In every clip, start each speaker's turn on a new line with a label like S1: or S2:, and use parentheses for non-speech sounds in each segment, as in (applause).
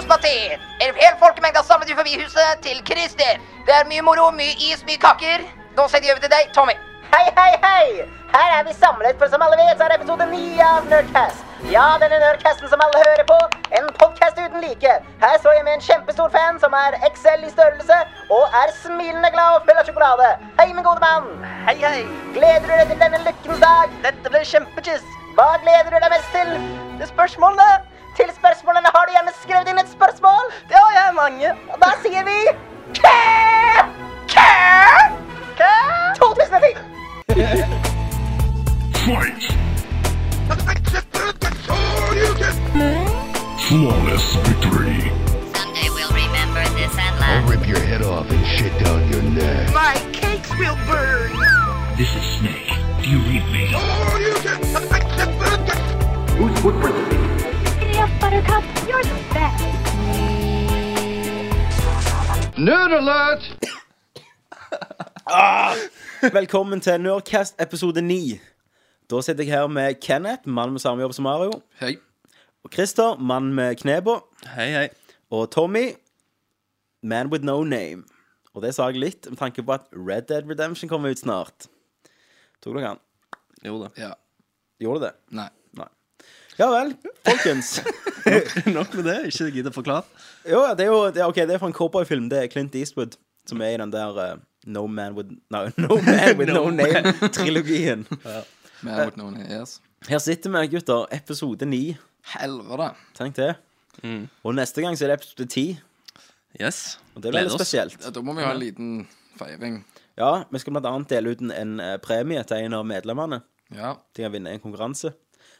S1: sympati. En hel folkemengde er samlet utenfor huset til Christer. Det er mye moro, mye is, mye kaker. Nå setter vi over til deg, Tommy.
S2: Hei, hei, hei! Her er vi samlet, for som alle vet, så er det episode 9 av Nerdcast. Ja, denne Nerdcasten som alle hører på. En podcast uten like. Her står jeg med en kjempestor fan som er XL i størrelse, og er smilende glad og full av sjokolade. Hei, min gode mann.
S3: Hei, hei!
S2: Gleder du deg til denne lykkens dag?
S3: Dette ble kjempechiss!
S2: Hva gleder du deg mest til?
S3: Det er spørsmålene!
S2: Til spørsmålene har du hjemme skrevet inn et spørsmål.
S3: Det har jeg mange.
S2: Og da sier vi Kæ! Kæ! Kæ! 2010!
S4: Fight! Flawless victory.
S5: Someday we'll remember this and laugh.
S6: I'll rip your head off and shit down your neck.
S4: This is Snake. Do you read me?
S7: Giddy up, Buttercup. You're the best.
S6: Nerd alert!
S8: Velkommen til Nerdcast episode 9. Da sitter jeg her med Kenneth, mann med samme jobb som Mario.
S9: Hei.
S8: Og Christer, mann med knebå.
S9: Hei, hei.
S8: Og Tommy, man with no name. Og det sa jeg litt med tanke på at Red Dead Redemption kommer ut snart. Tok dere den?
S9: Jo da. Ja.
S8: Gjorde det?
S10: (laughs)
S9: Nei.
S8: Nei. Ja vel, folkens.
S9: (laughs) Nok med det. Ikke gidd å forklare.
S8: Jo, det er jo det er, ok, det er fra en cowboyfilm. Det er Clint Eastwood som er i den der eh, No Man With No, (laughs) no Man With No,
S9: (laughs) No Man.
S8: Name-trilogien.
S9: Men jeg har noen yes.
S8: Her sitter vi, gutter. Episode 9.
S9: Helvete.
S8: Tenk det.
S9: Mm.
S8: Og neste gang så er det episode 10.
S9: Yes.
S8: Og det blir litt spesielt.
S9: Ja, da må vi ha en liten feiring.
S8: Ja, Vi skal blant annet dele ut en, en eh, premie til en av medlemmene.
S9: Ja.
S8: De kan vinne en konkurranse.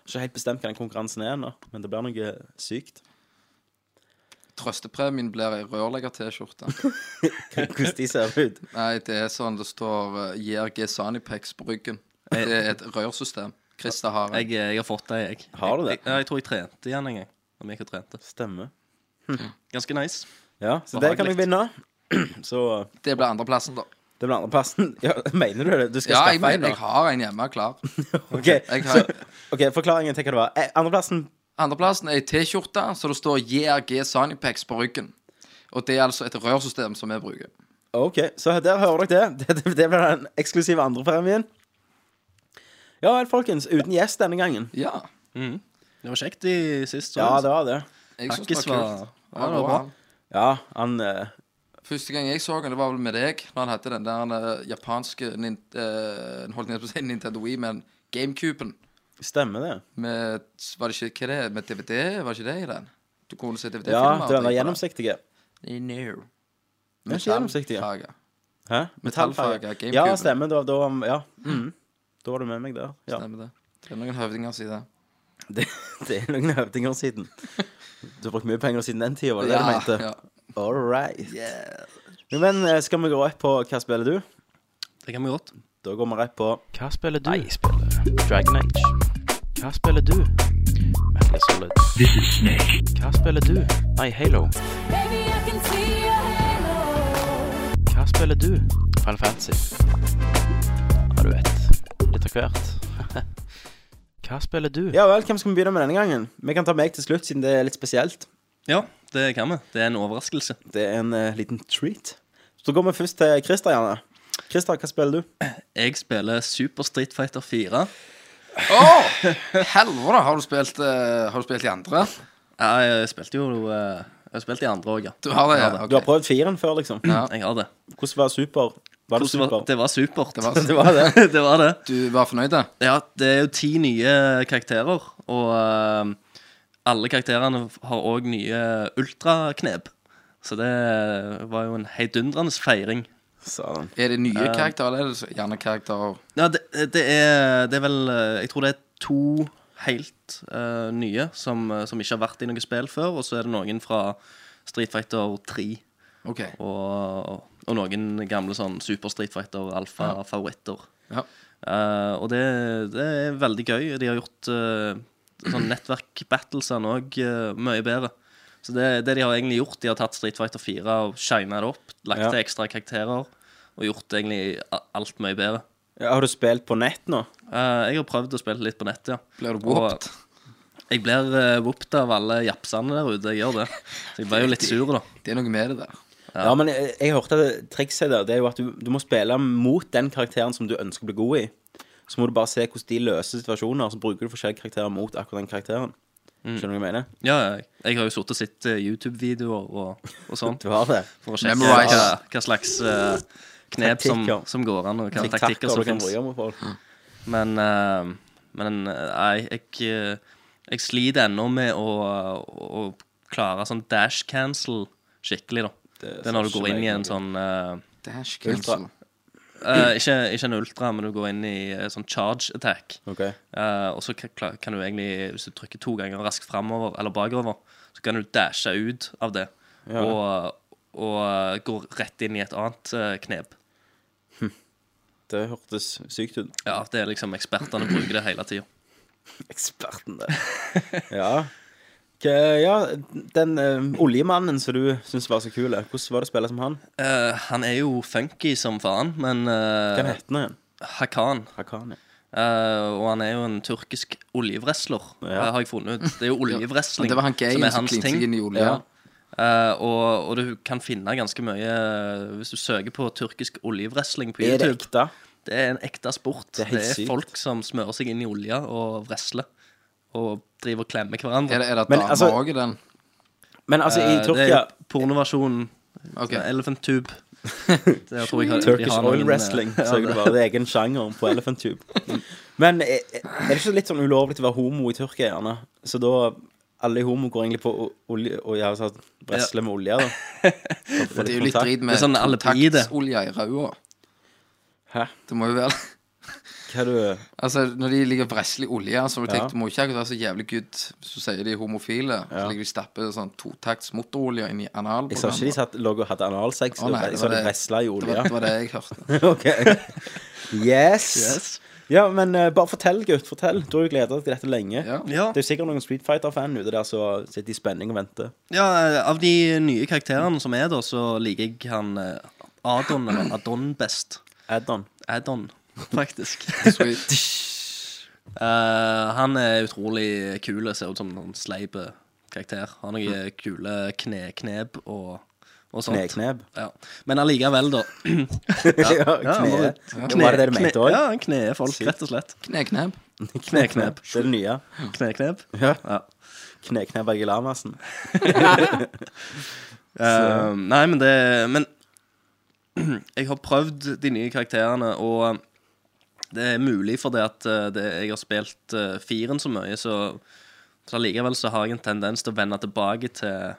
S8: Ikke helt bestemt hva den konkurransen er ennå, men det blir noe eh, sykt. (laughs)
S9: Trøstepremien blir ei rørlegger-T-skjorte.
S10: (laughs)
S8: Hvordan de ser ut.
S9: Nei, det er sånn det står eh, JRG Sanipex på ryggen. Det er et rørsystem. Krista har en.
S10: Jeg, eh, jeg har fått det, jeg.
S8: Har du det?
S10: Jeg, ja, jeg tror jeg trente igjen en gang. Om jeg ikke trente.
S8: Stemmer.
S10: Ganske nice.
S8: Ja, så det kan jeg vinne. (clears throat) Så eh,
S9: Det blir andreplassen, da.
S8: det blir andreplassen. (laughs) Ja, mener du det? Du skal
S9: Ja, jeg,
S8: skaffe
S9: mener,
S8: en,
S9: jeg har en hjemme klar.
S8: da?
S9: Jeg
S8: Ok,
S9: har,
S8: ok, forklaringen til hva det var. Eh, Andreplassen
S9: Andreplassen er ei T-skjorte, så det står JRG Sanipex på ryggen. Og det er altså et rørsystem som vi bruker.
S8: Ok, så der hører dere det. (laughs) Det, det, det blir den eksklusive andrepremien. Ja vel, folkens. Uten gjest denne gangen. Sånn.
S9: Ja.
S10: Mm. Det var kjekt i sist. så-
S8: Ja, det var det.
S9: Jeg synes
S10: Hakkis
S9: det var kult.
S10: ja, det var bra.
S8: Ja, han eh,
S9: Første gang jeg så han, det var vel med deg, når han hadde den der eh, japanske nin, eh, Holdt jeg på å si Nintendo Wii, men GameCuben.
S8: Stemmer det.
S9: Med, var det ikke, hva det er, med DVD, var det ikke det i den? Du kunne se
S8: Ja, det
S9: DVD-filmer.
S8: var den der gjennomsiktige.
S9: No.
S8: Den er ikke gjennomsiktig. ja. Hæ?
S9: Metallfarge, GameCube.
S8: Ja, stemmer. Da, da, ja. Mhm. da var du med meg der. Ja.
S9: Stemmer det. Det er noen høvdinger som sier det.
S8: Det, (laughs) det er noen høvdinger siden. Du har brukt mye penger siden den tida, var det det du mente?
S9: ja.
S8: All right. Jo, Men eh, skal vi gå rett på hva spiller du?
S10: Det kan vi godt.
S8: Da går vi rett på
S10: Hva spiller du? Jeg spiller Dragon Age. Hva spiller du? Metal Solid.
S4: This is Snake.
S10: Hva spiller du? Nei, Halo. Hva spiller du? Final Fantasy. Ja, du vet. Litt av hvert. (laughs) Hva spiller du?
S8: Ja vel, hvem skal vi begynne med denne gangen? Vi kan ta meg til slutt, siden det er litt spesielt.
S10: Ja, det kan vi. Det er en overraskelse.
S8: Det er en eh, liten treat. Så går vi først til Christer, gjerne. Christer, hva spiller du?
S10: Jeg spiller Super Street Fighter 4.
S9: Helvete, har du spilt, eh, har du spilt i andre?
S10: Ja, Jeg spilte jo eh, Jeg spilte i andre òg, ja.
S9: Du har det, ja.
S8: Du har
S9: ok.
S8: prøvd firen før, liksom.
S10: Jeg har det.
S8: Hvordan var super? Var det
S10: Hvordan var-
S8: super?
S10: Det var supert. Det
S9: var-
S8: Det
S10: (laughs)
S8: var det.
S10: det var det.
S9: Du var fornøyd, da?
S10: Ja, det er jo ti nye karakterer, og eh, alle karakterene har òg nye ultraknep. Så det var jo en heidundrende feiring.
S8: Satan.
S9: Er det nye
S8: Eh.
S9: karakterer, eller er det så- gjerne karakterer
S10: Ja, det, det, er, det er vel eh, Jeg tror det er to helt eh, nye som, eh, som ikke har vært i noe spill før, og så er det noen fra Street Fighter 3
S9: OK.
S10: og, og noen gamle sånn Super Street Fighter alfa-favoritter.
S9: Ja.
S10: Eh, og det, det er veldig gøy. De har gjort eh, sånn nettverk-battlesene òg eh, mye bedre. Så det, det de har egentlig gjort, de har tatt Street Fighter 4 og shina det opp. Lagt
S8: Ja.
S10: til ekstra karakterer og gjort egentlig a- alt mye bedre.
S8: Ja, har du spilt på nett nå?
S10: Eh, jeg har prøvd å spille litt på nettet, ja.
S9: Blir du
S10: Og-
S9: whooped?
S10: Jeg blir uh, whooped av alle japsene der ute. Jeg gjør det. Så jeg ble jo litt sur, da.
S9: Det er noe med det der.
S8: Ja, men jeg, jeg hørte at trikset der, det er jo at du, du må spille mot den karakteren som du ønsker å bli god i. Så må du bare se hvordan de løser situasjoner, så bruker du forskjellige karakterer mot akkurat den karakteren.
S10: Mm.
S8: Skjønner du hva jeg mener?
S10: Ja, jeg, jeg har jo sittet og sett eh, YouTube-videoer og, og sånn.
S8: Du har det.
S10: For å sjekke
S9: Memorize.
S10: hva, hva slags eh, knep som,
S8: Taktikker.
S10: som går an, og hva
S8: Taktikker
S10: taktikker
S8: du
S10: som
S8: kan
S10: fins.
S8: bruke mot folk.
S10: Men, eh, men eh, nei, jeg, eh, jeg sliter ennå med å, å klare sånn dash cancel skikkelig, da. Det,
S8: Det
S10: er når du
S8: satser
S10: går inn
S8: jeg
S10: i
S8: ikke.
S10: en sånn eh,
S9: Dash
S8: Ultra.
S9: cancel.
S10: eh, ikke, ikke en ultra, men du går inn i eh, sånn charge attack.
S8: Ok.
S10: Eh, og så kan, kla- kan du egentlig, hvis du trykker to ganger raskt framover eller bakover, så kan du dashe ut av det
S8: Ja.
S10: og, og eh, gå rett inn i et annet eh, knep.
S8: Det hørtes sykt ut.
S10: Ja, det er liksom ekspertene bruker det hele tida.
S8: Eksperten der. (laughs) Ja. Hva- ja, den eh, oljemannen som du syns var så kul, eh, hvordan var det å spille som han?
S10: Eh, han er jo funky som faen, men
S8: Hva
S10: uh,
S8: heter han igjen?
S10: Hakan
S8: Hakan, ja.
S10: Eh, og han er jo en turkisk oljewrestler,
S8: Ja.
S10: eh, har jeg funnet ut.
S9: (laughs)
S10: Det er jo
S9: Men
S10: oljewrestling
S9: Det var han gayen
S10: som er
S9: som
S10: hans
S9: klinte
S10: ting.
S9: seg inn i olja.
S8: Ja.
S10: Eh, og, og du kan finne ganske mye eh, Hvis du søker på turkisk oljewrestling på
S8: Er det
S10: YouTube.
S8: ekte?
S10: Det er en ekte sport.
S8: Det er helt sykt.
S10: folk som smører seg inn i olje og vresler. Og driver og klemmer
S9: Er
S10: hverandre.
S9: det, er det
S8: Men,
S9: damer
S8: altså-
S9: også i den?
S8: Men altså, i
S10: Eh, det
S8: Tyrkia
S10: er pornoversjonen.
S9: Ok.
S10: sånn Elephant
S8: (laughs)
S10: tube. Det tror jeg har- de
S8: Turkish
S10: har noen,
S8: Oil
S10: eh,
S8: Wrestling.
S10: ja,
S8: Søker du bare. Det er egen sjanger på Elephant Tube. Men er er det ikke litt sånn ulovlig å være homo i Tyrkia, gjerne? Så da alle homo går egentlig på o- olje og ja, altså, wrestler med olje, da. For å få
S9: Det er
S8: litt
S9: jo litt
S8: kontakt.
S9: drit
S10: Det
S9: med
S10: er sånn alpide.
S9: kontaktsolje i røda.
S8: Hæ?
S9: Det må jo være (laughs)
S8: Hva er du
S9: Altså, når de ligger og vresler i olje, så må du
S8: Ja.
S9: tenke, du må ikke akkurat være så jævlig good så sier de homofile. Så ligger de og stapper sånn totakts motorolje inn i analen.
S8: Jeg sa ikke de satt, lå og hadde analsex.
S9: Å, nei,
S8: jeg
S9: det
S8: sa
S9: var
S8: de
S9: det-
S8: wrestla i
S9: det, var-
S8: olje.
S9: det var det jeg hørte.
S8: (laughs) ok. Yes. Ja, men eh, bare fortell, gutt. Fortell. Du har jo gleda deg til dette lenge. (laughs)
S9: Ja.
S10: Ja.
S8: Det er jo sikkert noen Street Fighter-fan ute der som sitter i spenning og venter.
S10: ja, eh, av de nye karakterene som er da, så liker jeg han eh, Adon, eller Adon best.
S8: Add-on.
S10: Adon, faktisk.
S8: (laughs)
S9: Sweet.
S10: Eh, han er utrolig kul. Ser ut som en sleip eh, karakter. Har noen kule kneknep og, og sånt.
S8: Mm. Kneknep.
S10: Ja. Men allikevel, da.
S8: Ja, kne.
S10: ja,
S8: (laughs) Ja, var det det du mente også? (laughs)
S10: Ja, han kneer folk, rett og slett.
S9: Kneknebb.
S10: Kneknep.
S8: Det er det nye.
S10: Kneknep.
S8: Ja.
S10: Ja.
S8: Kneknep (laughs)
S10: (laughs)
S8: Agilamassen.
S10: Eh, nei, men det Men (clears throat) jeg har prøvd de nye karakterene, og det er mulig fordi at eh, det, jeg har spilt eh, firen så mye, så, så allikevel så har jeg en tendens til å vende tilbake til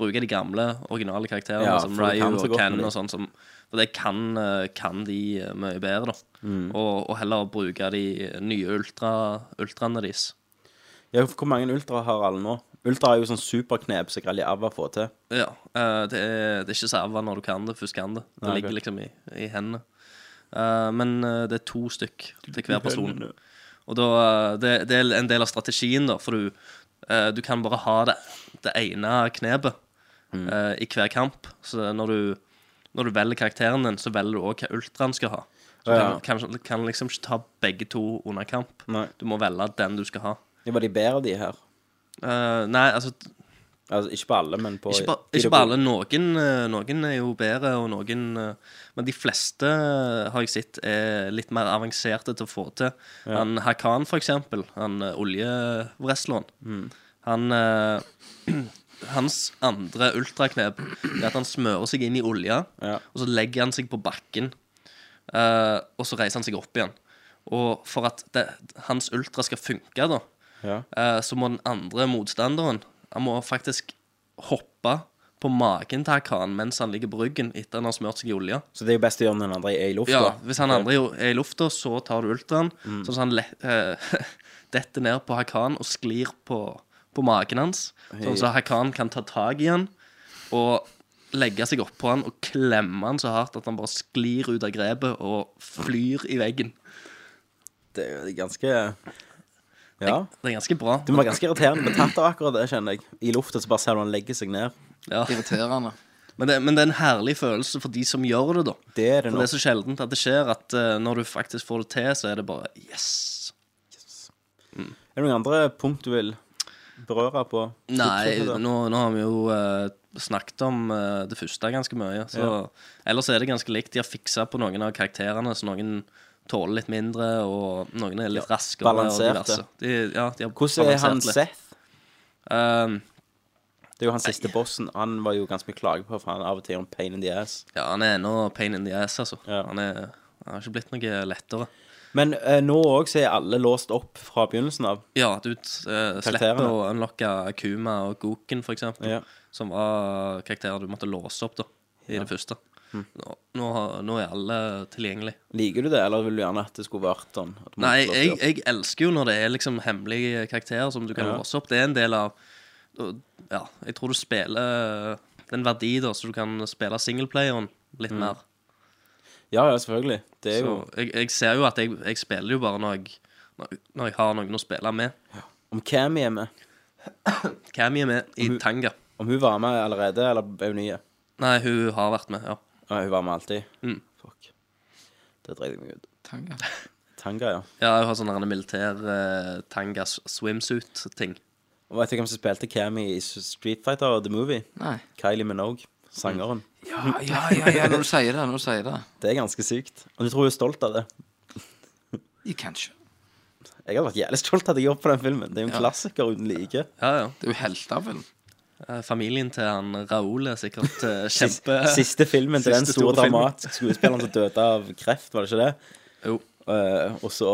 S10: Bruke de gamle, originale karakterene
S8: Ja,
S10: som
S8: for du
S10: Ryu
S8: kan så
S10: og
S8: godt med
S10: Ken
S8: de.
S10: og sånn. Som, for det kan, eh, kan de eh, mye bedre, da.
S8: Mm.
S10: Og, og heller bruke de nye ultra, ultraene deres.
S8: Ja, hvor mange ultra har alle nå? Ultra er jo sånn superknep som Grelli Ava får til.
S10: Ja. eh, det, er, det er ikke serva når du kan det, først kan det. Det
S8: Nei, ok.
S10: ligger liksom i, i hendene. Eh, men eh, det er to stykk til hver person. Og da, eh, det, det er en del av strategien, da, for du, eh, du kan bare ha det, det ene knepet
S8: Mm.
S10: eh, i hver kamp. Så når du, når du velger karakteren din, så velger du òg hva ultraen skal ha. Så
S8: Ja.
S10: du kan, kan, kan liksom ikke ta begge to under kamp.
S8: Nei.
S10: Du må velge den du skal ha.
S8: Det var de bedre, de her.
S10: Eh, nei, altså
S8: Altså, ikke på alle, men på
S10: Ikke, ba, ikke bare alle. Noen, eh, noen er jo bedre, og noen eh, Men de fleste eh, har jeg sett er litt mer avanserte til å få til. Han Hakan, for eksempel, han eh, oljewrestleren,
S8: Mm.
S10: han eh, (clears throat) Hans andre ultraknep er at han smører seg inn i olje,
S8: Ja.
S10: og så legger han seg på bakken, eh, og så reiser han seg opp igjen. Og for at det, hans ultra skal funke, da,
S8: Ja.
S10: Eh, så må den andre motstanderen Han må faktisk hoppe på magen til Hakan mens han ligger på ryggen etter han har smurt seg i olje.
S8: Så det er jo best å gjøre når den andre er i lufta.
S10: Ja, hvis han andre jo er i lufta, så tar du ultraen. Sånn at han le eh, (laughs) detter ned på Hakan og sklir på, på magen hans. Sånn at Hakan kan ta tak i han og legge seg oppå han og klemme han så hardt at han bare sklir ut av grepet og flyr i veggen.
S8: Det er jo ganske Ja.
S10: Det er ganske bra.
S8: Det må være ganske irriterende med tatt av akkurat det, kjenner jeg. I lufta så bare ser du han legger seg ned.
S10: Ja.
S9: Irriterende.
S10: Men det, men det er en herlig følelse for de som gjør det, da.
S8: Det er det
S10: For
S8: nå.
S10: det er så sjeldent at det skjer at eh, når du faktisk får det til, så er det bare yes.
S8: Er det noen andre punkt du vil berøre på?
S10: Nei,
S8: Slipknot, da?
S10: nå, nå har vi jo eh, snakket om eh, det første ganske mye. Så
S8: Ja.
S10: ellers er det ganske likt. De har fiksa på noen av karakterene, så noen tåler litt mindre, og noen er litt raskere. og
S8: balanserte.
S10: diverse. De, ja, de har
S8: Hvordan er
S10: balansert
S8: han
S10: litt.
S8: Seth?
S10: Eh,
S8: Det er jo han siste bossen. Han var jo ganske mye klage på, for han av og til gjør en pain in the ass.
S10: ja, han er ennå pain in the ass, altså.
S8: Ja.
S10: Han, er, han har ikke blitt noe lettere.
S8: Men eh, nå òg så er alle låst opp fra begynnelsen av.
S10: Ja, du eh, slipper
S8: Karakterene.
S10: å unlocke Kuma og Goken, for eksempel,
S8: Ja.
S10: som var karakterer du måtte låse opp da, i det første.
S8: Mm.
S10: Nå, nå, har- nå er alle tilgjengelige.
S8: Liker du det, eller vil du gjerne at det skulle vært sånn? At du måtte
S10: Nei,
S8: låse
S10: jeg,
S8: opp?
S10: jeg elsker jo når det er liksom hemmelige karakterer som du kan
S8: Ja.
S10: låse opp. Det er en del av Ja, jeg tror du spiller Det er en verdi, da, så du kan spille singleplayeren litt mer.
S8: Ja, ja, selvfølgelig. Mm. Det er jo
S10: Så jeg, jeg ser jo at jeg, jeg spiller jo bare når jeg, når når jeg har noen å spille med.
S8: Om Cammy er med.
S10: Cammy er med i Tanga.
S8: Om hun var med allerede, eller er hun ny?
S10: Nei, hun har vært med, ja.
S8: Ja, hun var med alltid.
S10: Mm.
S8: Fuck. Det dreit jeg meg ut.
S9: Tanga.
S8: Tanga, ja.
S10: Ja, hun har sånn her militær eh, tanga s- swimsuit-ting.
S8: Og vet du hvem som spilte Cammy i Street Fighter The Movie?
S9: Nei.
S8: Kylie Minogue. Sangeren.
S9: Ja, ja, ja, ja, når du sier det. Når du sier det.
S8: Det er ganske sykt. Og du tror hun er stolt av det?
S9: You can't shoot.
S8: Jeg hadde vært jævlig stolt av at jeg jobbet på den filmen. Det er jo en
S9: Ja.
S8: klassiker uten
S10: (laughs)
S8: like.
S10: Ja, ja.
S9: Det er jo helter, vel.
S10: Eh, Familien til han Raoul er sikkert
S8: (laughs)
S10: eh, kjempe
S8: Siste- Siste filmen til den
S10: Siste
S8: store
S10: store filmen.
S8: dramatiske skuespilleren som døde av kreft, var det ikke det?
S10: Jo.
S8: Eh, og så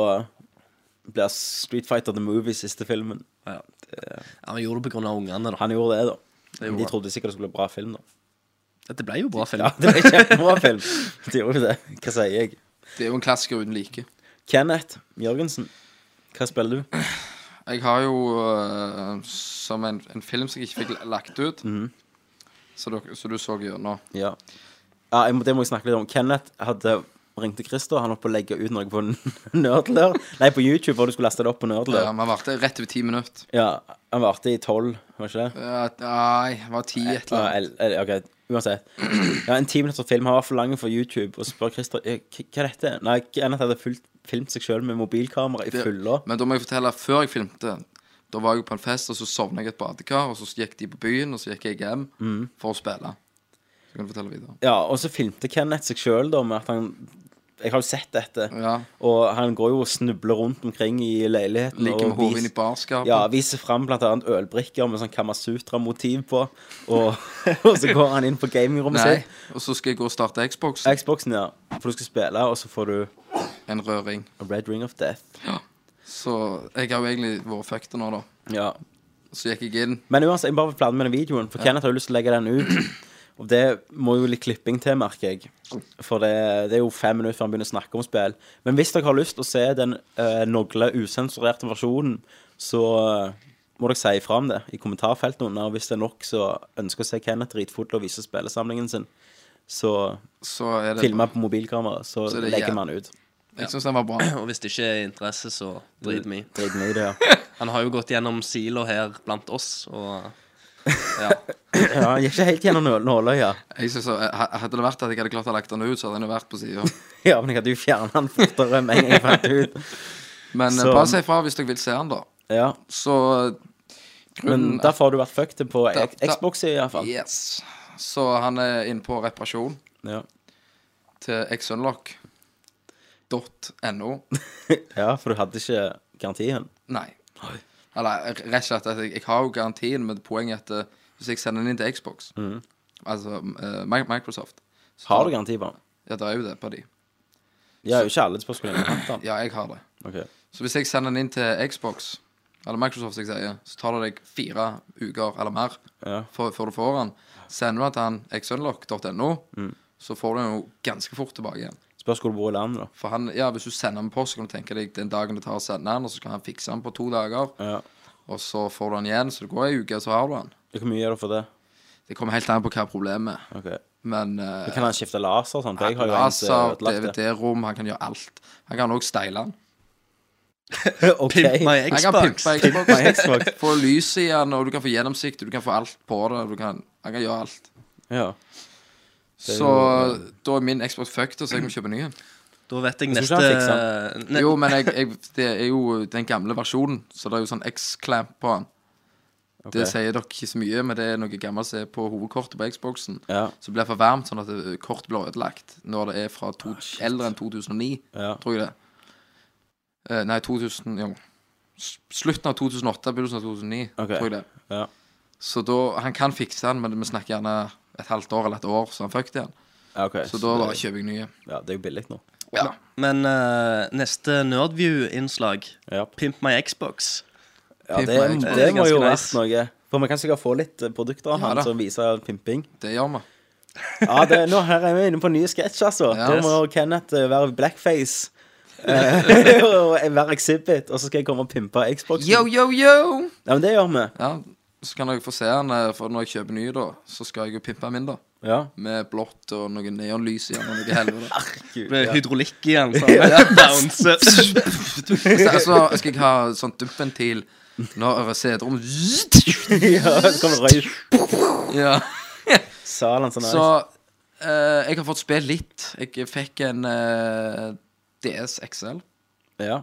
S8: blir Street Fighter The Movie siste filmen.
S10: Ja, Ja, vi gjorde det på grunn av ungene, da.
S8: Han gjorde det, da.
S10: gjorde
S8: Men de
S10: han.
S8: trodde sikkert det skulle bli bra film, da.
S10: Dette ble jo bra film.
S8: Ja, det ble kjempebra film. De gjorde det. Hva sier jeg?
S9: Det er jo en klassiker uten like.
S8: Kenneth Jørgensen, hva spiller du?
S9: Jeg har jo øh, som en, en film som jeg ikke fikk lagt ut, så, dere, så du så gjennom.
S8: Ja, ja jeg må, Det må jeg snakke litt om. Kenneth hadde ringte Christer. Han holdt på å legge ut noe på (laughs) Nerdler. Nei, på YouTube, hvor du skulle laste det opp på
S9: Ja,
S8: Nerdler.
S9: men han Eh, varte rett over ti minutter.
S8: Ja, han varte i tolv, var ikke det?
S9: Ja, nei, det var ti et eller
S8: Ja,
S9: annet.
S8: el- el- ok, uansett. Ja, en ti minutter film har vært for lang for YouTube, og så spør Christer «Eh, k- hva er dette Nei, Kenneth hadde fulgt, filmt seg sjøl med mobilkamera i
S9: Det-
S8: fylla.
S9: Men da må jeg fortelle, før jeg filmte Da var jeg på en fest, og så sovna jeg i et badekar, og så gikk de på byen, og så gikk jeg hjem for å spille. Så kan du fortelle videre.
S8: Ja, og så filmte Kenneth seg sjøl, da, med at han Jeg har jo sett dette.
S9: Ja.
S8: Og han går jo og snubler rundt omkring i leiligheten.
S9: Ligger med
S8: og
S9: hodet
S8: vis-
S9: inn i barskapet.
S8: Ja, viser fram blant annet ølbrikker med sånn Kamasutra-motiv på. Og, (laughs) og så går han inn på gamingrommet
S9: Nei,
S8: sitt.
S9: og så skal jeg gå og starte Xbox.
S8: Xboxen, ja. For du skal spille, og så får du
S9: En røring.
S8: Red Ring of Death.
S9: Så jeg har jo egentlig vært fucked nå, da.
S8: Ja,
S9: Så gikk jeg inn.
S8: Men uansett, jeg bare vil plane med den videoen, for Kenneth har jo lyst til å legge den ut. Og det må jo litt klipping til, merker jeg. For det, det er jo fem minutter før han begynner å snakke om spill. Men hvis dere har lyst til å se den uh, nogle usensurerte versjonen, så eh, må dere si ifra om det i kommentarfeltet under. Og hvis det er nok som ønsker å se Kenneth dritfull og vise spillesamlingen sin, så
S9: Så er det
S8: filmer han på mobilkamera, så,
S9: Så det er
S8: legger
S9: jæv-
S8: vi han ut.
S9: Jeg syns den var bra.
S10: (laughs) Og hvis det ikke er interesse, så drit me.
S8: Driten i det, ja.
S10: Han har jo gått gjennom sila her blant oss, og ja.
S8: ja. Han gikk ikke helt gjennom nål- nåløyet.
S9: Jeg synes, at- ha- hadde det vært at jeg hadde klart å legge den ut, så hadde den jo vært
S8: (laughs)
S9: på sida.
S8: Ja, men jeg hadde jo fjernet han fortere med en gang jeg fant det ut.
S9: Men
S8: Så-
S9: eh, bare si ifra hvis dere vil se den, da.
S8: Ja.
S9: Så eh, grunnen
S8: Men derfor har du vært fucked på
S9: Mm. Da- da-
S8: Xbox i hvert fall.
S9: Yes. Så han er inne på reparasjon
S8: Ja.
S9: til xunlock.no.
S8: ja, for du hadde ikke garantien.
S9: Nei. Eller rett og slett at jeg, jeg har jo garantien, men poenget er at eh, hvis jeg sender den inn til Xbox, altså eh, Mi- Microsoft så
S8: Mm. Har du garanti på den?
S9: Ja, det er jo det på de.
S8: Jeg har jo ikke alle
S9: (clears throat)
S8: spørsmål jeg har hatt den.
S9: Ja, jeg har det.
S8: Ok.
S9: Så hvis jeg sender den inn til Xbox, eller Microsoft, som jeg sier, så tar det deg fire uker eller mer
S8: Ja.
S9: før, før du får den. Sender du den til han xunlock.no,
S8: Mm.
S9: så får du den jo ganske fort tilbake igjen.
S8: Spørs hvor du bor i landet, da.
S9: For han, ja, Hvis du sender den med post, så kan du tenke deg den dagen det tar å sende den, og så kan han fikse den på to dager.
S8: Ja.
S9: Og så får du den igjen, så det går ei uke, så har du den.
S8: Hvor mye gjør du for det?
S9: Det kommer helt an på hva problemet er.
S8: Ok.
S9: Men eh,
S8: Men Kan han skifte laser og sånn? For jeg har jo en som er
S9: laser,
S8: ødelagt det.
S9: DVD-rom, han kan gjøre alt. Han kan òg steile den.
S8: (laughs) Ok.
S10: Pimp my
S9: Han kan
S10: Xbox.
S9: pimpe
S8: My (laughs)
S9: Xbox.
S8: Xbox.
S9: få lys i den, og du kan få gjennomsikt, og du kan få alt på det. og Du kan, han kan gjøre alt.
S8: Ja. er
S9: Så
S8: jo-
S9: da er min Xbox fucked, og så jeg må kjøpe en ny. en.
S10: (laughs) Da vet jeg
S8: Jeg
S10: neste
S8: tror ikke
S10: ne
S9: Jo, men jeg, jeg, det er jo den gamle versjonen, så det er jo sånn X-clamp på den. Det sier dere ikke så mye, men det er noe gammelt som er på hovedkortet på Xboxen.
S8: Ja.
S9: Som blir for varmt, sånn at det- kortet blir ødelagt når det er fra to,
S8: Ah,
S9: eldre enn 2009,
S8: Ja.
S9: tror jeg det. Eh, nei, 2000 Jo. S- Slutten av 2008, begynnelsen av 2009,
S8: Ok.
S9: tror jeg det.
S8: Ja.
S9: Så da Han kan fikse den, men vi snakker gjerne et halvt år eller et år, så han fucket igjen.
S8: Ja, ok.
S9: Så da bare kjøper jeg nye.
S8: Ja, det er jo billig nå.
S9: Ja.
S10: Men eh, neste Nerdview-innslag,
S8: Ja.
S10: Pimp my Xbox.
S8: Ja, det,
S9: Pimp my
S8: det
S10: Xbox.
S8: må jo
S10: Ganske
S8: være
S10: nice.
S8: noe. For vi kan sikkert få litt eh, produkter av
S9: Ja,
S8: han
S9: da.
S8: som viser pimping.
S9: Det gjør vi.
S8: Ja, det, nå her er vi inne på nye sketsjer, altså.
S9: Ja.
S8: Da må Kenneth eh, være
S9: (laughs)
S8: blackface. Eh, (laughs) og være exhibit, og så skal jeg komme og pimpe Xboxen.
S9: Yo, yo, yo!
S8: Ja, men det gjør vi.
S9: Ja, så kan dere få se den, eh, for når jeg kjøper nye, da, så skal jeg jo pimpe min, da.
S8: Ja.
S9: Med blått og noe neonlys igjen og
S8: (laughs)
S9: noe helvete.
S8: Gud,
S10: Med
S8: ja.
S10: hydraulikk igjen.
S8: (laughs)
S10: Sånn. (laughs) Bouncer.
S9: Så så skal jeg ha sånn duppventil når CD-rom
S8: ja, så kommer røy.
S9: (laughs) Ja.
S8: Salen sånn
S9: Så eh, jeg har fått spilt litt. Jeg fikk en eh, DS XL
S8: Ja,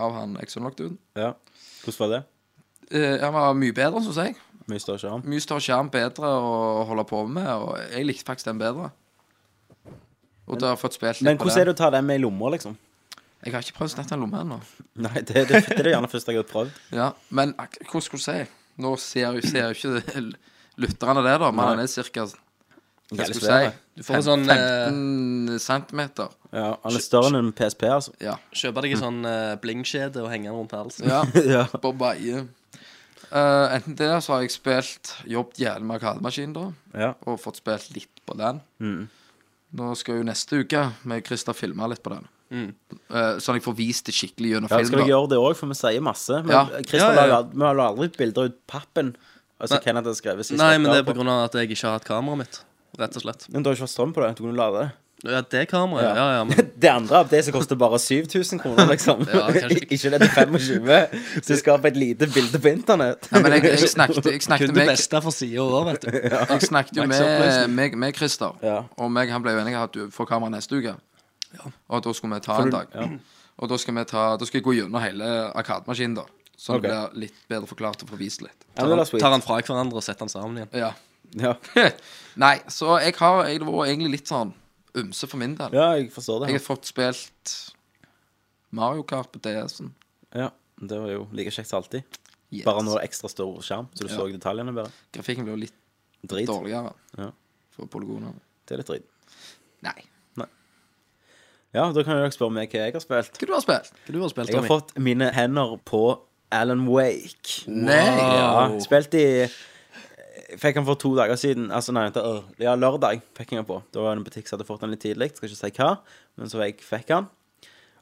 S9: av han Exonlockdoon.
S8: ja. Hvordan var det?
S9: Uh, han var mye bedre, syns jeg.
S8: Mye større sjarm.
S9: Mye større skjerm, bedre å holde på med, og jeg likte faktisk den bedre. Og da har jeg fått spilt litt
S8: Men
S9: på
S8: hvordan er
S9: den.
S8: det å ta den med i lomma, liksom?
S9: Jeg har ikke prøvd snett en lomme ennå.
S8: Nei, det, det, det er det gjerne først jeg har prøvd.
S9: Ja, men ak- hvordan skulle jeg si? Nå ser jo ser jo ikke (laughs) lytterne det, da, men han er cirka Hva
S8: Jævlig
S9: skal
S8: svær,
S9: jeg
S8: da.
S9: si?
S10: Du får en sånn eh,
S9: 15 centimeter.
S8: Ja, han er større enn en PSP, altså. (laughs)
S9: Ja.
S10: Kjøpe deg en sånn eh, blingkjede og henge den rundt halsen.
S9: ja.
S8: ja.
S9: (laughs) På baie. Eh, enten det, så har jeg spilt jobbet jævlig med arkademaskinen, da.
S8: ja.
S9: Og fått spilt litt på den.
S8: Mm.
S9: Nå skal jo neste uke med Christer filme litt på den. Eh, sånn at jeg får vist det skikkelig gjennom
S8: Mm. Ja, skal
S9: film.
S8: dere
S9: da.
S8: gjøre det òg, for vi sier masse. Men
S9: Ja.
S8: Christer,
S10: Ja, ja, ja.
S8: la- Vi har jo aldri bilder ut pappen. Altså,
S10: Nei.
S8: Kenneth har skrevet sist.
S10: Nei, men det er
S8: på
S10: pga. at jeg ikke har hatt kameraet mitt. Rett og slett.
S8: Men du har ikke fått strøm på det? Du kunne lade det?
S10: Ja, (laughs) det kameraet, ja, ja, men
S8: (laughs) Det andre av det som koster bare 7000 kroner, liksom.
S10: Ja, kanskje
S8: (laughs)
S10: ikke.
S8: ikke det til 25. Så skaper et lite bilde på internett.
S9: Nei, men jeg, jeg snakket, jeg
S10: Kun
S9: snakket
S10: det
S9: med
S10: beste for sida òg, vet du.
S9: Jeg snakket jo
S10: Max
S9: med,
S10: oppløsning.
S9: med, med Christer,
S8: Ja.
S9: og meg, han ble jo enig i at du får kamera neste uke. Og da skulle vi ta
S8: du-
S9: en dag. Og da skal, vi ta, da skal jeg gå gjennom hele arkademaskinen, da. Så det
S8: Ok.
S9: blir litt bedre forklart og får vist litt.
S8: (laughs) Ja, men det er
S10: Tar
S8: sweet.
S10: den fra hverandre og setter den sammen igjen.
S9: Ja.
S8: Ja.
S9: (laughs) Nei, så jeg har jeg, Det var egentlig litt sånn ymse for min del.
S8: ja, jeg forstår
S9: Jeg
S8: det.
S9: har fått spilt Mario Kart på DS-en.
S8: Ja, Det var jo like kjekt som alltid.
S9: Yes.
S8: Bare nå er det ekstra stor skjerm, så du
S9: Ja.
S8: så detaljene bedre.
S9: Grafikken ble jo litt
S8: Drit.
S9: dårligere
S8: Ja.
S9: for polygonene.
S8: Det er litt drit.
S9: Nei.
S8: Ja, da kan jo dere spørre meg hva jeg har spilt.
S9: Hva du har spilt?
S10: Hva du har spilt
S8: Jeg har
S10: Tommy?
S8: fått mine hender på Alan Wake.
S9: Nei!
S8: Ja, spilte i Fikk han for to dager siden. Altså, nei, vent, øh, ja, lørdag fikk jeg han på. Det var en butikk som hadde fått den litt tidlig, skal ikke si hva, men så jeg fikk han.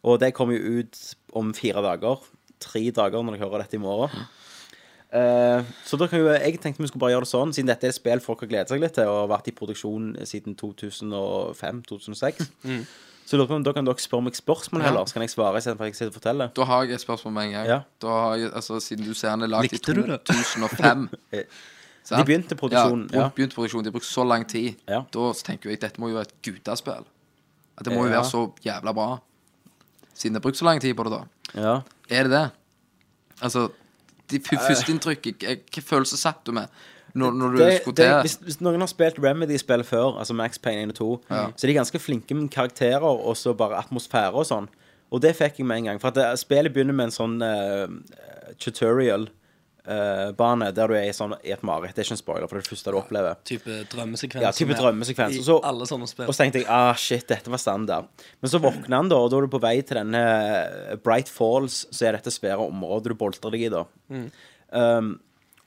S8: Og det kom jo ut om fire dager. Tre dager når dere hører dette i morgen. Eh, så da kan jo, jeg tenkte vi skulle bare gjøre det sånn, siden dette er et spill folk har gledet seg litt til, og har vært i produksjon siden 2005-2006. Så jeg lurer på om da kan dere spørre meg spørsmål heller, så kan jeg svare istedenfor at jeg sitter og forteller.
S9: Da har jeg et spørsmål med en gang.
S8: Ja.
S9: Da har jeg, altså, siden du ser han er lagd i
S10: Likte du det?
S9: 2005
S8: (laughs)
S9: (laughs)
S8: Eh,
S9: sant?
S8: de begynte produksjonen,
S9: Ja,
S8: ja.
S9: bruk- begynte produksjonen, De har brukt så lang tid.
S8: Ja.
S9: Da tenker jeg dette må jo være et guttaspill. At det må jo
S8: Ja.
S9: være så jævla bra. Siden de har brukt så lang tid på det, da.
S8: Ja.
S9: Er det det? Altså, de f- førsteinntrykket Hvilken følelse satt du med når, når du
S8: det,
S9: skulle
S8: det,
S9: til
S8: hvis, hvis noen har spilt Remedy-spill før, altså Max Payne 1 og 2, så er de ganske flinke med karakterer og så bare atmosfære og sånn. Og det fikk jeg med en gang. For at det, spillet begynner med en sånn eh, tutorial-bane der du er i, sånn, i et mareritt. Det er ikke en spoiler, for det er det første du opplever.
S10: Type drømmesekvens.
S8: Ja, type
S10: som er
S8: drømmesekvens. Og
S10: I
S8: så,
S10: alle sånne spill.
S8: og så tenkte jeg ah, shit, dette var standard. Men så våkna han, da, og da er du på vei til denne eh, Bright Falls, så er dette svære området du boltrer deg i, da. Um,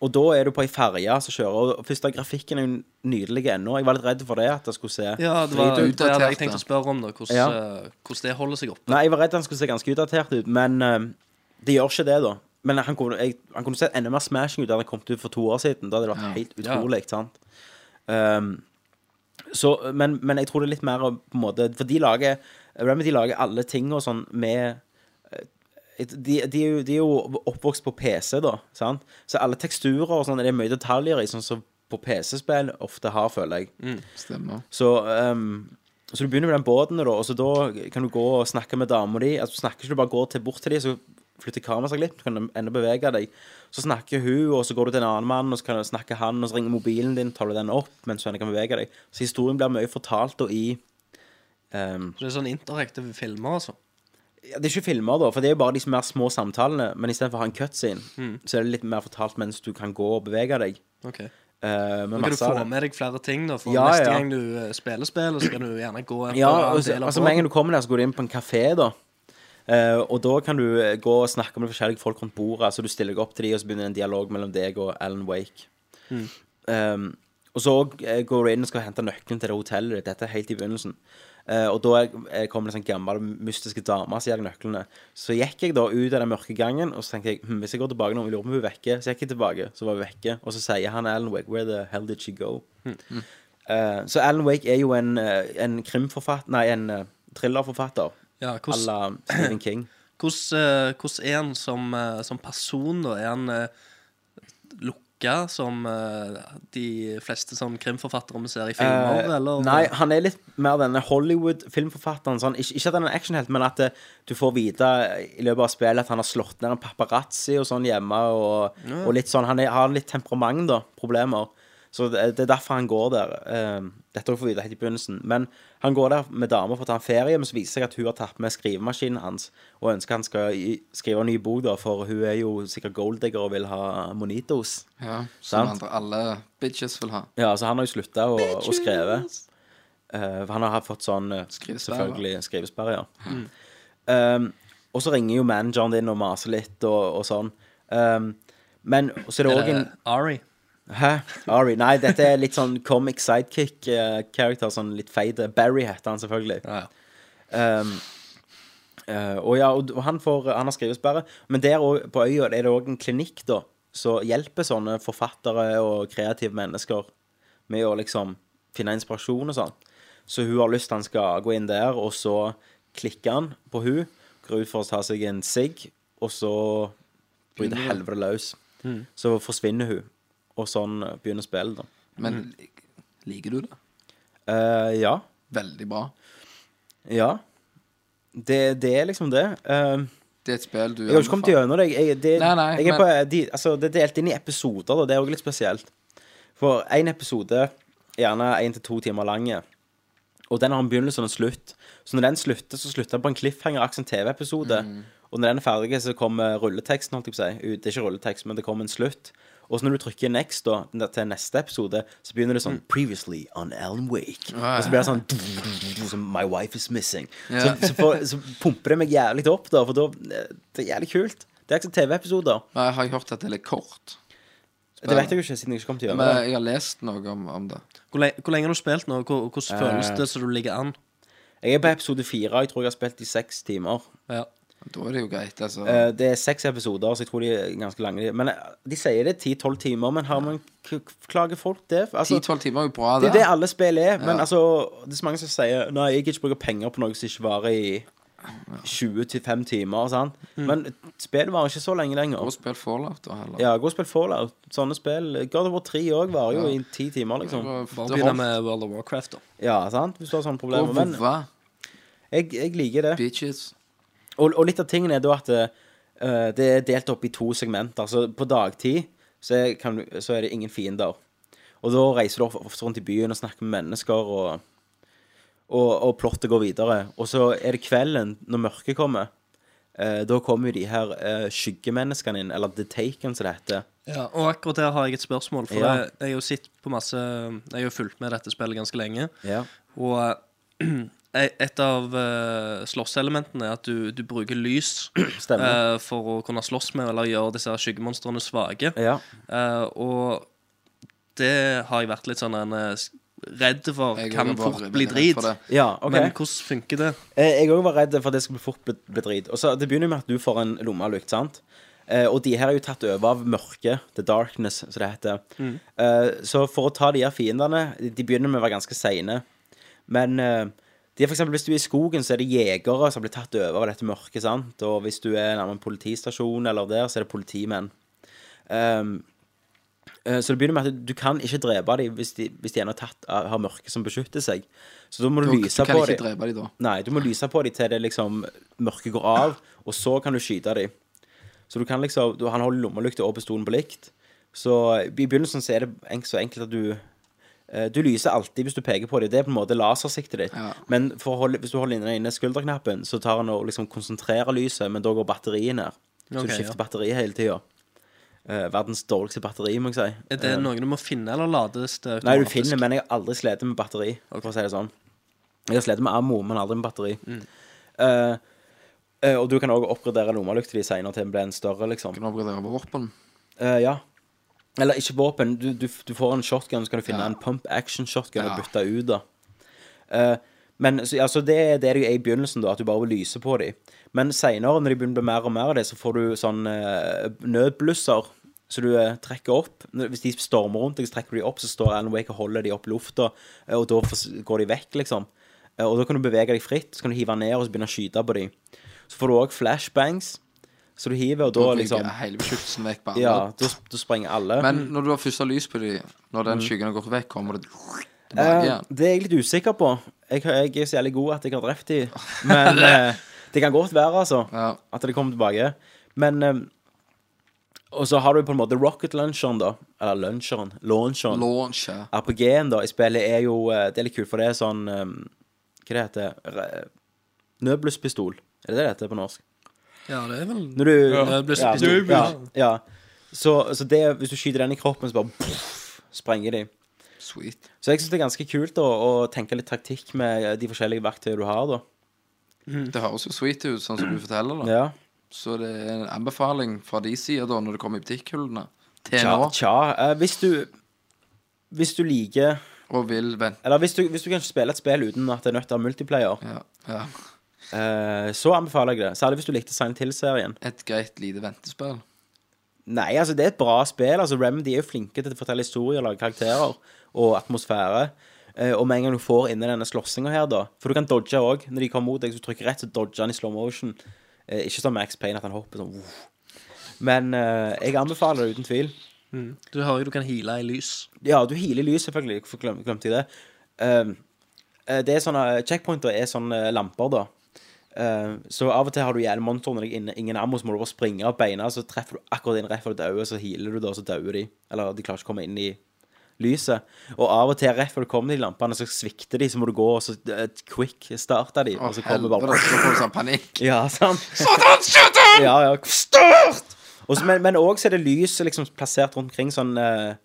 S8: og da er du på ei ferje som kjører, og først da, grafikken er jo nydelig ennå. Jeg var litt redd for det, at det skulle se
S10: Ja, det var
S9: Drit ut,
S10: det hadde jeg
S9: datert,
S10: tenkt
S9: da.
S10: å spørre om, da. Hvordan,
S8: Ja.
S10: eh, hvordan det holder seg oppe.
S8: Nei, jeg var redd han skulle se ganske utdatert ut, men eh, det gjør ikke det, da. Men han kunne, jeg, han kunne sett enda mer smashing ut da han kom ut for to år siden. Da hadde det vært helt
S10: Ja.
S8: utrolig. ikke sant? Ehm, så, men, men jeg tror det er litt mer å på en måte For de lager Remedy lager alle ting og sånn med eh, de, de, er jo, de er jo oppvokst på PC, da. Sant? Så alle teksturer og sånn er det mye detaljer i, sånn som på PC-spill ofte har, føler jeg.
S9: Stemmer.
S8: Så, ehm, så du begynner med den båten, da, og så da kan du gå og snakke med dama di. Altså, du snakker ikke, du bare går til, bort til dem, så flytter kameraet seg litt, så kan du ennå bevege deg. Så snakker hun, og så går du til en annen mann, og så kan du snakke han, og så ringer mobilen din, tar du den opp mens du ennå kan bevege deg. Så historien blir mye fortalt da i ehm,
S10: Så det er sånn interaktive filmer, altså.
S8: ja, Det er ikke filmer, da, for det er jo bare de som er små samtalene, men istedenfor å ha en cutscene,
S10: Mm.
S8: så er det litt mer fortalt mens du kan gå og bevege deg.
S10: Ok.
S8: Eh, med
S10: Da kan du
S8: masse av
S10: få
S8: det.
S10: med deg flere ting, da. For
S8: Ja,
S10: neste
S8: ja.
S10: gang du eh, spiller spill, så kan du gjerne gå etter
S8: Ja,
S10: en
S8: og så-
S10: del av
S8: altså med en
S10: båten.
S8: gang du kommer der, så går du inn på en kafé, da. Eh, og da kan du eh, gå og snakke med forskjellige folk rundt bordet. Så du stiller deg opp til dem, og så begynner en dialog mellom deg og Alan Wake. Eh, og så eh, går du inn og skal hente nøkkelen til det hotellet ditt. Dette er helt i begynnelsen. Eh, og da er- er- kommer det en sånn gammel, mystiske dame som gir deg nøklene. Så gikk jeg da ut av den mørke gangen, og så tenkte jeg hm, hvis jeg går tilbake nå, jeg lurer på om hun er vekke. Så gikk jeg tilbake, så var hun vekke. Og så sier han Alan Wake, where the hell did she go? Eh, så Alan Wake er jo en, eh, en krimforfatter Nei, en eh, thrillerforfatter
S10: Ja,
S8: à
S10: hvordan,
S8: la Stephen King.
S10: hvordan, eh, hvordan er han som, eh, som person, da? Er han uh, lukka, som eh, de fleste sånn krimforfattere vi ser i filmer,
S8: Eh,
S10: eller?
S8: Nei, han er litt mer denne Hollywood-filmforfatteren. Sånn. Ikke, ikke at han er en actionhelt, men at eh, du får vite i løpet av spillet at han har slått ned en paparazzi og sånn hjemme. Og, og litt sånn, Han er, har litt temperament, da. Problemer. Så det, det er derfor han går der. Eh, dette får vi vite helt i begynnelsen. Men han går der med damer for å ta en ferie, men så viser det seg at hun har tatt med skrivemaskinen hans og ønsker han skal i- skrive en ny bok, da, for hun er jo sikkert golddigger og vil ha monitos.
S9: Ja, som
S8: Sant.
S9: andre, alle bitches vil ha.
S8: Ja, så han har jo slutta å, å skrive. Eh, for han har fått sånn eh,
S9: Skrivesperre.
S8: Selvfølgelig skrivesperre, ja. Um, og så ringer jo manageren din og maser litt og, og sånn. Um, men så er det òg
S10: Er
S8: en
S10: det Ari?
S8: Hæ? Ari? Nei, dette er litt sånn comic sidekick-character. sånn litt feit. Barry heter han selvfølgelig.
S10: Ja, ja.
S8: Um, eh, og ja, og og han, får, han har skrivesperre. Men der og, på øya er det òg en klinikk da som hjelper sånne forfattere og kreative mennesker med å liksom finne inspirasjon og sånn. Så hun har lyst til han skal gå inn der, og så klikker han på hun går ut for å ta seg en sigg, og så blir det helvete løs. Så forsvinner hun, og sånn eh, begynner spillet, da.
S9: Men liker du det?
S8: Eh, ja.
S9: Veldig bra.
S8: Ja. Det, det er liksom det. Um,
S9: Det er et spill du
S8: Jeg har ikke kommet gjennom det. Jeg, jeg- det,
S9: Nei, nei,
S8: jeg er
S9: men-
S8: på, de, altså, det er delt inn i episoder, og det er også litt spesielt. For én episode gjerne én til to timer lang. Og den har en begynnelse og en slutt. Så når den slutter, så slutter den på en cliffhanger akkurat som en TV-episode.
S9: Mm.
S8: Og når den er ferdig, så kommer rulleteksten, holdt jeg på å si. Ut- Det er ikke rulletekst, men det kommer en slutt. Og så når du trykker next da, n- til neste episode, så begynner det sånn
S9: Mm.
S8: Previously on Alan Wake. Og så blir det sånn sånn, (laughs) My wife is missing.
S9: Ah, Ja.
S8: Så, så, får, så pumper det meg jævlig opp, da, for da eh, Det er jævlig kult. Det er ikke som TV-episoder.
S9: Nei, jeg har hørt at det er litt kort.
S8: Det vet jeg jo ikke, siden jeg ikke kom til å gjøre
S9: Men
S8: det.
S9: jeg har lest noe om, om det.
S10: Hvor, le hvor lenge har du spilt nå? og Hvor,
S8: Eh.
S10: hvordan føles det som du ligger an?
S8: Jeg er på episode fire. Jeg tror jeg har spilt i seks timer.
S10: Ja.
S9: Da er det jo greit, altså.
S8: Eh, Det er seks episoder, så jeg tror de er ganske lange. de- Men eh, de sier det er ti-tolv timer. Men har man k- klager folk det? Altså,
S9: 10-12 timer er jo bra,
S8: det
S9: det.
S8: er det alle spill er. Men altså, det er så mange som sier Nei, jeg gidder ikke bruke penger på noe som ikke varer i 20-5 timer. Sant? Men spillet varer ikke så lenge lenger.
S9: Mm. Og spill Fallout, da, heller.
S8: Ja, gå og spill Fallout. Sånne spill. God of War 3 òg varer jo i ti timer, liksom.
S10: Bare
S9: Det
S10: begynne
S9: holdt.
S10: med World of Warcraft, da.
S8: Ja, sant? Hvis du har sånne
S9: Og
S8: problemer. Men
S9: vovva,
S8: jeg, jeg liker det.
S9: bitches.
S8: Og, og litt av tingen er da at eh, det er delt opp i to segmenter. Så på dagtid så er, kan, du- så er det ingen fiender. Og da reiser du of- ofte rundt i byen og snakker med mennesker, og, og, og plottet går videre. Og så er det kvelden, når mørket kommer. eh, da kommer jo de her eh, skyggemenneskene inn, eller The Taken, som det heter.
S10: Ja, og akkurat der har jeg et spørsmål. For
S8: Ja.
S10: jeg, jeg har jo sett på masse Jeg har jo fulgt med dette spillet ganske lenge.
S8: Ja.
S10: Og eh, (clears throat) et av eh, slåsselementene er at du, du bruker lys (clears throat)
S8: Stemmer.
S10: eh, for å kunne slåss med eller gjøre disse her skyggemonstrene svake.
S8: Ja.
S10: Eh, og det har jeg vært litt sånn en, eh, s- redd for
S9: Jeg
S10: kan
S9: var bare
S10: fort bli
S9: redd for
S10: drit.
S9: det.
S8: ja, ok.
S10: Men hvordan funker det?
S8: Eh, Jeg òg var redd for at det skulle bli fort be- bedrit. Og så Det begynner jo med at du får en lommelykt, sant? Eh, og de her er jo tatt over av mørket, the darkness, som det heter.
S9: Mm.
S8: Eh, så for å ta de her fiendene De begynner med å være ganske seine. Men eh, de er for eksempel, hvis du er i skogen, så er det jegere som blir tatt over av dette mørket. sant? Og hvis du er nærme en politistasjon eller der, så er det politimenn. Ehm, Eh, Så det begynner med at du kan ikke drepe dem hvis de, hvis de ennå tatt, har mørke som beskytter seg. Så da må du,
S9: Du
S8: lyse
S9: kan
S8: på
S9: ikke
S8: dem.
S9: drepe de da.
S8: Nei, du må lyse på dem til det liksom mørket går av, og så kan du skyte dem. Så du kan liksom du, Han holder lommelykta og pistolen på likt. Så i begynnelsen så er det en- så enkelt at du eh, Du lyser alltid hvis du peker på det. Det er på en måte lasersiktet ditt.
S9: Ja.
S8: Men for å holde, hvis du holder inne, inne skulderknappen, så tar han og liksom konsentrerer lyset, men da går batteriet ned. Så
S10: Ok,
S8: du skifter
S10: ja.
S8: batteri hele tida. Eh, verdens dårligste batteri, må jeg si. Eh,
S10: Er det noe du må finne, eller lades det automatisk?
S8: Nei, du finner, men jeg har aldri slitt med batteri. For å si det sånn Jeg har slitt med ammo, men aldri med batteri. Eh, eh, og du kan òg oppgradere lommelykta di senere til den blir en større, liksom.
S9: Kan du oppgradere våpen?
S8: Eh, ja. Eller ikke våpen. Du, du, du får en shotgun, så kan du finne
S9: Ja.
S8: en pump action shotgun
S9: Ja.
S8: og bytte ut, da. Eh, men så, altså, det, det er det jo i begynnelsen, da, at du bare vil lyse på dem. Men seinere, når de begynner å bli mer og mer av det, så får du sånn eh, nødblusser. Så du eh, trekker opp. Når- Hvis de stormer rundt deg, så trekker du de opp, så står Alan Wake og holder de opp i lufta, eh, og da fors- går de vekk, liksom. Eh, og da kan du bevege deg fritt, så kan du hive ned og så begynne å skyte på dem. Så får du òg flashbangs, så du hiver, og da
S9: ryker
S8: liksom
S9: Hele beskyttelsen vekk på andre.
S8: Ja, da, da sprenger alle.
S9: Men når du har først har lys på dem, når den skyggen har gått vekk, kommer det tilbake
S8: Mm. Eh,
S9: igjen.
S8: det er jeg litt usikker på. Jeg, har- jeg er så jævlig god at jeg har drept (laughs) de Men eh, det kan godt være, altså.
S9: Ja.
S8: At det kommer tilbake. Men eh, Og så har du på en måte rocket launcheren, da. Eller launcheren. Launcheren.
S9: Launche.
S8: RPG-en da i spillet er jo eh, Det er litt kult, for det er sånn eh, Hva det heter Re- Nødblusspistol. Er det det det heter på norsk?
S10: Ja, det er vel
S8: Når du
S10: Nødblusspistol.
S8: Ja, ja. Så, så det, hvis du skyter den i kroppen, så bare pff, sprenger de.
S9: Sweet.
S8: Så jeg syns det er ganske kult å, å tenke litt taktikk med de forskjellige verktøyene du har, da.
S9: Det høres jo sweet ut, sånn som du forteller, da.
S8: Mm. Ja.
S9: Så det er en anbefaling fra de sider, da, når det kommer i butikkhyllene, til
S8: Tja,
S9: nå,
S8: tja. eh, hvis du Hvis du liker
S9: og vil vente.
S8: Eller hvis du, hvis du kan spille et spill uten at det er nødt til å ha multiplayer,
S9: Ja, ja.
S8: eh, så anbefaler jeg det. Særlig hvis du likte Silent Hill-serien.
S9: Et greit lite ventespill.
S8: Nei, altså, det er et bra spill. Altså, Remedy er jo flinke til å fortelle historier, lage karakterer og atmosfære. Eh, og med en gang du får inni denne slåssinga her, da For du kan dodge òg. Når de kommer mot deg, så trykker rett, så dodger han i slow motion. Eh, ikke som Max Payne, at han hopper sånn «Wuff». Men eh, jeg anbefaler det uten tvil.
S10: Du hører jo du kan heale i lys.
S8: Ja, du healer lys, selvfølgelig. Hvorfor glem, glemte jeg det? Ehm, eh, det er sånne, checkpointer er sånne eh, lamper, da. Ehm, så av og til har du jævlig monster under deg, ingen, ingen ammo, så må du bare springe av beina, så treffer du akkurat inn rett før du dauer, så healer du da, så dauer de. Eller de klarer ikke å komme inn i lyset. Og av og til, rett før du kommer til de lampene, så svikter de, så må du gå og så eh, quick-starte de, og så kommer
S9: helvete,
S8: bare
S9: Så får du sånn panikk.
S8: (laughs) Ja, sant? Ja, ja. Og så- men men òg er det lys liksom, plassert rundt omkring, sånn eh,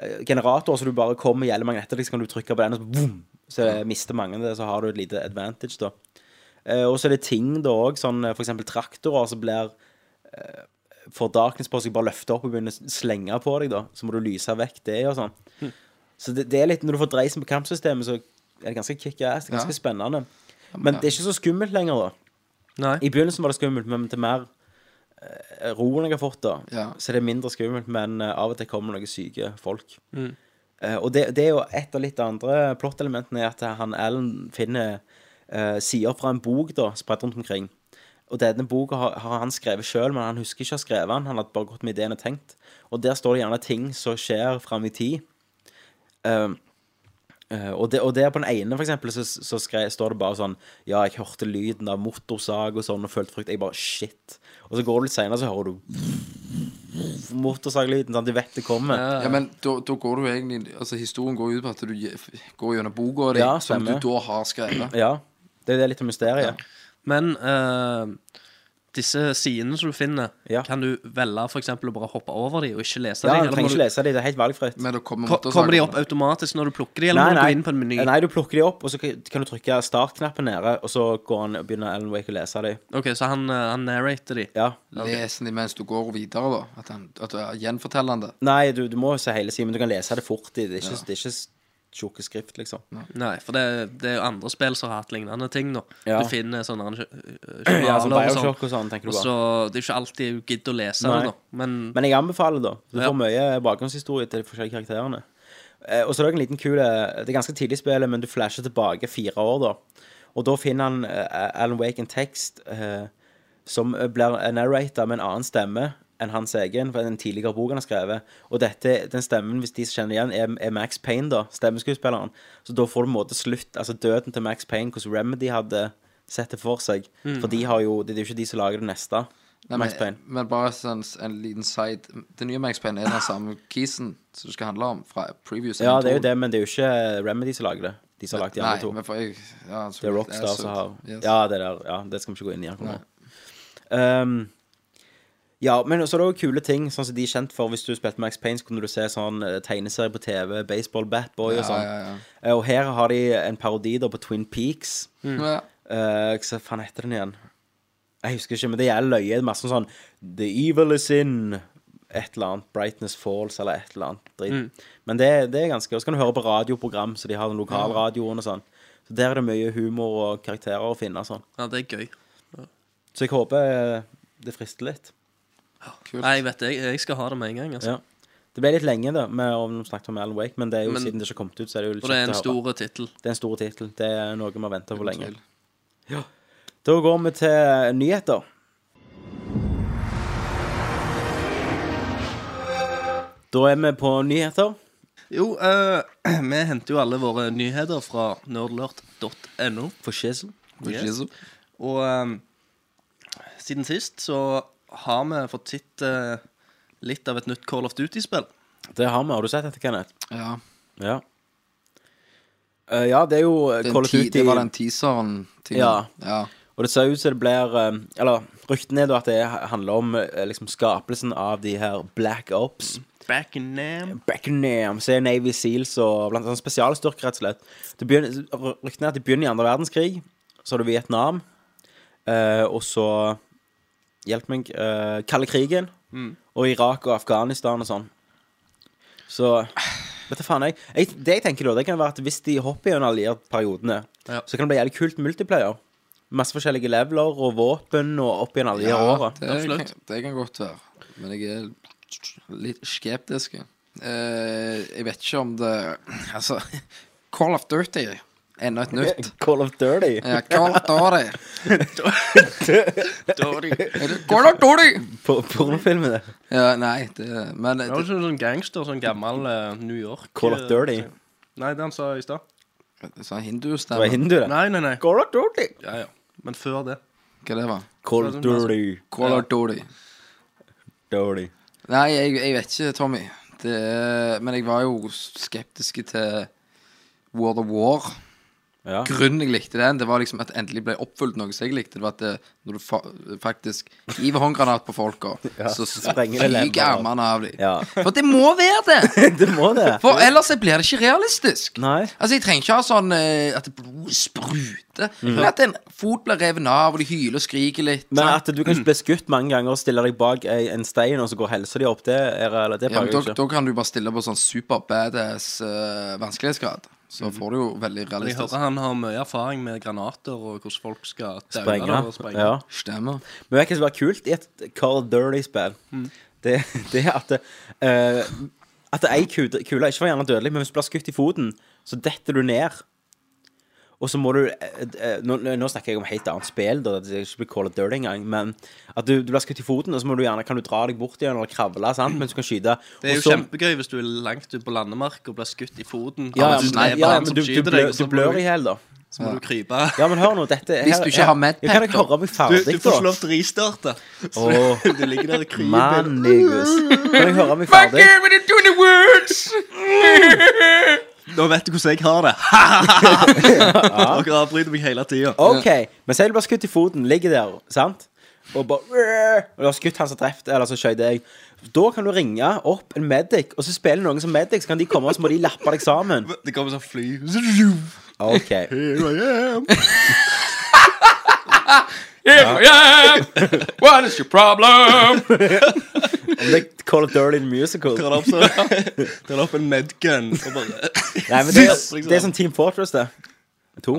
S8: eh, generatorer, så du bare kommer gjelder magneter, liksom, kan du trykke på den, og så boom, så eh, mister mange det, så har du et lite advantage, da. Eh, og så er det ting da òg, sånn eh, for eksempel traktorer som blir eh, Får darkness på seg, bare løfter opp og begynner å slenge på deg, da. Så må du lyse vekk det og sånn. Så det, det er litt Når du får dreisen på kampsystemet, så er det ganske kick-ass. det er Ganske spennende. Men det er ikke så skummelt lenger, da.
S10: Nei.
S8: I begynnelsen var det skummelt, men til mer eh, roen jeg har fått, da,
S9: Ja.
S8: så er det mindre skummelt. Men eh, av og til kommer noen syke folk. Eh, og det, det er jo et av litt andre plottelementene er at han Alan finner eh, sider fra en bok da, spredt rundt omkring. Og denne boka har, har han skrevet sjøl, men han husker ikke å ha skrevet den. Han har bare gått med ideen og tenkt. Og der står det gjerne ting som skjer fram i tid. Eh, Eh, og, det, og der på den ene, for eksempel, så, så skre- står det bare sånn Ja, jeg hørte lyden av motorsag og sånn, og følte frykt. Jeg bare Shit. Og så går det litt seinere, så hører du motorsaglyden. Sånn, du vet det kommer.
S10: Eh,
S9: Ja, men da, da går du egentlig Altså, historien går ut på at du gje- går gjennom boka di,
S8: Ja,
S9: som du
S8: stemmer. Mm.
S9: da har skrevet.
S8: Ja. Det er jo det litt av mysteriet.
S10: Men eh, disse sidene som du finner,
S8: Ja.
S10: kan du velge for eksempel å bare hoppe over de og ikke lese
S8: Ja, Du
S10: de? eller må
S8: trenger
S10: du-
S8: ikke lese det. Det er helt valgfritt.
S9: Men det kommer
S10: Ko-
S9: motorsager
S10: Kommer de
S9: på
S10: opp
S9: det.
S10: automatisk når du plukker de, eller må du gå inn på en meny?
S8: nei, du plukker de opp, og så kan kan du trykke startknappen nede, og så går han og begynner Alan Wake å lese de.
S10: Ok, så han, eh, han narrater de.
S8: Ja.
S9: Les den mens du går videre, da. At, han, at du gjenforteller han det.
S8: Nei, du, du må se hele siden, men du kan lese det fort. Det er ikke, det er ikke tjukke skrift, liksom.
S10: Nei, for det, det er jo andre spill som har hatt lignende ting nå.
S8: Ja.
S10: Du finner sånne øh,
S8: (clears throat)
S10: øh,
S8: Ja, som
S10: journaler og
S8: Bioshock
S10: sånn.
S8: og sånn, tenker du
S10: Og
S8: bare.
S10: så Det er jo ikke alltid du gidder å lese
S8: Nei.
S10: det, da. Men,
S8: Men jeg anbefaler det, da. Du
S10: Mm. Ja.
S8: får mye bakgrunnshistorie til de forskjellige karakterene. Eh, Og så er det også en liten kul eh, Det er ganske tidlig i spillet, men du flasher tilbake fire år, da. Og da finner han eh, Alan Wake en tekst eh, som eh, blir narrata med en annen stemme enn hans egen, for den tidligere boken han har skrevet. Og dette, den stemmen, hvis de kjenner igjen, er, er Max Payne, da, stemmeskuespilleren. Så da får du på en måte slutt, altså døden til Max Payne, hvordan Remedy hadde sett det for seg. For de har jo, det er jo ikke de som lager det neste.
S9: Nei,
S8: Max Payne.
S9: Men, men bare sånn, s- en liten side Det nye Max Payne er den samme kisen som det skal handle om fra previous.
S8: Ja,
S9: Ant
S8: det er jo
S9: 2.
S8: det, men det er jo ikke Remedy som lager det. De som har lagd de andre
S9: Nei,
S8: to.
S9: men for jeg ja,
S8: Det er Rockstar som har
S9: yes.
S8: Ja, det der, ja, det skal vi ikke gå inn i akkurat nå. Um, ja, men så er det også kule ting, sånn som de er kjent for. Hvis du spilte Max Payne, så kunne du se sånn eh, tegneserie på TV, baseball, Batboy og
S9: Ja,
S8: sånn.
S9: ja, ja.
S8: Eh, Og her har de en parodi da på Twin Peaks.
S10: Mm.
S9: Ja.
S8: Eh, hva faen heter den igjen? Jeg husker ikke, men det gjelder løye. Det er Masse sånn The Evil Is In. Et eller annet. Brightness Falls eller et eller annet dritt. Men det, det er ganske Og så kan du høre på radioprogram, så de har den lokalradioen og sånn. Så der er det mye humor og karakterer å finne og sånn.
S10: Ja, det er gøy.
S8: Så jeg håper eh, det frister litt.
S9: Kult.
S10: Nei, jeg vet det. Jeg, jeg skal ha det med en gang. altså.
S8: Ja. Det ble litt lenge, da, med om vi snakket om Alan Wake, men det er jo
S10: Men-
S8: siden det ikke har kommet ut, så er det jo litt
S10: Og det er en
S8: kjekt å høre.
S10: stor tittel.
S8: Det er en stor tittel. Det er noe vi har venta på lenge.
S9: tvil.
S8: Ja. Da går vi til nyheter. Da er vi på nyheter.
S10: Jo, eh, (clears throat) vi henter jo alle våre nyheter fra nerdlert.no. For shizzle. Yes.
S9: Jesus.
S10: Og eh, siden sist så har vi fått sett eh, litt av et nytt Call of Duty-spill.
S8: Det har vi. Har du sett dette, Kenneth?
S9: Ja.
S8: Ja. Eh, ja, det er jo eh,
S9: Den
S8: Call of
S9: ti,
S8: Duty,
S9: det var den teaseren. tingen.
S8: Ja.
S9: ja.
S8: og det ser ut som det blir eh, Eller ryktene er da at det handler om eh, liksom skapelsen av de her Black Ops.
S10: Back in Nam.
S8: Beckenham, så er Navy Seals og blant annet spesialstyrker, rett og slett. Det begynner- Ryktene er at de begynner i andre verdenskrig. Så har du Vietnam. eh, og så Hjelp meg. eh, Kalde krigen.
S9: Mm.
S8: Og Irak og Afghanistan og sånn. Så Vet du faen, jeg, jeg Det jeg tenker da, det kan være at hvis de hopper gjennom alle de her periodene,
S10: Ja.
S8: så kan det bli jævlig kult multiplayer. Masse forskjellige leveler og våpen og opp gjennom alle de her åra.
S9: det,
S10: Absolutt.
S9: Kan, det kan godt være. Men jeg er litt skeptisk. Eh, jeg vet ikke om det Altså, (laughs) Call of Duty. Enda et nytt.
S8: Call of Dirty.
S9: Ja, Call of
S8: (laughs)
S9: Duty. Er det Call of Duty!
S8: På pornofilmene.
S9: Ja, nei, det Men det,
S10: Det var ikke sånn gangster, sånn gammel eh, New York
S8: Call of
S10: eh,
S8: Dirty.
S10: ting. Nei, det han sa i stad.
S9: det sånn
S8: altså. Det var
S9: hindustemme.
S8: hindu, det.
S10: Nei, nei, nei.
S8: Call of Dirty.
S10: Ja, ja. Men før det.
S9: Hva det var?
S8: Call of Dirty.
S9: Call of Duty.
S8: Dirty.
S9: Nei, jeg, jeg vet ikke, Tommy. Det, er- men jeg var jo skeptisk til World of War.
S8: Ja.
S9: Grunnen jeg likte den, det var liksom at det endelig ble oppfylt noe som jeg likte. Det var at det, når du fa faktisk hiver håndgranat på folka, så
S8: sprenger det
S9: fyker
S8: lemmer av.
S9: armene av dem.
S8: Ja. (laughs)
S9: For det må være det!
S8: Det må det.
S9: For ellers så blir det ikke realistisk.
S8: Nei.
S9: Altså, Jeg trenger ikke ha sånn eh, at blod spruter, men at en fot blir revet av, og de hyler og skriker litt.
S8: Men
S9: sant?
S8: at du kan ikke bli skutt mange ganger og stille deg bak ei- en stein, og så går helsa di opp, det er eller det
S9: Ja,
S8: pleier
S9: men
S8: jo
S9: da,
S8: ikke.
S9: da kan du bare stille på sånn super badass eh, vanskelighetsgrad. Så får du jo veldig
S10: Men jeg
S9: realistisk.
S10: hører han har mye erfaring med granater og hvordan folk skal daue
S8: Sprenge.
S10: det og sprenge.
S8: Ja.
S9: Stemmer.
S8: Men vet du hva som er kult i et Call of Dirty-spill?
S10: Mm.
S8: Det, det er at det, eh, At det er ei kule, kule ikke var gjerne dødelig, men hvis du blir skutt i foten, så detter du ned. Og så må du eh, eh, nå, nå snakker jeg om helt annet spill, da. Det er ikke blir Call of Dirty engang. Men at du, du blir skutt i foten, og så må du gjerne, kan du dra deg bort igjen eller kravle, sant? mens du kan skyte.
S10: Mm. Det er
S8: Og
S10: jo
S8: så-
S10: kjempegøy hvis du er langt ute på landemark og blir skutt i foten.
S8: Ja, ja,
S10: Av en
S8: men,
S10: sniper,
S8: ja, ja,
S10: han
S8: men
S10: som
S8: du, du,
S10: skyter
S8: blør,
S10: deg, og
S8: du
S10: så må
S8: blør
S10: du-
S8: i hjel, da.
S10: Så må du krype.
S8: Ja, men hør nå, dette
S9: Hvis du ikke har med
S8: Jeg kan
S9: pet,
S8: ikke høre meg
S10: Du,
S8: ferdig,
S10: du får ikke lov til å
S9: (laughs)
S10: ristarte. Så
S8: Åh.
S10: (laughs) du ligger der og kryper.
S8: Mann, Nigus. Kan jeg høre meg ferdig?
S10: Nå vet du hvordan jeg har
S9: (laughs)
S10: det. (laughs) Dere avbryter meg hele tida.
S8: OK. Men si du blir skutt i foten, ligger der, sant? Og bare Og du har skutt han som drepte, eller som skjøt deg. Da kan du ringe opp en medic, og så spiller noen som medic, så kan de komme, og så må de lappe deg sammen.
S10: Det kommer sånn fly. (laughs)
S8: OK.
S10: Here I am.
S9: What is your problem?
S8: Om det er Call of Dirty Musical.
S10: Drar det opp, (laughs) så, drar det opp en medgun og bare (laughs)
S8: Nei, men det, er- det er som Team Fortress, det. To.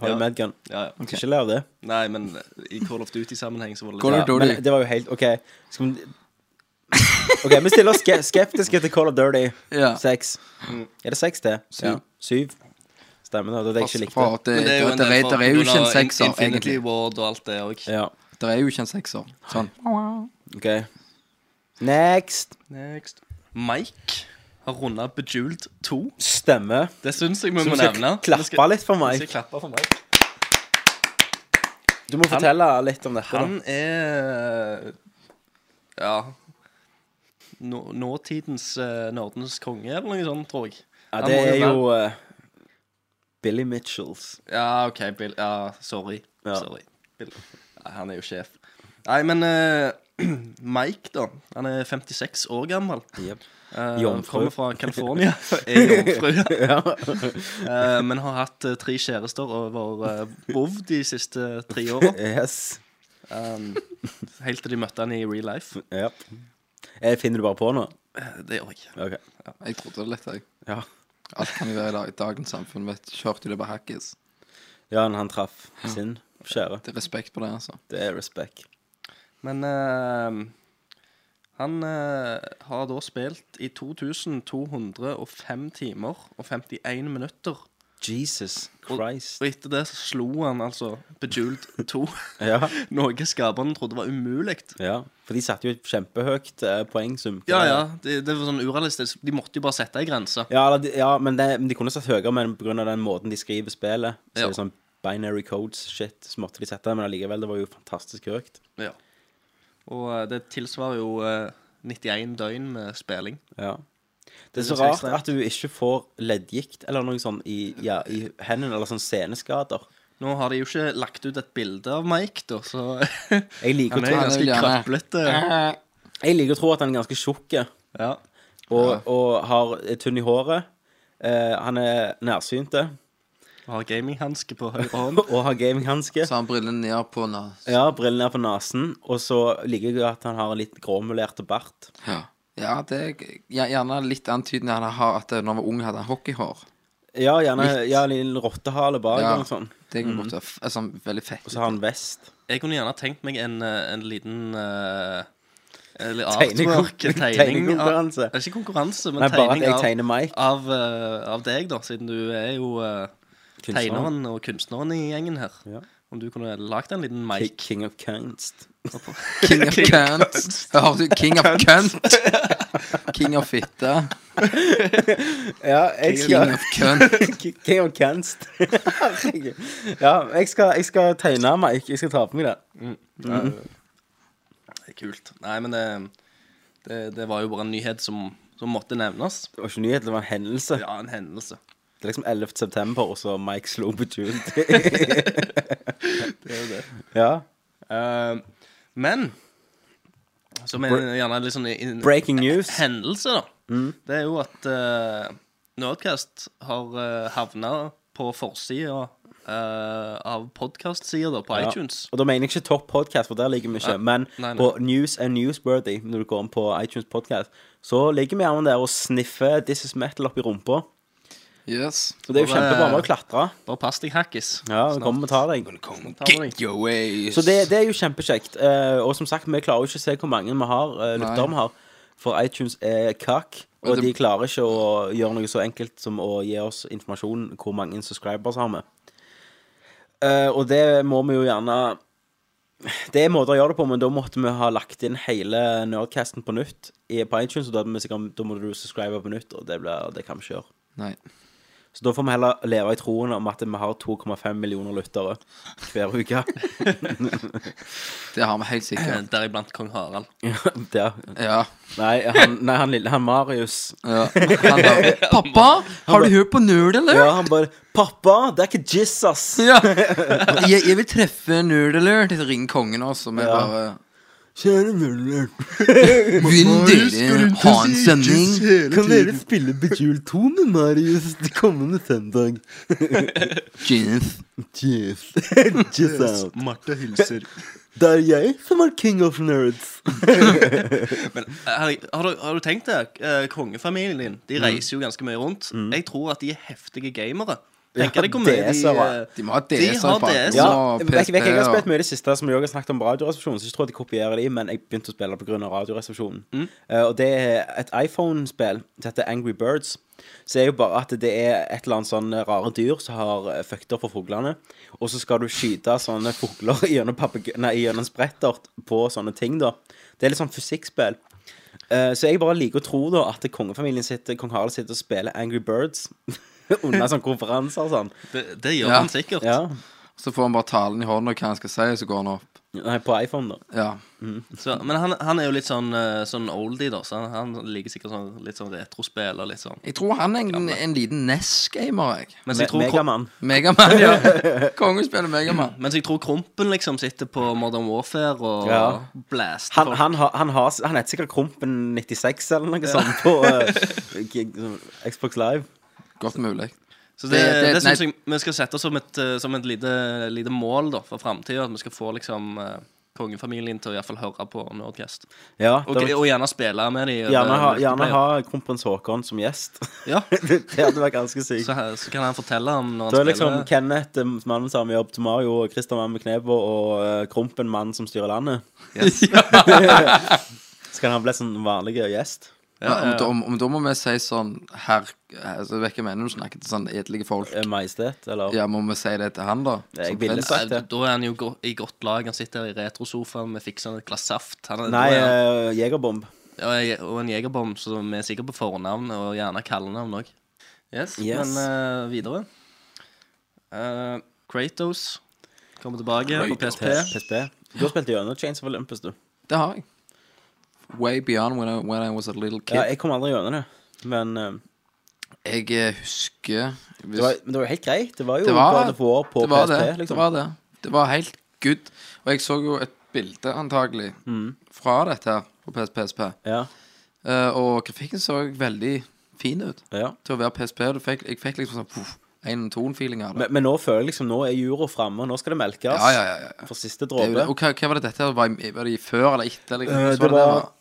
S8: Har
S10: Ja.
S8: du medgun?
S10: ja, ja.
S8: Skal ikke le av det.
S10: Nei, men eh, i Call of Duty-sammenheng så var det
S9: Call
S10: litt
S8: Ja,
S9: of Dirty.
S8: men det var jo helt OK. Skal vi OK, vi stiller oss ske- skeptiske til Call of Dirty.
S9: Ja.
S8: Seks. Er det seks, det?
S9: Syv.
S8: Syv. Stemmer det. Det var det jeg ikke likte.
S9: For at det,
S10: Men
S9: det,
S10: en
S9: det, det,
S10: del
S9: er jo
S10: for- på grunn
S9: ikke en
S10: av
S9: sekser,
S10: Infinity
S9: egentlig.
S10: Ward og alt det og-
S8: Ja,
S9: Det er jo ikke en sekser. Sånn.
S8: OK. Next.
S10: Next. Mike har runda Bejeweled 2.
S8: Stemme.
S10: Det syns jeg vi
S8: Så
S10: må
S8: vi skal
S10: nevne.
S8: klappe
S10: Vi skal-
S8: litt for
S10: vi skal
S8: meg.
S10: klappe for meg.
S8: Du må fortelle litt om dette. da.
S10: Han er eh, Ja. Nå, nåtidens eh, nerdenes konge, eller noe sånt, tror jeg.
S8: Ja,
S10: Han
S8: det
S10: må
S8: er
S10: være-
S8: jo eh, Billy Mitchells.
S10: Ja, OK, Bill. Ja, sorry.
S8: Ja.
S10: Sorry. Bill. Nei, han er jo sjef. Nei, men eh, (clears throat) Mike, da. Han er 56 år gammel.
S8: Yep.
S10: Eh,
S8: Jomfru.
S10: Kommer fra California. (laughs) er jomfru. (laughs)
S8: Ja.
S10: Eh, men har hatt eh, tre kjærester over uh, Vov de siste tre åra.
S8: Yes.
S10: Um, helt til de møtte han i real life.
S8: Yep. Eh, Finner du bare på nå?
S10: Eh, Det gjør jeg.
S8: Ok.
S9: Jeg trodde det litt, jeg.
S8: Ja.
S9: Alt kan jo være i dag- dagens samfunn. Vet, du. kjørte jo det på hackis.
S8: ja, men han traff sin kjære.
S9: Det er respekt på det, altså.
S8: Det er respect.
S10: Men eh, han eh, har da spilt i 2205 timer og 51 minutter.
S8: Jesus Christ.
S10: Og etter det så slo han altså Bejeweled 2,
S8: Ja,
S10: (laughs) noe skaperne trodde var umulig.
S8: ja. For de satte jo et kjempehøyt eh, poengsum.
S10: Ja, ja, det, det var sånn urealistisk. De måtte jo bare sette ei grense.
S8: Ja, eller de- ja men, det, men de kunne satt høyere, men pga. den måten de skriver spillet Så
S10: Ja.
S8: er det sånn binary codes-shit, så måtte de sette det. Men allikevel, det var jo fantastisk høyt.
S10: Ja. Og eh, det tilsvarer jo eh, 91 døgn med spilling.
S8: Ja. Det er så
S10: Det er
S8: rart
S10: så ekstremt.
S8: at du ikke får leddgikt eller noe sånt i, ja, i hendene, eller sånn seneskader.
S10: Nå har de jo ikke lagt ut et bilde av Mike, da, så (laughs)
S8: Jeg liker,
S10: Han
S8: å tro,
S9: Han
S10: er
S9: er
S10: ganske
S9: vel gjerne-
S10: krøplete.
S8: jeg liker å tro at han er ganske tjukk og,
S10: Ja.
S8: og har er tynn i håret. Eh, han er nærsynte (laughs)
S10: Og har gaminghanske på høyre hånd.
S8: og har gaminghanske.
S9: Så har han brillene ned på nas.
S8: Ja, brillene er på nesen, og så liker jeg at han har en litt gråmulerte bart.
S9: Ja. ja, det er g- ja, gjerne litt antydende han har at eh, når han var ung, hadde han hockeyhår.
S8: Ja, gjerne ja, en liten rottehale bak
S9: Ja.
S8: eller noe sånt.
S9: Det kan godt være f- altså, veldig
S8: sånn.
S9: fett.
S8: Mm. Og så har han vest.
S10: Jeg kunne gjerne tenkt meg en, eh, en liten eh, eller
S8: Tegnekon-
S10: artwork, en tegning av-
S8: tegnekonkurranse.
S10: Det er ikke konkurranse, men
S8: Nei, bare at
S10: tegning
S8: jeg
S10: av,
S8: tegner Mike.
S10: av, eh, av deg, da, siden du er jo eh,
S8: Kunstneren.
S10: tegneren og kunstneren i gjengen her.
S8: Ja.
S10: Om du kunne lagd en liten
S8: Ki-
S10: Mike.
S8: King of Kunst.
S9: King of cunt. Hører du? King of cunt. King of fitte.
S8: Ja, jeg
S9: King of cunt.
S8: King of (laughs)
S10: (laughs)
S8: Kunst. Herregud. ja, jeg skal, jeg skal tegne Mike. Jeg skal ta på meg det. Mm.
S10: Det er kult. Nei, men det, det, det var jo bare en nyhet som, som måtte nevnes.
S8: Det var ikke nyhet, det var en hendelse.
S10: Ja, en hendelse.
S8: Det er liksom 11. september, og så Mike slo på
S10: (laughs)
S8: Jude.
S10: Det er jo det.
S8: ja.
S10: Eh, men som er gjerne litt sånn in-
S8: Breaking news.
S10: hendelse, da.
S8: Mm.
S10: Det er jo at eh, Nerdcast har uh, havna på forsida eh, av podkast-sida på
S8: Ja.
S10: iTunes.
S8: Og da mener jeg ikke topp podcast, for der ligger vi ikke. Men
S10: Nei, nei.
S8: på News and Newsworthy, når du går inn på iTunes podcast, så ligger vi gjerne der og sniffer This Is Metal opp i rumpa.
S9: Yes.
S8: Så det er jo
S10: Og det-
S8: kjempebra med å klatre.
S10: Bare pass deg, hackis.
S8: Ja, vi kommer og tar deg.
S10: Ta med deg.
S9: Get your ways.
S8: Så det, det er jo kjempekjekt. Eh, og som sagt, vi klarer jo ikke å se hvor mange vi har, uh, lyttere vi har. For iTunes er kakk, og
S9: Og det-
S8: de klarer ikke å gjøre noe så enkelt som å gi oss informasjon hvor mange subscribers har vi. Eh, og det må vi jo gjerne Det er måter å gjøre det på, men da måtte vi ha lagt inn hele Nerdcasten på nytt i, på iTunes, og da, hadde vi sikkert, da må du subscribe på nytt, og det, blir, det kan vi ikke gjøre.
S9: Nei.
S8: Så da får vi heller leve i troen om at vi har 2,5 millioner lyttere hver uke. (laughs)
S9: Det har vi helt
S8: (clears throat)
S9: sikkert.
S10: Eh, Deriblant kong Harald.
S8: Der,
S9: Ja.
S8: Nei, han, nei, han lille, han Marius
S9: ja. Han bare, Pappa, har du hørt på nerd, eller?
S8: Ja, han bare, pappa, det er ikke jizz, ass
S9: Ja. Jeg, jeg vil treffe nerd alert. Ring kongen også, men bare
S8: Kjære Møller,
S9: Vil dere ha en sending?
S8: kan dere spille Bejeweled 2 med Marius til kommende søndag?
S9: Jeans.
S8: Jizz, (laughs) jizz out
S10: Marte hilser.
S8: (laughs) Det er jeg som er king of nerds
S10: eh, Har, du, har du tenkt det? Eh, Kongefamilien din De
S8: Mm.
S10: reiser jo ganske mye rundt. Jeg tror at de er heftige gamere. Tenker
S8: Ja,
S10: deg hvor mye de
S8: DS-ere.
S10: eh,
S9: De må ha
S10: De
S9: DS.
S10: har
S9: faktisk,
S10: DS.
S8: Ja,
S9: og
S8: jeg vet ikke, jeg har
S9: PSP,
S8: spilt mye i det siste som jeg også har snakket om radioresepsjonen Så jeg tror at jeg kopierer de, men jeg begynte å spille på grunn av radioresepsjonen Eh, Og det er et iPhone-spill som heter Angry Birds Så det er jo bare at det er et eller annet sånn rare dyr som har eh, fucked opp for fuglene Og så skal du skyte sånne fugler (laughs) gjennom, papeg- nei, gjennom sprettert på sånne ting da Det er litt sånn fysikkspill Eh, Så jeg bare liker å tro da at kongefamilien sitter, kong Harald sitter (laughs) og spiller Angry Birds Under sånne konferanser og sånn
S10: Det, det gjør
S9: Ja.
S10: han sikkert.
S8: Ja,
S9: og Så får han bare talen i hånda og hva han skal si, så går han opp.
S8: Nei, på iPhone, da.
S9: Ja.
S10: Så, men han, han er jo litt sånn, eh, sånn oldie, da. Så han, han liker sikkert sånn, litt sånn retrospill og litt sånn.
S9: Jeg tror han er en, en liten NES-gamer, jeg.
S10: Mens
S8: Me
S10: jeg tror, Kro-
S8: Megamann.
S9: Megamann,
S8: (laughs)
S9: ja. Kongen spiller Megamann.
S10: mens jeg tror Krompen liksom sitter på Modern Warfare og
S8: Ja.
S10: blast.
S8: Han,
S10: folk.
S8: han, har- han, har- han heter sikkert Krompen96 eller noe sånt på eh, g- g- Xbox Live.
S9: Godt mulig.
S10: så det, det,
S9: det- det-
S10: syns
S9: nei.
S10: jeg vi skal sette som et, eh, som et lite, lite mål da, for framtida. At vi skal få liksom eh, kongefamilien til å i hvert fall høre på Nordcast.
S8: Ja,
S10: Og,
S8: det var-
S10: og gjerne spille med dem.
S8: gjerne ha, gjerne ha kronprins Haakon som gjest. (laughs)
S10: Ja.
S8: det hadde vært ganske sykt.
S10: Så, her- så kan han fortelle om
S8: Da
S10: når han
S8: er
S10: spiller.
S8: liksom
S10: (laughs)
S8: Kenneth, eh, mannen med samme jobb til Mario, og Christer mann med knebå, og eh, Krompen mannen som styrer landet. (laughs) Så kan han bli sånn vanlig gjest.
S9: Men om, da- om, om da må vi si sånn Herr altså, Vet ikke hva jeg mener når du snakker til sånne edle folk.
S8: Eh, Majestet, eller
S9: Ja, må vi si det til han, da?
S8: Det er
S9: Som
S8: billig
S9: prins?
S8: sagt.
S10: Nei, Da er han jo go i godt lag. Han sitter i retrosofaen med fiksa et glass saft. Han er,
S8: Nei,
S10: da er han,
S8: eh, Jegerbomb.
S10: og jeg- og en jegerbom, så vi er sikkert på fornavn, og gjerne kallenavn òg. Yes,
S8: Yes.
S10: Men eh, videre Eh, Kratos kommer tilbake på PSP.
S8: PSP. Du har spilt gjennom Chains of Olympus, du.
S9: Det har jeg. Way beyond when I, when I was a little kid.
S8: Ja, jeg kom aldri gjennom det. Men eh,
S9: jeg, eh, husker hvis,
S8: det var, men det var jo helt greit. Det var jo
S9: Det var-
S8: bare få år på
S9: det var
S8: PSP,
S9: det.
S8: liksom.
S9: Det var det. Det var helt good. Og jeg så jo et bilde, antagelig,
S8: Mm.
S9: fra dette her på PS- PSP.
S8: Ja,
S9: Eh, og grafikken så veldig fin ut
S8: ja.
S9: til å være PSP. Du fikk, jeg fikk liksom sånn puff, en tone-feeling av det.
S8: Men, men nå føler jeg liksom Nå er jura framme, og nå skal det melkes.
S9: ja, ja, ja, ja.
S8: For siste
S9: Det er jo det.
S8: dråpe.
S9: Og hva, hva var det dette? her? Var, i- var det i før eller etter? Eller,
S8: Eh,
S9: hvordan
S8: det
S9: det
S8: var-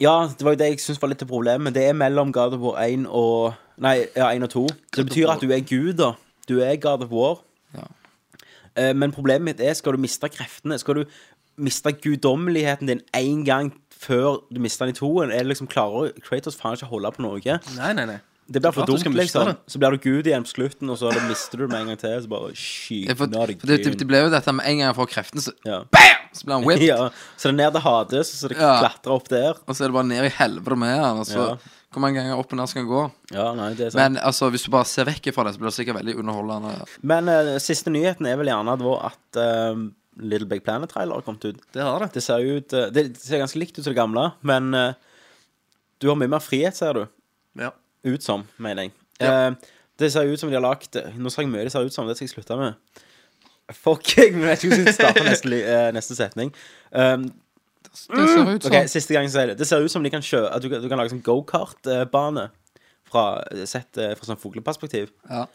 S8: Ja, det var jo det jeg syns var litt av problemet. men Det er mellom God of War 1 og Nei, ja, 1 og 2. Det betyr at du er gud, da. Du er God of War.
S9: Ja.
S8: Eh, Men problemet mitt er, skal du miste kreftene? Skal du miste guddommeligheten din én gang før du mister den i toen? Er det liksom Klarer Kratos faen ikke å holde på noe?
S10: Nei, nei, nei.
S8: Det blir
S10: klart
S8: for
S10: du
S8: dumt,
S10: skal miste
S8: liksom.
S10: det.
S8: Så blir du gud igjen på slutten, og så da mister du det med en gang til. Og så bare
S9: Ja, for,
S8: skyter
S9: for
S8: av deg
S9: det, det, det
S8: guden.
S9: ble jo dette med en gang jeg får kreftene, så,
S8: Ja.
S9: så blir han
S8: (laughs)
S9: whipped.
S8: ja. Så det er ned til Hades, så det
S9: Ja.
S8: klatrer opp der.
S9: Og så er det bare ned i helvete med han. Og så
S8: Ja.
S9: hvor mange ganger opp og ned skal han gå?
S8: Ja, nei, det er sant.
S9: Men altså, hvis du bare ser vekk fra det, så blir det sikkert veldig underholdende.
S8: Men eh, siste nyheten er vel gjerne at, vår- at eh, Little Big Planet-trailer har kommet ut.
S10: Det har det.
S8: Det ser, ut, eh, det ser ganske likt ut som det gamle, men eh, du har mye mer frihet, ser du.
S10: Ja.
S8: Ut som, mener jeg. Eh, det ser ut som de har lagt eh, Nå sa jeg mye det ser ut som, det skal jeg slutte med. Fuck, (laughs) jeg vet ikke hvordan jeg skal starte neste, li- eh, neste setning. Um,
S9: Det ser ut som
S8: ok, siste gang jeg sier det. Det ser ut som de kan kjø at du, kan- du kan lage sånn gokart-bane fra, sett eh, fra sånn fugleperspektiv.
S9: ja.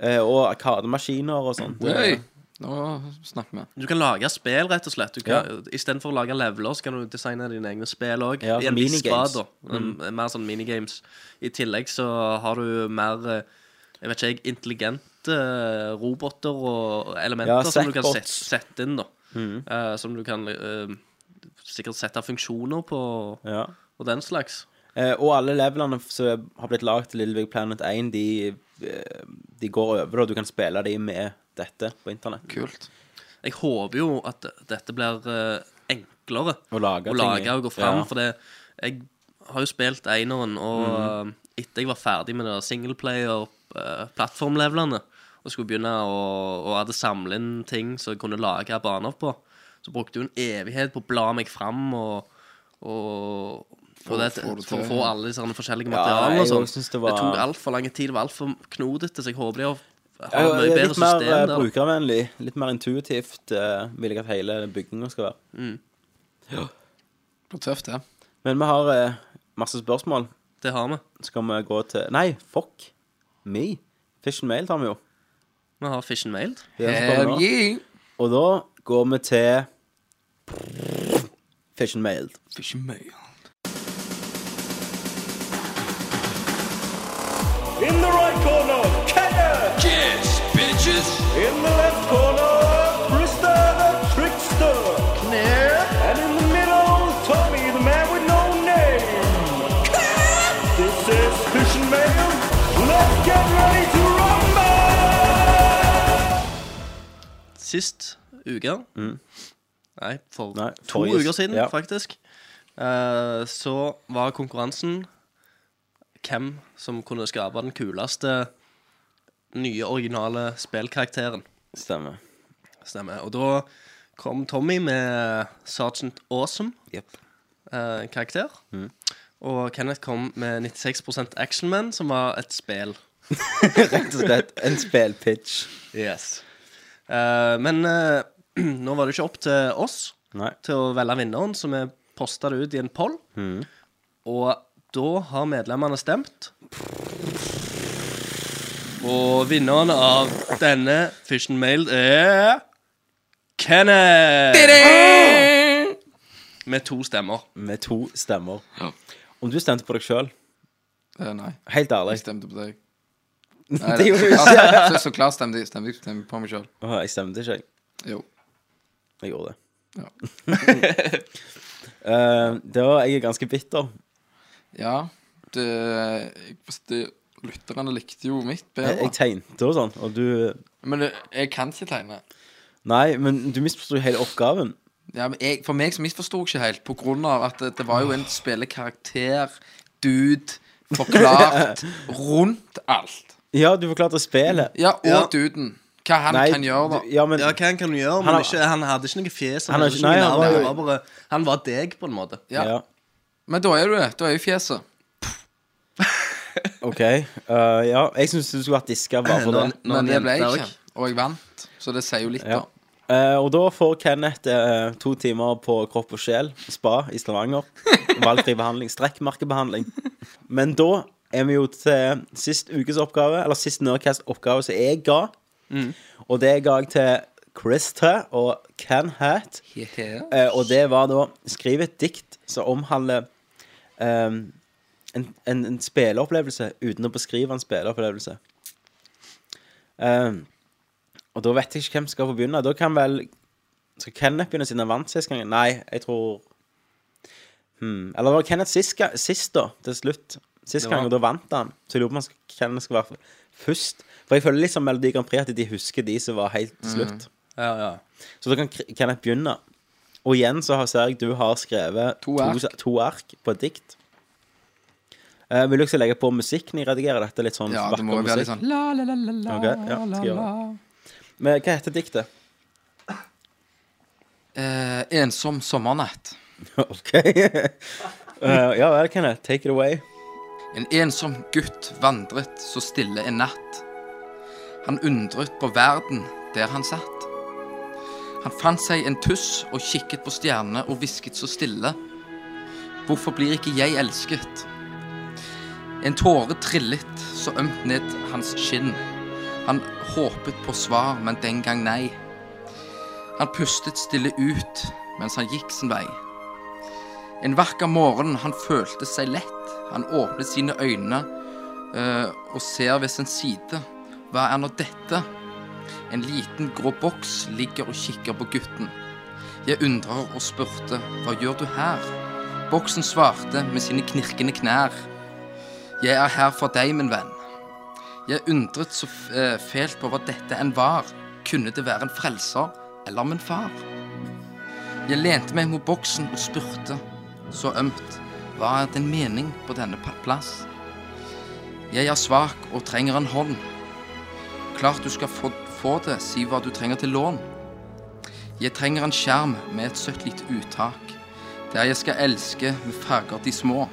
S8: Eh, og arkademaskiner og sånt. eh,
S9: Oi, Nå snakker vi.
S10: Du kan lage spill, rett og slett. Du kan, Istedenfor å lage leveler, så kan du designe dine egne spill òg.
S8: Ja, altså
S10: I en viss
S8: minigames.
S10: grad, da. Mm. Mer sånn minigames. I tillegg så har du mer eh, Jeg vet ikke, jeg, intelligente eh, roboter og elementer
S8: Ja, Mm.
S10: som du kan
S8: Sackbots.
S10: sette, sette inn, da. Eh, som du kan eh, sikkert sette funksjoner på
S8: Ja.
S10: og den slags.
S8: Eh, og alle levelene som har blitt lagd til Little Big Planet 1, de, eh, de går over, og du kan spille de med dette på internett.
S9: Kult.
S10: Jeg håper jo at dette blir eh, enklere
S8: Å lage ting
S10: å
S8: i.
S10: lage og gå fram.
S8: Ja.
S10: For det, jeg har jo spilt eineren, og
S8: Mhm.
S10: eh, etter jeg var ferdig med det singleplayer-plattformlevelene, eh, og skulle begynne å, og hadde samlet inn ting som jeg kunne lage baner på, så brukte jeg jo en evighet på å bla meg fram og, og for, det,
S9: få det
S10: for å
S9: til,
S10: få
S9: ja.
S10: alle disse her forskjellige
S8: Ja,
S10: materialene og
S8: jeg
S10: sånn.
S8: synes det
S10: Det,
S8: var-
S10: tok altfor lang tid, det var altfor knodete, så jeg håper de har,
S8: Ja,
S10: har et mye bedre
S8: litt mer
S10: system
S8: eh,
S10: der.
S8: brukervennlig, litt mer intuitivt eh, vil jeg at hele bygninga skal være.
S9: Det blir tøft, det.
S8: Men vi har eh, masse spørsmål.
S10: Det har vi.
S8: Skal vi gå til Nei, fuck me. Fish and mail tar vi jo.
S10: Vi har Fish and Mailed.
S8: Det er det som kommer
S9: Hell
S8: nå.
S9: yeah!
S8: Og da går vi til Fish and mail.
S9: Fikk ikke mye.
S11: In the right corner, Kenya. Kids, bitches. In the left corner, Brewster the trickster. Clear. And in the middle, Tommy the man with no name. This is Fish and Mail. Let's get ready to rumble!
S10: Sist uke Nei, for
S8: Mm. Nei,
S10: to
S8: forrige-
S10: uker siden,
S8: ja.
S10: faktisk. eh, så var konkurransen hvem som kunne skape den kuleste nye, originale spillkarakteren.
S8: Stemmer.
S10: Stemmer. Og da kom Tommy med Sergeant Awesome. eh, karakter.
S8: Mhm.
S10: Og Kenneth kom med 96 Action Man, som var et spill.
S8: (laughs) Rett og slett en spillpitch.
S10: Yes. Eh, men eh, (clears throat) nå var det ikke opp til oss
S8: Nei.
S10: til å velge vinneren, så vi posta det ut i en poll.
S8: Mhm.
S10: Og da har medlemmene stemt. Og vinneren av denne Fission Mail er Kenneth! Med to stemmer.
S8: Med to stemmer. Om du stemte på deg sjøl?
S9: Eh, nei.
S8: Helt ærlig.
S9: Jeg stemte på
S8: (laughs)
S9: deg.
S8: Nei, det gjorde du
S9: så
S8: ikke.
S9: klart- Så, så klart stemte jeg stemte, jeg- stemte på meg sjøl.
S8: Åh, jeg stemte ikke, jeg.
S9: Jo.
S8: Jeg gjorde det.
S9: Ja.
S8: (laughs) Eh, det var, jeg er ganske bitter.
S9: ja det, jeg, det, lytterne likte jo mitt
S8: Jeg,
S9: bedre.
S8: jeg tegnte og sånn, og du
S9: Men det, jeg kan ikke tegne.
S8: Nei, men du misforsto hele oppgaven.
S9: Ja, men jeg, for meg så misforsto jeg ikke helt, på grunn av at det, det var jo en spillekarakter, dude, forklart
S8: (laughs)
S9: rundt alt.
S8: Ja, du forklarte spillet.
S9: Ja, og
S10: Ja.
S9: duden. Hva han
S8: Nei,
S9: kan gjøre, da.
S8: du- Ja, men
S10: Ja, hva kan du gjøre? Men
S8: Han
S10: han,
S8: har-
S10: ikke, han hadde ikke noe fjes.
S8: Han
S10: Han,
S8: har
S10: hadde
S8: ikke-
S10: ikke noe
S8: nei, han
S10: navn,
S8: var
S10: han,
S8: jo-
S10: var bare, han var deg, på en måte.
S9: Ja.
S8: ja.
S9: Men da er du det. Da er jo fjeset.
S8: OK. Eh, ja, jeg syns du skulle vært diska bare for
S10: Nå-
S8: den.
S10: nå
S9: Men det ble jeg
S10: nevnte
S9: ikke. Og jeg vant, så det sier jo litt,
S8: Ja.
S9: da.
S8: Eh, og da får Kenneth eh, to timer på kropp og sjel, spa i Stavanger. Valgfri behandling, strekkmerkebehandling. Men da er vi jo til sist ukes oppgave, eller sist Nerdcast-oppgave som jeg ga. Og det ga jeg til Christer og Ken Hat. Eh, og det var da Skriv et dikt som omhandler eh, en, en, en spilleopplevelse uten å beskrive en spilleopplevelse. Eh, og da vet jeg ikke hvem som skal få begynne. Da kan vel Skal Kenneth begynne siden han vant sist gang? Nei, jeg tror hmm. Eller det var Kenneth sist, ga- sist da, til slutt. Sist
S10: Det var-
S8: gang, og da vant han. Så jeg lurer på om han skal- Kenneth skal være først. For jeg føler liksom Melodi Grand Prix at de husker de som var helt
S10: Mm.
S8: til slutt.
S10: Ja, ja.
S8: Så da kan Kr- Kenneth begynne. Og igjen så har- ser jeg du har skrevet
S9: To ark.
S8: to, to ark på et dikt. Eh, vil du også legge på musikk når jeg redigerer dette? Litt sånn
S9: Ja,
S8: vakker
S9: det må jo være litt
S8: musikk?
S9: sånn la, la, la, la, la,
S8: Ok, ja, skal jeg gjøre
S9: la.
S8: Men hva heter diktet? (laughs)
S9: Eh, ensom sommernatt.
S8: OK. Eh, ja vel, Kenneth. Take it away.
S9: En ensom gutt vandret så stille en natt. Han undret på verden der han satt. Han fant seg en tuss og kikket på stjernene og hvisket så stille. Hvorfor blir ikke jeg elsket? En tåre trillet så ømt ned hans skinn. Han håpet på svar, men den gang nei. Han pustet stille ut mens han gikk sin vei. En vakker morgen han følte seg lett. Han åpnet sine øyne eh, og ser ved sin side. Hva er nå dette? En liten grå boks ligger og kikker på gutten. Jeg undrer og spurte, hva gjør du her? Boksen svarte med sine knirkende knær. Jeg er her for deg, min venn. Jeg undret så f- eh, fælt på hva dette enn var. Kunne det være en frelser eller min far? Jeg lente meg mot boksen og spurte så ømt. Hva er din mening på denne pa- plass? Jeg er svak og trenger en hånd. Klart du skal få, få det, si hva du trenger til lån. Jeg trenger en skjerm med et søtt lite uttak, der jeg skal elske med farger de små.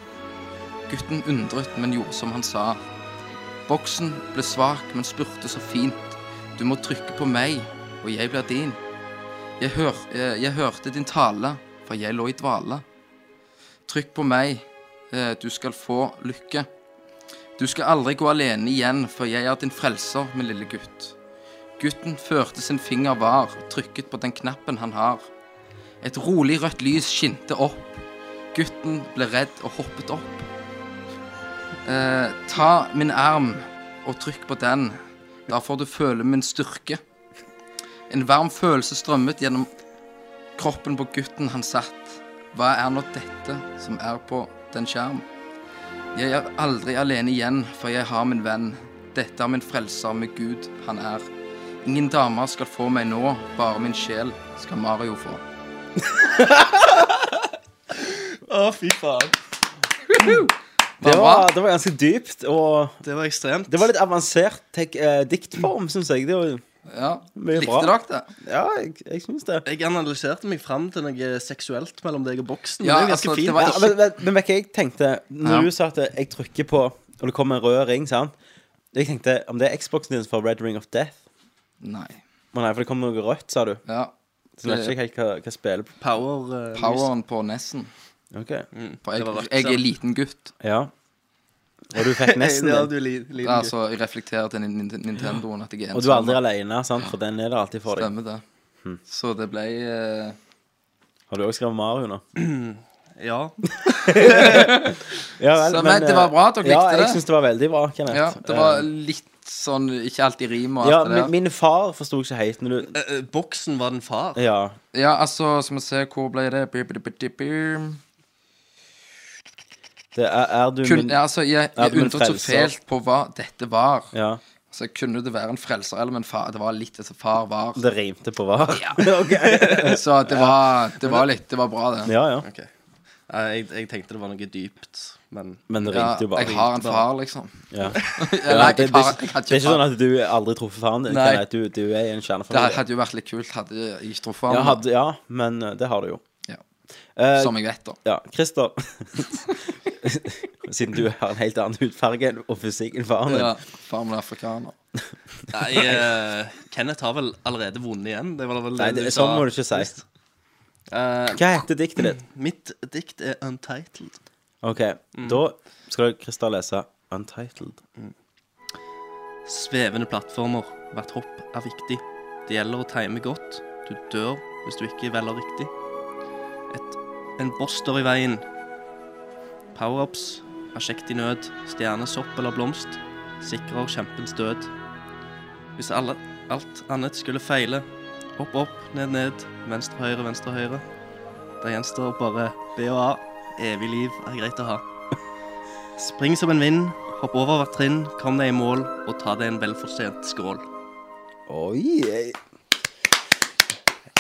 S9: Gutten undret, men gjorde som han sa. Boksen ble svak, men spurte så fint. Du må trykke på meg, og jeg blir din. Jeg, hør, eh, jeg hørte din tale, for jeg lå i dvale. Trykk på meg, eh, du skal få lykke. Du skal aldri gå alene igjen, for jeg er din frelser, min lille gutt. Gutten førte sin finger var, og trykket på den knappen han har. Et rolig rødt lys skinte opp. Gutten ble redd og hoppet opp. Eh, ta min arm og trykk på den. Da får du føle min styrke. En varm følelse strømmet gjennom kroppen på gutten han satt. Hva er nå dette som er på den skjerm? Jeg er aldri alene igjen, for jeg har min venn. Dette er min frelser med Gud han er. Ingen damer skal få meg nå, bare min sjel skal Mario få.
S10: Å, fy faen.
S8: Det
S9: Hva
S8: var,
S9: var
S8: det var ganske dypt, og
S10: Det var ekstremt.
S8: det var litt avansert tek, eh, diktform, syns jeg. Det var,
S9: Ja.
S8: Mye
S9: Likte
S8: bra.
S9: dere det?
S8: Ja, jeg, jeg syns det.
S10: Jeg analyserte meg fram til noe seksuelt mellom deg og boksen.
S9: Ja,
S10: det er jo ganske
S9: altså, det
S10: fint.
S9: var
S8: Ja, men, men, men vet du hva jeg tenkte Når
S9: Ja.
S8: du sa at jeg trykker på Og det kommer en rød ring, sant Jeg tenkte, om det er Xboxen din som får Red Ring of Death
S9: Nei.
S8: Men nei, for det kommer noe rødt, sa du
S9: Ja.
S8: Så jeg vet ikke helt hva, hva spiller på
S10: Power, eh, lys.
S9: Poweren på Nessen.
S8: Ok,
S9: For
S10: Det var
S9: jeg,
S10: rødt,
S9: jeg
S10: sant?
S9: er liten gutt.
S8: ja Og du
S9: (laughs)
S8: fikk nesten
S10: (laughs) Ja, du
S8: din
S10: er li- liten gutt.
S9: Altså, jeg reflekterer til Nin- Nin- Nintendoen at jeg er
S8: Og du er aldri
S9: ensom.
S8: alene, sant? For den er der alltid for deg
S9: Stemmer det.
S10: Hm.
S9: Så det ble eh,
S8: Har du også skrevet Mario nå?
S10: Ja.
S8: Ja,
S9: Så, men det var bra, dere
S8: ja, Ja,
S9: likte det.
S8: jeg synes det var veldig bra, Kenneth
S9: Ja, det var
S8: Eh,
S9: litt sånn ikke alltid rim og alt
S8: ja,
S9: det der.
S8: min, min far forstod ikke helt når du
S10: Eh, eh, Boksen var den far.
S8: Ja,
S9: Ja, altså, skal vi se, hvor ble det Bir, bir, bir, bir, bir.
S8: det er, er du
S9: Kun,
S8: min
S9: ja, altså, jeg,
S8: Ja,
S9: jeg
S8: du er en
S9: undret så
S8: frelser.
S9: fælt på hva dette var.
S8: Ja,
S9: Altså, kunne det være en frelser eller en far? Det var litt det som far var.
S8: det rimte på hva
S9: Ja.
S8: Ok
S9: (laughs) Så det var, det var litt Det var bra, det.
S8: (laughs) Ja, ja
S10: Ok. Nei, Eh, Jeg, jeg tenkte det var noe dypt, men
S8: Men det
S9: Ja,
S8: rimte jo bare.
S9: jeg har en far, liksom.
S8: Ja.
S9: (laughs) Ja, nei,
S8: Ja, det,
S9: jeg
S8: det,
S9: har,
S8: det er
S9: jeg hadde
S8: ikke
S9: ikke
S8: sånn
S9: far.
S8: at du aldri truffer faren din.
S9: Nei.
S8: Kenneth. Du, du er i en
S9: Det
S8: kjernefamilie.
S9: hadde jo vært litt kult hadde jeg ikke truffet
S8: Ja,
S9: ham.
S8: hadde, ja, men eh, det har du jo.
S9: Ja.
S8: Eh,
S9: Som jeg vet, da.
S8: ja, Christer (laughs) Siden du har en helt annen hudfarge enn- og fysikk enn faren din.
S9: Ja, far min er afrikaner. (laughs)
S10: Nei, eh, Kenneth har vel allerede vunnet igjen. Det var vel
S8: Nei, det, sånn må du ikke si.
S10: Eh,
S8: Hva heter diktet ditt?
S10: mitt dikt er untitled.
S8: OK,
S9: Mm.
S8: da skal Christer lese Untitled.
S10: Svevende plattformer. Hvert hopp er viktig. Det gjelder å time godt. Du dør hvis du ikke velger riktig. Et, en boss står i veien. Powerups. Prosjekt i nød. Stjerne, sopp eller blomst. Sikrer kjempens død. Hvis alle, alt annet skulle feile. Opp, opp, ned, ned. Venstre, høyre, venstre, høyre. Der gjenstår bare B og A. Evig liv er greit å ha. Spring som en vind, hopp over hvert trinn, kom deg i mål og ta deg en velfortjent skål.
S8: Oi Jeg,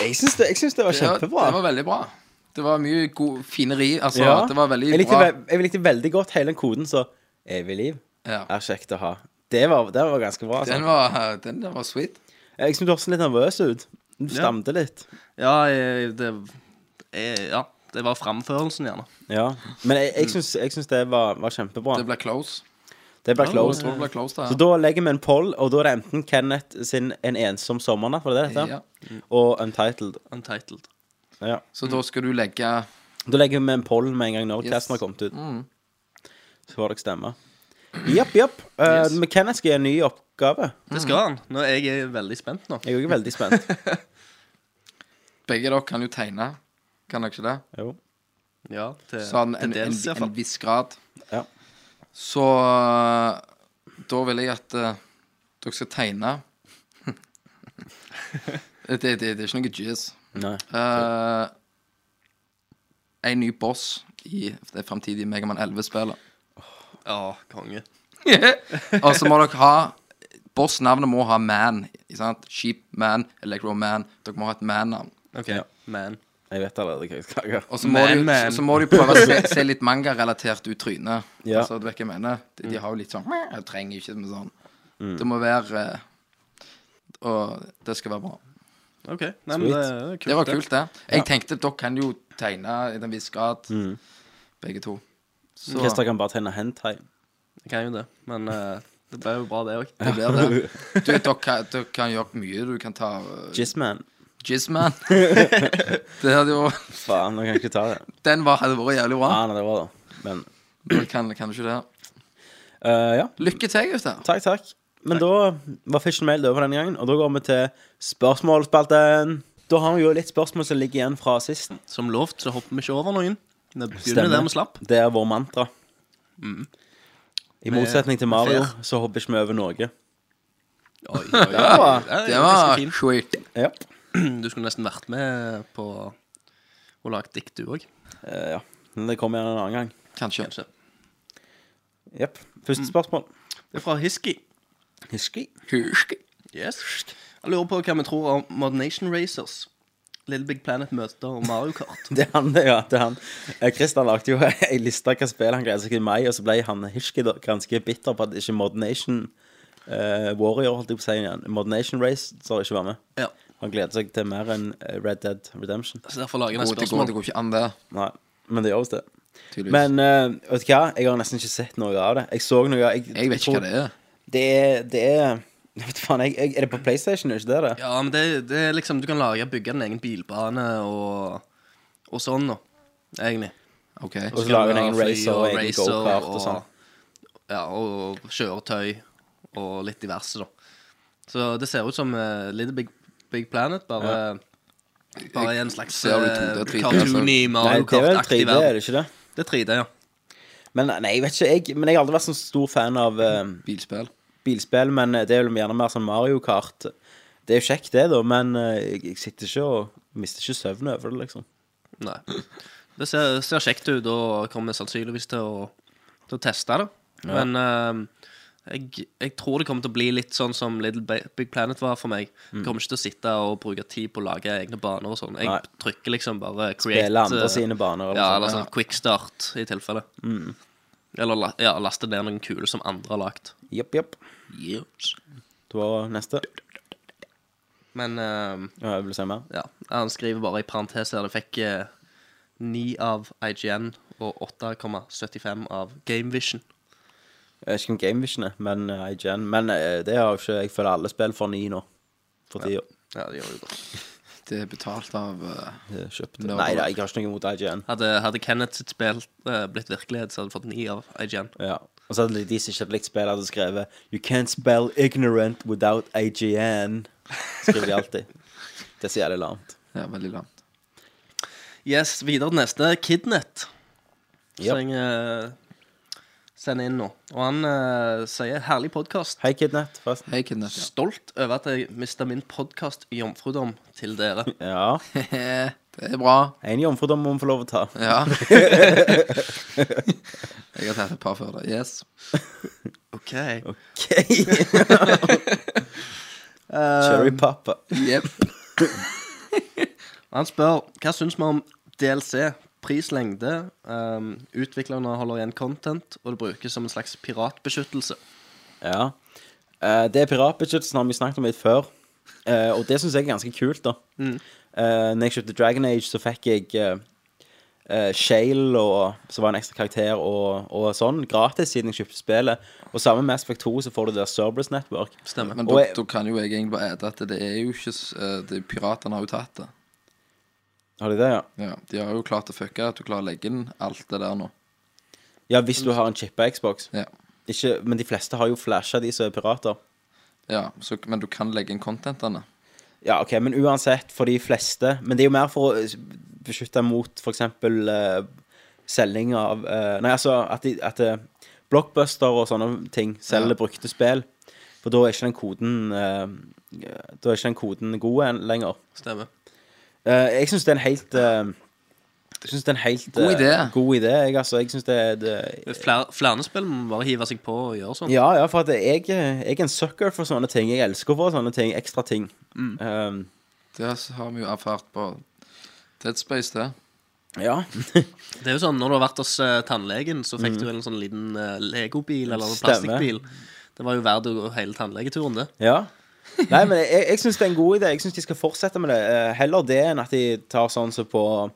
S8: jeg syns det, jeg syns det var
S9: Ja, det
S8: kjempebra.
S9: var veldig bra. Det var mye god, fine ri. Altså,
S8: Ja.
S9: det var veldig
S8: jeg, likte,
S9: bra.
S8: ve- jeg likte veldig godt hele den koden, så Evig liv
S9: Ja.
S8: er kjekt å ha. Det var, det var ganske bra. altså.
S9: Den var, den der var sweet.
S8: Jeg synes du høres litt nervøs ut. Du
S10: Ja.
S8: stamte litt.
S10: Ja, jeg- det jeg, Ja, det var framførelsen, gjerne.
S8: Ja. Men jeg, jeg, syns, jeg syns det var, var kjempebra.
S9: Mm. Det ble close.
S8: Det ble
S9: Jeg
S8: close.
S9: tror det ble close
S8: Så
S9: der.
S8: da legger vi en poll, og da er det enten Kenneth sin En ensom sommernatt, var det det
S9: Ja.
S8: heter? Og Untitled.
S10: Untitled.
S8: Ja.
S9: Så da skal du legge
S8: Da legger vi en poll med en gang når
S9: Yes. Mm.
S8: casten har kommet ut. Så får dere stemme. Jepp, jepp. Eh,
S9: Yes.
S8: Men Kenneth skal gi en ny oppgave.
S10: Det skal han. Nå, jeg er veldig spent nå.
S8: Jeg er jo ikke veldig spent. (laughs)
S9: Begge dere kan jo tegne. Kan dere ikke det?
S8: Jo.
S10: Ja, til,
S9: Sånn
S10: til
S9: en, en,
S10: dels, i
S9: en
S10: hvert fall.
S9: viss grad.
S8: Ja.
S9: Så da vil jeg at eh, dere skal tegne
S8: (laughs)
S9: det, det, det er ikke noe jizz.
S8: Nei.
S9: Eh, en ny boss i det framtidige Megaman 11-spillet.
S10: Ja, konge.
S9: Og så må dere ha Boss-navnet må ha man. ikke Sant? Sheep man, Electro man. Dere må ha et man-navn.
S10: OK.
S8: Ja.
S10: Man.
S8: Jeg vet allerede hva jeg skal gjøre.
S9: Og så må,
S10: Man,
S9: du,
S10: man.
S9: så må du prøve å se, se litt manga-relatert ut trynet.
S8: Ja.
S9: Altså, du vet hva jeg mener? De, de har jo litt sånn Jeg trenger jo ikke med sånn. Det må være eh, Og det skal være bra.
S10: OK. Nei, men det er kult.
S9: det var kult, det. Jeg tenkte dere kan jo tegne i en viss grad, begge to. Så
S8: Christer kan bare tegne hentai.
S10: Jeg kan jo det. Men eh, det ble jo bra, det òg.
S9: det blir det. Du, dere, kan- dere kan gjøre mye. Du kan ta eh,
S8: Jizzman.
S9: Jizzman. det hadde jo
S8: Faen, nå kan jeg ikke ta det.
S9: Den var, hadde vært jævlig bra.
S8: Ah, nei, det var det. Men
S9: Men kan, kan du ikke det?
S8: eh, ja.
S9: Lykke til, gutter.
S8: Takk, takk. Men da var Fish and Mail over denne gangen, og da går vi til spørsmålsspalten. Da har vi jo litt spørsmål som ligger igjen fra sist.
S10: Som lovt, så hopper vi ikke over noen. Det begynner
S8: Stemmer.
S10: der vi slapp. Mm.
S8: Det er vår mantra. I motsetning til Mario
S10: fair.
S8: så hopper ikke vi over noe.
S10: Oi, oi, oi. Det
S9: Det
S10: er ganske
S9: var
S10: fint.
S9: sweet.
S8: Ja.
S10: Du skulle nesten vært med på å lage dikt, du òg.
S8: Eh, ja. Men det kommer igjen en annen gang.
S9: Kanskje.
S10: Kanskje.
S8: Jepp. Første
S10: Mm.
S8: spørsmål.
S10: Det er fra Hiski.
S8: Hiski.
S9: Husk.
S10: Yes. Jeg lurer på hva vi tror om Modern Nation Racers. Little Big Planet møter Mario (laughs) Kart.
S8: (laughs) Det er han, det, ja. Det er han. Eh, Christian lagde jo (laughs) ei liste hva spill han gleder seg til i mai, og så ble han Hiski da ganske bitter på at ikke Mod Nation eh, Warrior, holdt jeg på å si igjen. Modern Nation Race så har jeg ikke vært med.
S9: Ja.
S8: Han gleder seg til mer enn eh, Red Dead Redemption.
S10: Så derfor lager jeg
S9: Gode, det,
S10: neste
S9: går, det
S10: spørsmål.
S9: går ikke an, det.
S8: Nei, men det gjør visst det.
S9: Tydeligvis.
S8: Men eh, vet du hva? Jeg har nesten ikke sett noe av det. Jeg så noe Jeg,
S9: Jeg vet ikke hva det er.
S8: Det er, det er jeg vet faen, jeg, jeg, Er det på PlayStation, er det ikke det? det?
S10: Ja, men det, det er liksom Du kan lage bygge din egen bilbane og, og sånn, da. Egentlig.
S9: Ok.
S8: Og så
S10: skal
S8: lager
S10: du
S8: en egen
S10: ha fly
S8: racer og egen
S10: racer
S8: go-kart og sånn.
S10: Ja, og kjøretøy og litt diverse, da. Så det ser ut som eh, Little Big, Big Planet, bare Bare i en slags
S9: Ser du 2D,
S10: eh,
S9: 3D,
S10: cartoony
S8: Nei,
S10: Mario
S8: det er vel 3D,
S10: Kart-aktig
S8: er
S10: verden.
S8: det ikke det?
S10: Det er 3D, ja.
S8: Men eh, nei, jeg vet ikke, jeg, men jeg har aldri vært sånn stor fan av eh,
S9: Bilspill.
S8: bilspill, men det er vel gjerne mer sånn Mario Kart. Det er jo kjekt, det, da, men eh, jeg, jeg sitter ikke og mister ikke søvn over det, liksom.
S10: Nei. Det ser, ser kjekt ut, og kommer sannsynligvis til å, til å teste det. Men eh, jeg, jeg tror det kommer til å bli litt sånn som Little Ba- Big Planet var for meg. Jeg kommer ikke til å sitte og bruke tid på å lage egne baner og sånn. Jeg
S8: Mm. Nei.
S10: trykker liksom bare create
S8: Spille andre
S10: eh,
S8: sine baner. liksom. Mm.
S10: Ja,
S8: noe
S10: eller
S8: sånt.
S10: sånn quickstart, i tilfelle. Eller la- ja, laste ned noen kule som andre har lagd.
S8: Jepp, jepp. Du har neste.
S10: Men eh,
S8: Ja, jeg vil si mer.
S10: ja, han skriver bare i parentes her. Det fikk eh, 9 av IGN og 8,75 av Game Vision.
S8: Jeg vet ikke om Gamevision er, men eh, IGN. Men eh, det har jo ikke Jeg føler alle spill for ni nå. For tida.
S10: Ja, det gjør jo godt.
S9: Det er betalt av eh,
S8: Det er Kjøpt.
S9: Nå-
S8: Nei da, jeg har ikke noe imot IGN.
S10: Hadde, hadde Kenneth sitt spill eh, blitt virkelighet, så hadde han fått ni av IGN.
S8: Ja. Og så hadde de som ikke hadde likt spillet, hadde skrevet You can't spell ignorant without IGN. Skriver de (laughs) alltid. Det er så jævlig lamt.
S9: ja, veldig langt.
S10: Yes, videre til neste. Kidnet.
S8: Yep.
S10: Som jeg eh, sender inn nå. Og han eh, sier 'herlig podkast'.
S8: Hei, Kidnet, forresten.
S9: Hei, Kidnett.
S10: (laughs) Stolt over at jeg mista min podkast-jomfrudom til dere.
S8: Ja.
S9: det er bra.
S8: En jomfrudom må vi få lov å ta.
S9: Ja.
S10: (laughs)
S9: Jeg har tatt et par før det. Yes.
S10: (laughs) Ok.
S8: (laughs) Cherry Papa.
S9: Yep.
S10: Han spør hva syns vi om DLC, pris, lengde, um, utviklerne holder igjen content, og det brukes som en slags piratbeskyttelse.
S8: Ja. Eh, det piratbudsjettet har vi snakket om litt før, eh, og det syns jeg er ganske kult, da. Eh, når jeg kjøpte Dragon Age, så fikk jeg eh, eh, Shale, og, som var en ekstra karakter, og, og sånn, gratis siden jeg kjøpte spillet. Og sammen med Aspect 2 så får du det der Cerberus Network.
S10: Stemmer.
S9: Men
S8: Og
S9: da
S8: jeg-
S9: da kan jo jeg egentlig bare ete at det er jo ikke s- eh, det, Piratene har jo tatt det.
S8: Har de det, ja?
S9: Ja, De har jo klart å fucke at du klarer å legge inn alt det der nå.
S8: Ja, hvis du har en chippa Xbox.
S9: Ja.
S8: Ikke, men de fleste har jo flasha, de som er pirater.
S9: ja så, men du kan legge inn contentene.
S8: Ja, ok, men uansett, for de fleste Men det er jo mer for å beskytte mot for eksempel eh, selging av eh, Nei, altså at, de, at eh, blockbuster og sånne ting selger
S9: Ja.
S8: brukte spill. For da er ikke den koden eh, Da er ikke den koden god en, lenger.
S10: Stemmer.
S8: Eh, jeg syns det er en helt eh, jeg synes det er en helt
S9: God
S8: eh,
S9: idé.
S8: god idé. Jeg, altså, jeg synes det er det,
S10: Flere, flere spill må bare hive seg på og gjøre sånn.
S8: Ja, ja, for at jeg, jeg er en sucker for sånne ting. Jeg elsker å få sånne ting. Ekstra ting.
S9: Mm.
S8: Um,
S9: Det har vi jo erfart på Dead Space, det.
S8: ja.
S10: Det er jo sånn, Når du har vært hos eh, tannlegen, så fikk du en sånn liten eh, legobil eller en
S8: Stemmer.
S10: plastikkbil. Det var jo verdt å gå hele tannlegeturen, det.
S8: ja. Nei, men jeg, jeg syns det er en god idé. Jeg syns de skal fortsette med det. Eh, Heller det enn at de tar sånn som på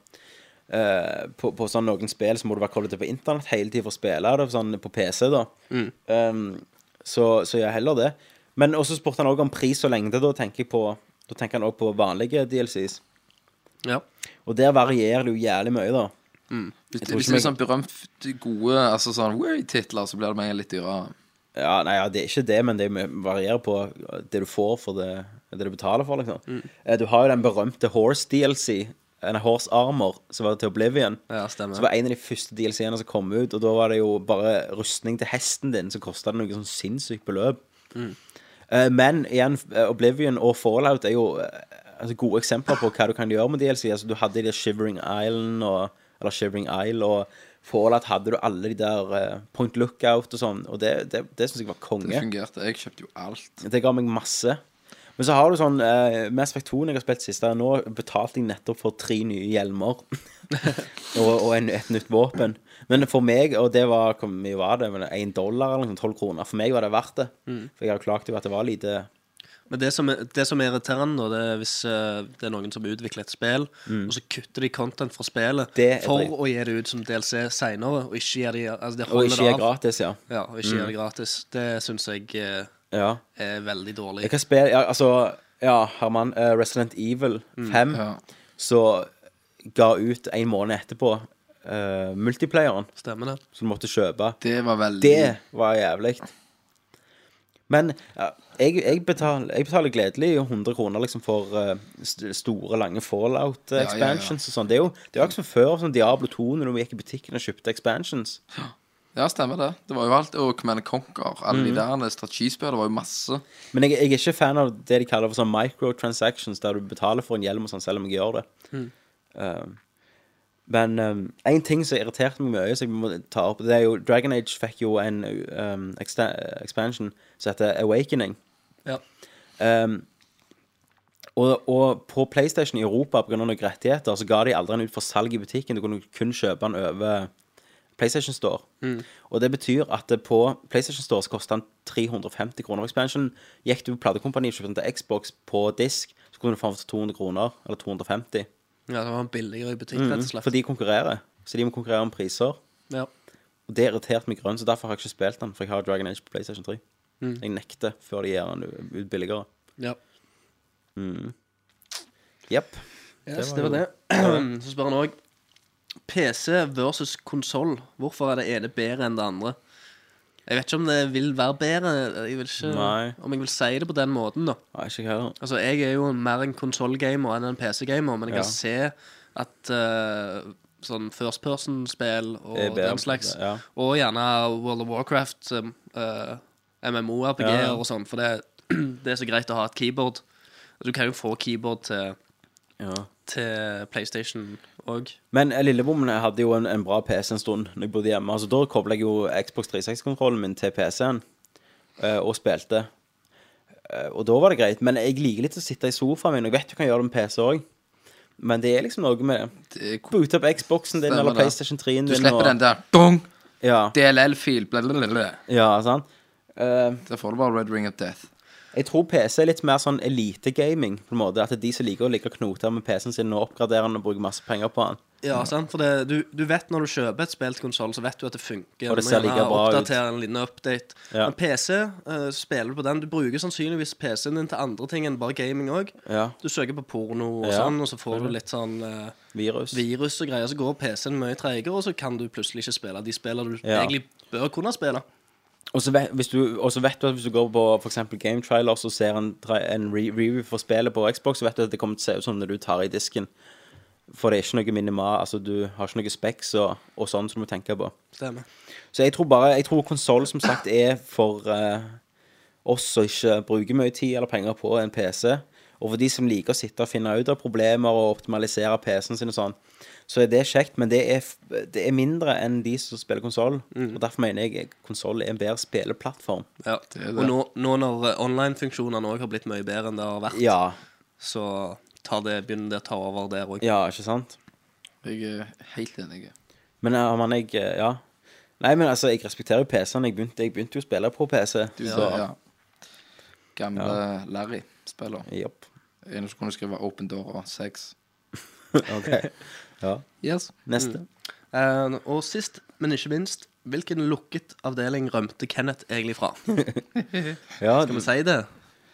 S8: eh, på, på sånn noen spill så må du være koblet til på internett hele tiden for å spille det, sånn på PC, da. Um, så, så ja, heller det. Men også spurte han òg om pris og lengde. Da tenker, jeg på, da tenker han òg på vanlige DLCs.
S10: Ja.
S8: Og der varierer det jo jævlig mye, da. tror ikke
S9: Hvis, hvis det er
S8: meg-
S10: liksom
S9: sånn berømt gode altså sånn Way-titler, så blir det med en gang litt dyrere.
S8: Ja, nei, ja, det er ikke det, men det varierer på det du får for det, det du betaler for, liksom.
S10: Mm.
S8: Eh, Du har jo den berømte Horse DLC, en Horse Armor, som var til Oblivion.
S10: Ja, stemmer.
S8: Som var en av de første DLC-ene som kom ut, og da var det jo bare rustning til hesten din som kosta noe sånn sinnssykt beløp. Eh, Men igjen, eh, Oblivion og Fallout er jo eh, altså, gode eksempler på hva du kan gjøre med DLC. Altså, du hadde de der Shivering Island og Eller Shivering Isle og Fallout hadde du alle de der eh, Point Lookout og sånn, og det, det, det syns jeg var
S9: Det
S8: konge.
S9: fungerte. Jeg kjøpte jo alt.
S8: Det ga meg masse. Men så har du sånn eh, Mass Effect 2 når jeg har spilt sist, der, nå betalte jeg nettopp for tre nye
S10: (laughs)
S8: hjelmer. og og en, et nytt våpen. Men for meg, og det var hvor mye var det? Men en dollar eller noe sånt, tolv kroner. For meg var det verdt det.
S10: Mm.
S8: For jeg har klagt over at det var lite
S10: Men det som, er- det som er irriterende, da, det er hvis eh, det er noen som utvikler et spill,
S8: Mm.
S10: og så kutter de content fra spillet
S8: Det er
S10: for
S8: drit.
S10: å gi det ut som DLC seinere, og ikke gir de, altså, de
S8: Og ikke
S10: holder det
S8: gir gratis, ja.
S10: ja og ikke
S8: Mm.
S10: gjør det gratis. Det syns jeg eh,
S8: Ja.
S10: er veldig dårlig.
S8: Jeg kan spille ja, Altså, ja, Herman. eh, Resident Evil
S10: Mm.
S8: 5, så ga ut en måned etterpå eh, multiplayeren.
S10: Stemmer det.
S8: Som du måtte kjøpe.
S9: Det var veldig
S8: Det var jævlig. Men ja, jeg, jeg, betaler, jeg betaler gledelig 100 kroner liksom for eh, st store, lange
S9: Ja, ja, ja.
S8: fallout-expansions og sånn. Det er jo det er jo ikke som før, som Diablo 2, når du gikk i butikken og kjøpte expansions.
S9: Ja, stemmer det. Det var jo alt. Og Command Conquer. Alle
S8: Mhm.
S9: de der strategispillene. Det var jo masse.
S8: Men jeg, jeg er ikke fan av det de kaller for sånn microtransactions, der du betaler for en hjelm og sånn, selv om jeg gjør det.
S9: Hmm.
S10: Mm.
S8: Um, men um, en ting som irriterte meg mye, som jeg må ta opp, det er jo Dragon Age fikk jo en um, exta- expansion som heter Awakening.
S10: Ja.
S8: Um, og, og på PlayStation i Europa, pga. noen rettigheter, så ga de aldri den ut for salg i butikken. Du kunne kun kjøpe den over PlayStation Store.
S10: Mm.
S8: Og det betyr at det på PlayStation Store så koster den 350 kroner for expansion. Gikk du på platekompani og kjøpte den til Xbox på disk, så kunne du få den for 200 kroner, eller 250.
S10: Ja, det var en billigere i butikk,
S8: Mm,
S10: rett og slett.
S8: for de konkurrerer. Så de må konkurrere om priser.
S10: Ja.
S8: Og det irriterte meg grønn, så derfor har jeg ikke spilt den. For jeg har Dragon Age på PlayStation 3.
S10: Mm.
S8: Jeg nekter før de gir den ut billigere.
S10: Ja.
S8: Mm. Jepp.
S10: Yes, det var det. (clears throat) Så spør han òg PC versus konsoll. Hvorfor er det ene bedre enn det andre? Jeg vet ikke om det vil være bedre. Jeg vil ikke,
S8: Nei.
S10: Om jeg vil si det på den måten, da.
S8: Nei, ikke jeg heller.
S10: Altså, jeg er jo mer en konsollgamer enn en PC-gamer, men jeg
S8: Ja.
S10: kan se at eh, sånn first person-spill og
S8: Det er bedre,
S10: den slags,
S8: E ja.
S10: og gjerne World of Warcraft, um, eh, MMO-RPG-er
S8: Ja.
S10: og sånn, for det, (clears throat) det er så greit å ha et keyboard. Du kan jo få keyboard til, til PlayStation òg.
S8: Men eh, lillebommen jeg hadde jo en, en bra PC en stund når jeg bodde hjemme. Altså, da kobla jeg jo Xbox 360-kontrollen min til PC-en eh, og spilte. Eh, og da var det greit. Men jeg liker litt å sitte i sofaen min, og jeg vet du kan gjøre det med PC òg. Men det er liksom noe med Boot opp Xboxen din
S9: Stemmer
S8: eller
S9: det.
S8: PlayStation 3-en
S9: Du
S8: din.
S9: slipper
S8: og-
S9: den der dong!
S8: Ja.
S9: DLL-fil.
S8: Ja, sant. Eh,
S9: Der får du bare Red Ring of Death.
S8: Jeg tror PC er litt mer sånn elitegaming, på en måte. At det er de som liker å ligge og knote med PC-en sin og oppgradere den og bruke masse penger på den.
S10: Ja, sant? for det, du, du vet når du kjøper et spill til konsoll, så vet du at det funker.
S8: Og det
S10: Du må
S8: ser
S10: gjerne
S8: like bra ut.
S10: Oppdatere en liten update.
S8: Ja.
S10: Men PC, eh, spiller du på den, du bruker sannsynligvis PC-en din til andre ting enn bare gaming òg.
S8: Ja.
S10: Du søker på porno og
S8: Ja.
S10: sånn, og så får du litt sånn eh,
S8: Virus.
S10: virus og greier. Så går PC-en mye tregere, og så kan du plutselig ikke spille de spillene du
S8: Ja.
S10: egentlig bør kunne spille.
S8: Og så vet, hvis du- og så vet du at hvis du går på for eksempel Game Trailers og ser en, tra- en re review for spillet på Xbox, så vet du at det kommer til å se ut som når du tar i disken. For det er ikke noe minimal, altså du har ikke noe specs og, og sånn som du må tenke på.
S10: Stemmer.
S8: Så jeg tror bare, jeg tror konsoll som sagt er for eh, oss som ikke bruker mye tid eller penger på en PC, og for de som liker å sitte og finne ut av problemer og optimalisere PC-en sin og sånn, så er det kjekt, men det er, f- det er mindre enn de som spiller konsoll,
S9: Mhm.
S8: og derfor mener jeg konsoll er en bedre spilleplattform.
S10: Ja.
S8: er det.
S10: Og nå, nå når eh, online-funksjonene òg har blitt mye bedre enn det har vært,
S8: Ja.
S10: så tar det, begynner det å ta over der òg.
S8: Ja, ikke sant?
S9: Jeg er helt enig.
S8: Men eh, man, jeg, eh, ja. Nei, men altså, jeg respekterer jo PC-en. Jeg begynte, jeg begynte jo å spille på PC.
S9: Du
S8: så-
S9: sa ja. Gamle Larry-spiller.
S8: Jopp.
S9: En som kunne skrive Open Door og Sex.
S8: Ok. (laughs) Ja.
S9: Yes.
S8: Neste.
S9: Mhm.
S10: Mm. Eh, og sist, men ikke minst, hvilken lukket avdeling rømte Kenneth egentlig fra?
S8: Ja,
S10: Skal vi si det?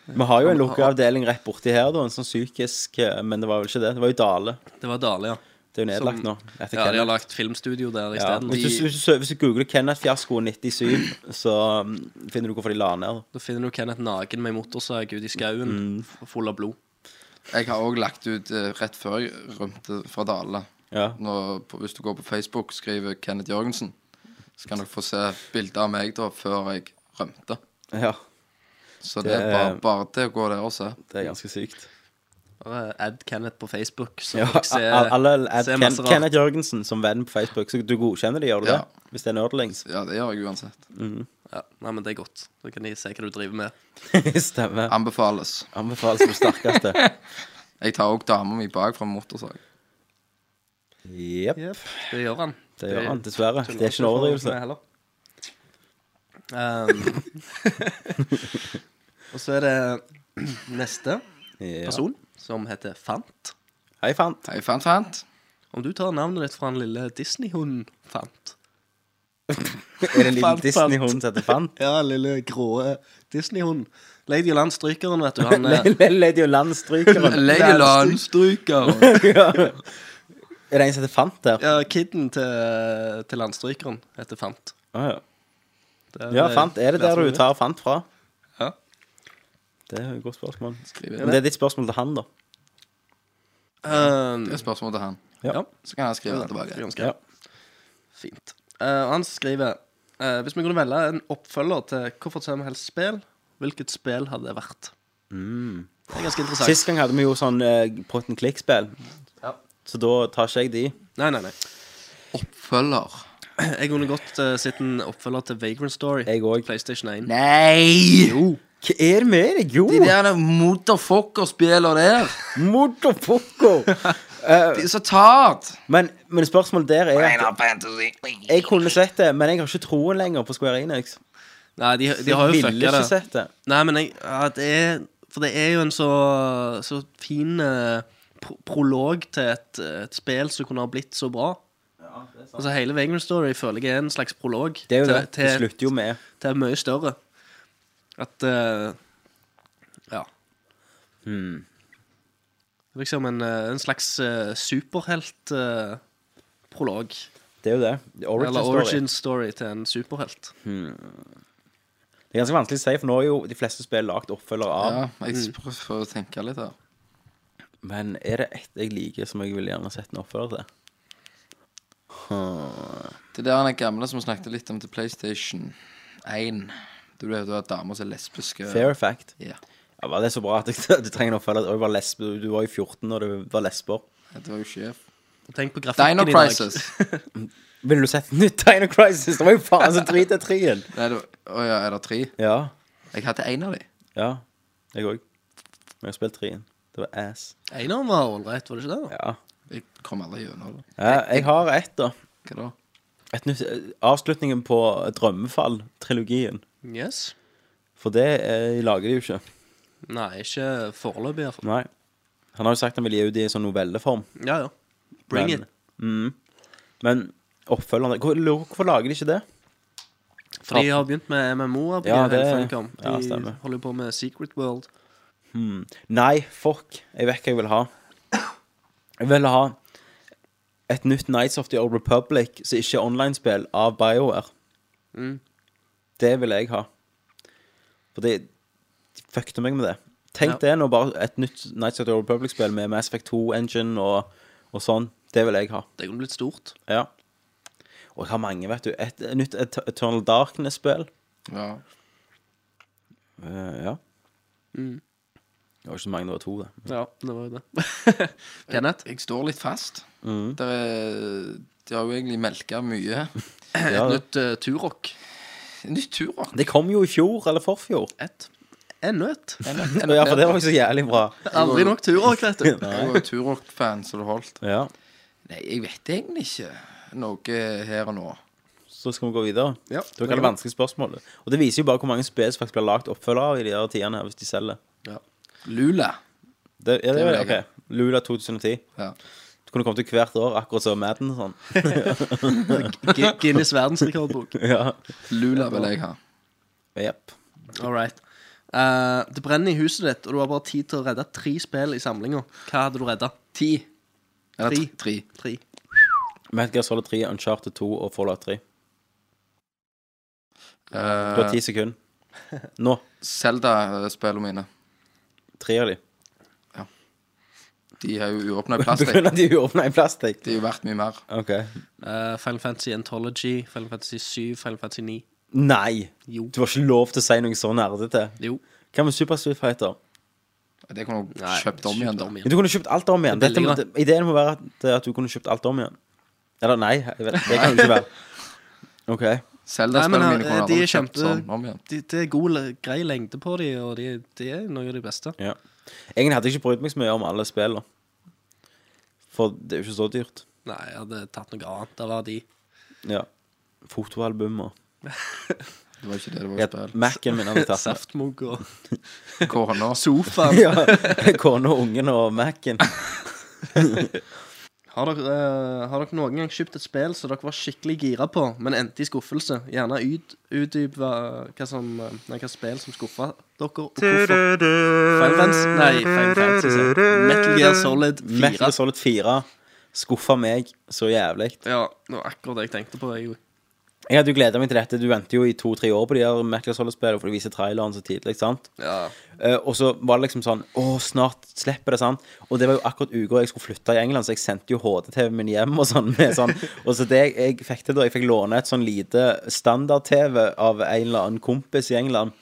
S8: Vi har jo en lukka avdeling rett borti her, da. En sånn psykisk eh, Men det var vel ikke det. Det var jo Dale.
S10: Det var Dale, ja.
S8: Det er jo nedlagt
S10: Som-
S8: nå. etter
S10: Ja, de har
S8: Kenneth.
S10: lagt filmstudio der
S8: Ja.
S10: isteden.
S8: Hvis, du,
S10: Ja,
S8: hvis, du, sø- hvis du googler Kenneth-fiaskoen 97, så mm, finner du hvorfor de la ned.
S10: da finner du Kenneth naken med motorsag ute i skauen,
S8: Mm.
S10: f- full av blod.
S9: Jeg har òg lagt ut eh, rett før jeg rømte fra Dale. Nå, på, hvis du går på Facebook, skriver Kenneth Jørgensen, så kan dere få se bilder av meg da før jeg rømte.
S8: Ja.
S9: Så det, er bare, bare til å gå der og se.
S8: Det er ganske sykt.
S10: Bare add Kenneth på Facebook, så
S8: Ja,
S10: får dere se,
S8: a- a- alle er
S10: se
S8: Ken,
S10: masse rart.
S8: Kenneth Jørgensen som venn på Facebook, så du godkjenner det, gjør du
S9: Ja. (laughs)
S8: det? Hvis det er nerdlings? (laughs)
S9: Ja, det gjør jeg uansett.
S8: Mhm.
S10: Ja, Nei, men det er godt. Da kan de se hva du driver med.
S8: Stemmer.
S9: Anbefales.
S8: Anbefales på sterkeste.
S9: jeg tar òg dama mi bak fra motorsag.
S8: Jepp.
S10: Det gjør han.
S8: Det gjør han, dessverre. Det er ikke en overdrivelse. (laughs)
S10: overdrivelse. Um, (laughs) og så er det (clears throat) neste
S8: Ja.
S10: person, som heter Fant.
S8: Hei, Fant.
S9: Hei, fant, fant.
S10: Om du tar navnet ditt fra den lille Disney-hunden Fant
S8: Er det en liten
S10: Fant,
S8: Disney-hund som heter
S10: (laughs)
S8: Fant?
S10: Ja, lille grå Disney-hunden. Lady Land strykeren, vet du. (laughs) Han er
S8: (laughs) Lady og Landstrykeren.
S9: Legoland.
S10: (laughs)
S9: Stryker.
S8: Ja. Er det en som heter Fant der?
S10: ja, Kidden til, til landstrykeren heter Fant.
S8: Å, Ah, ja.
S10: Det
S8: ja, Fant. Er det der du
S10: det?
S8: tar Fant fra?
S10: Ja.
S8: Det er et godt spørsmål.
S9: Skriv
S8: Men
S9: inn.
S8: det er ditt spørsmål til han, da.
S10: Um,
S9: Det er spørsmål til han.
S8: Ja.
S9: Så kan han skrive det
S10: Skriver
S9: tilbake.
S10: han skrev. Fint. Eh, og han skriver eh, Hvis vi kunne velge en oppfølger til Hvorfor som helst spill, hvilket spill hadde det vært? Det er ganske
S8: Mm.
S10: interessant.
S8: Sist gang hadde vi jo sånn uh, pot and click-spill.
S10: Ja.
S8: Så da tar ikke jeg de.
S10: Nei, nei, nei.
S9: Oppfølger.
S10: Jeg kunne godt uh, sett en oppfølger til Vagrant Story.
S8: Jeg òg.
S10: PlayStation 1.
S9: Nei!
S8: Hva er det med deg? Jo!
S9: De der motherfucker-spiller der.
S8: Motherfucker!
S9: De er så tart.
S8: (laughs) Men, men spørsmålet der er at Jeg kunne sett det, men jeg har ikke troen lenger på Square Enix.
S10: Nei, de, de har jo
S8: jeg ville
S10: fucka
S8: ikke
S10: det.
S8: sett det.
S10: Nei, men jeg ja, det er, For det er jo en så, så fin eh, pro prolog til et, eh, et spill som kunne ha blitt så bra. Altså Hele Vagrant Story føler jeg er en slags prolog
S8: Det er jo
S10: til,
S8: det. Det
S10: til,
S8: slutter jo med
S10: til mye større. At eh, Ja.
S8: Hmm.
S10: Det er Liksom en, eh, en slags uh, superhelt-prolog.
S8: Det er jo det. The Origin
S10: Eller
S8: story.
S10: origin story til en superhelt.
S8: Det er ganske vanskelig å si, for nå er jo de fleste spill lagd oppfølgere av.
S9: Ja, jeg prøver å tenke litt her.
S8: Men er det ett jeg liker som jeg ville gjerne sett en oppfølger til?
S9: Det der han er gamle som vi snakket litt om til PlayStation 1. Du vet du har damer som er lesbiske.
S8: Fair fact.
S9: Ja.
S8: Ja, var det så bra at jeg- du (laughs) trenger en oppfølger? Du var, lesbe, du var jo 14 når du var lesber.
S9: Det var jo sjef.
S10: Og tenk på grafikken
S9: Dino
S10: i dag. (laughs)
S9: Crisis.
S8: Ville du sett et nytt Dino Crisis? Det var jo faen så drit av treen.
S9: Nei, det var, å ja, er det tre?
S8: Ja.
S9: Jeg hadde én av de.
S8: Ja. Jeg òg. Men jeg har spilt treen. Det var ass.
S10: Eineren var ålreit, var det ikke det? da?
S8: Ja.
S9: Jeg kom aldri gjennom det.
S8: ja jeg har ett, da.
S9: Hva da?
S8: Et nytt, eh, avslutningen på Drømmefall-trilogien.
S10: Yes.
S8: For det eh, lager de jo ikke.
S10: Nei, ikke foreløpig, iallfall.
S8: Nei. Han har jo sagt han vil gi ut det i sånn novelleform.
S10: Ja, ja. Bring
S8: men,
S10: it.
S8: Mm, men oppfølgeren hvor, Hvorfor lager de ikke det?
S10: For de har begynt med MMO-er på
S8: Ja,
S10: hele
S8: det-
S10: Funcom. De
S8: ja, stemmer.
S10: holder jo på med Secret World.
S8: Nei, fuck. Jeg vet hva jeg vil ha. Jeg vil ha et nytt Nights of the Old Republic som ikke er online-spill, av BioWare. Det vil jeg ha. For det de fuckte meg med det. Tenk det nå, bare et nytt Nights of the Old Republic-spill med Mass Effect 2-engine og, og sånn. Det vil jeg ha.
S10: Det kunne blitt stort.
S8: Ja. Og jeg har mange, vet du. Et, et nytt Et- Eternal Darkness-spill.
S9: Ja.
S8: Eh, ja. Det var ikke så mange, det var to, det.
S10: Ja, det var jo det. Kenneth?
S9: Jeg står litt fast.
S8: Mm.
S9: Det er, de har jo egentlig melka mye. eh,
S8: Ja, det.
S10: Nytt uh, Turok.
S9: Nytt turrock.
S8: det kom jo i fjor, eller forfjor.
S10: Ett. Enda et.
S8: (laughs) Ja, for det var jo så jævlig bra.
S10: Aldri nok Turok,
S8: (laughs)
S10: vet du.
S9: Jeg var jo turrock-fan, så det holdt.
S8: Ja.
S9: Nei, jeg vet egentlig ikke noe her og nå.
S8: Så skal vi gå videre.
S10: Ja,
S8: det var det vanskelige spørsmålet. Og det viser jo bare hvor mange spill som faktisk blir lagd oppfølgere av i de her tidene her, hvis de selger.
S9: Lula.
S8: Det, ja, det,
S9: vil
S8: var
S9: jeg
S8: det,
S9: ha.
S8: ok. Lula 2010.
S9: Ja.
S8: Du kunne kommet til hvert år, akkurat som Madden og (laughs) sånn.
S10: Gu- Guinness verdensrekordbok.
S8: Ja.
S9: Lula vil jeg ha.
S8: Jepp.
S10: All right. Eh, det brenner i huset ditt, og du har bare tid til å redde tre spill i samlinga. Hva hadde du redda? Ti.
S9: Eller
S10: Tre.
S9: tre. tre.
S10: Tre.
S8: Metal Gear Solid 3, Uncharted 2 og Fallout 3. Du har
S9: Uh,
S8: ti sekunder. Nå.
S9: Zelda-spillene mine.
S8: Tre (laughs) av de.
S9: De har jo
S8: (laughs)
S9: uåpna
S8: På grunn
S9: plastikk.
S8: av at de er uåpna i plastikk.
S9: Det er jo verdt mye mer.
S8: Ok.
S10: Eh, Final Fantasy Anthology, Final Fantasy 7, Final Fantasy 9.
S8: Nei!
S10: Jo.
S8: Du har ikke lov til å si noe så nerdete.
S10: Jo.
S8: Hva med Super Street Fighter?
S9: Det kunne du kjøpt om igjen, da.
S10: Kjøpt om
S8: Du kunne kjøpt alt om igjen.
S10: Det er
S8: Dette, må-
S10: billigere.
S8: ideen må eh,
S10: (laughs)
S8: være at, at du kunne kjøpt alt om igjen. Eller nei, jeg vet, det kan jo ikke være. OK.
S9: Zelda
S10: Nei, men,
S9: spiller mine
S10: eh,
S9: kommer aldri
S10: de er
S9: til å kjøpe
S10: kjempe-
S9: sånn om igjen.
S10: de, Det er god, le- grei lengde på de Og de, de er noe av de beste
S8: Ja. Egentlig hadde jeg ikke brydd meg så mye om alle spillene. For det er jo ikke så dyrt.
S10: Nei, jeg hadde tatt noe annet av de
S8: Ja. Fotoalbum og
S9: Det var ikke det det var
S10: (laughs)
S8: Ja,
S9: spill.
S8: Mac-en min hadde tatt det.
S10: Saftmugg (laughs) og
S9: Kona.
S10: sofaen
S8: (laughs) ja, (laughs) Kona, ungen og
S10: (laughs)
S8: Mac-en.
S10: Har dere, eh, har dere noen gang kjøpt et spill som dere var skikkelig gira på, men endte i skuffelse? Gjerne ut, utdyp hva, hva, som, eh, nei, hva spill som skuffa dere, og hvorfor. Final Fantasy, nei, Final Fantasy, sa jeg. Metal Gear Solid 4.
S8: Metal Solid 4 skuffa meg så jævlig.
S10: Ja, det var akkurat det jeg tenkte på. Jeg. også.
S8: Jeg hadde jo gleda meg til dette. Du venter jo i to-tre år på de her Metal Solid-spillene, for de viser traileren så tidlig. ikke sant?
S10: Ja.
S8: Eh, og så var det liksom sånn Å, snart slipper det, sant? Og det var jo akkurat uka jeg skulle flytte i England, så jeg sendte jo HD-TV-en min hjem og sånn. (laughs) Med sånn. Og så det jeg, jeg fikk til da, jeg fikk låne et sånn lite standard-TV av en eller annen kompis i England.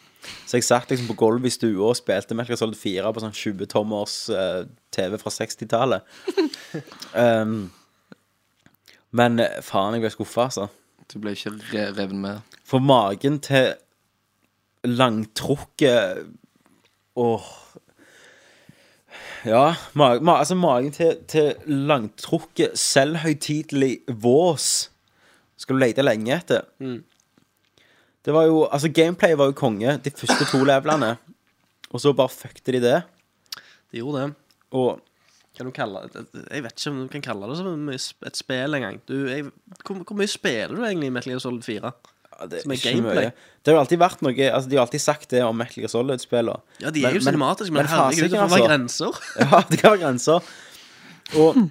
S8: Så jeg satt liksom på gulvet i stua og spilte Metal Gear Solid 4 på sånn 20-tommers eh, TV fra 60-tallet. Ehm, men eh, faen, jeg ble skuffa, altså.
S9: Du ble ikke re reven med.
S8: For magen til langtrukket Åh Ja, ma ma altså magen til, til langtrukket, selvhøytidelig vås skal du lete lenge etter.
S10: Mm.
S8: Det var jo Altså, gameplay var jo konge, de første to levelene. Og så bare fuckte de det.
S10: De gjorde det.
S8: Og
S10: Kan du kalle det Jeg vet ikke om du kan kalle det så mye sp- et spill engang. Du, jeg- Hvor, hvor mye spiller du egentlig i Metal Gear Solid 4?
S8: ja, det,
S10: Som er
S8: ikke
S10: gameplay.
S8: mye. det har jo alltid vært noe Altså, De har alltid sagt det om Metal Gear Solid-spillene.
S10: Ja, de er jo cinematiske, men,
S8: faen,
S10: herregud, det
S8: sikkert,
S10: får være
S8: altså.
S10: grenser. (laughs)
S8: Ja, (laughs) det kan være grenser. Og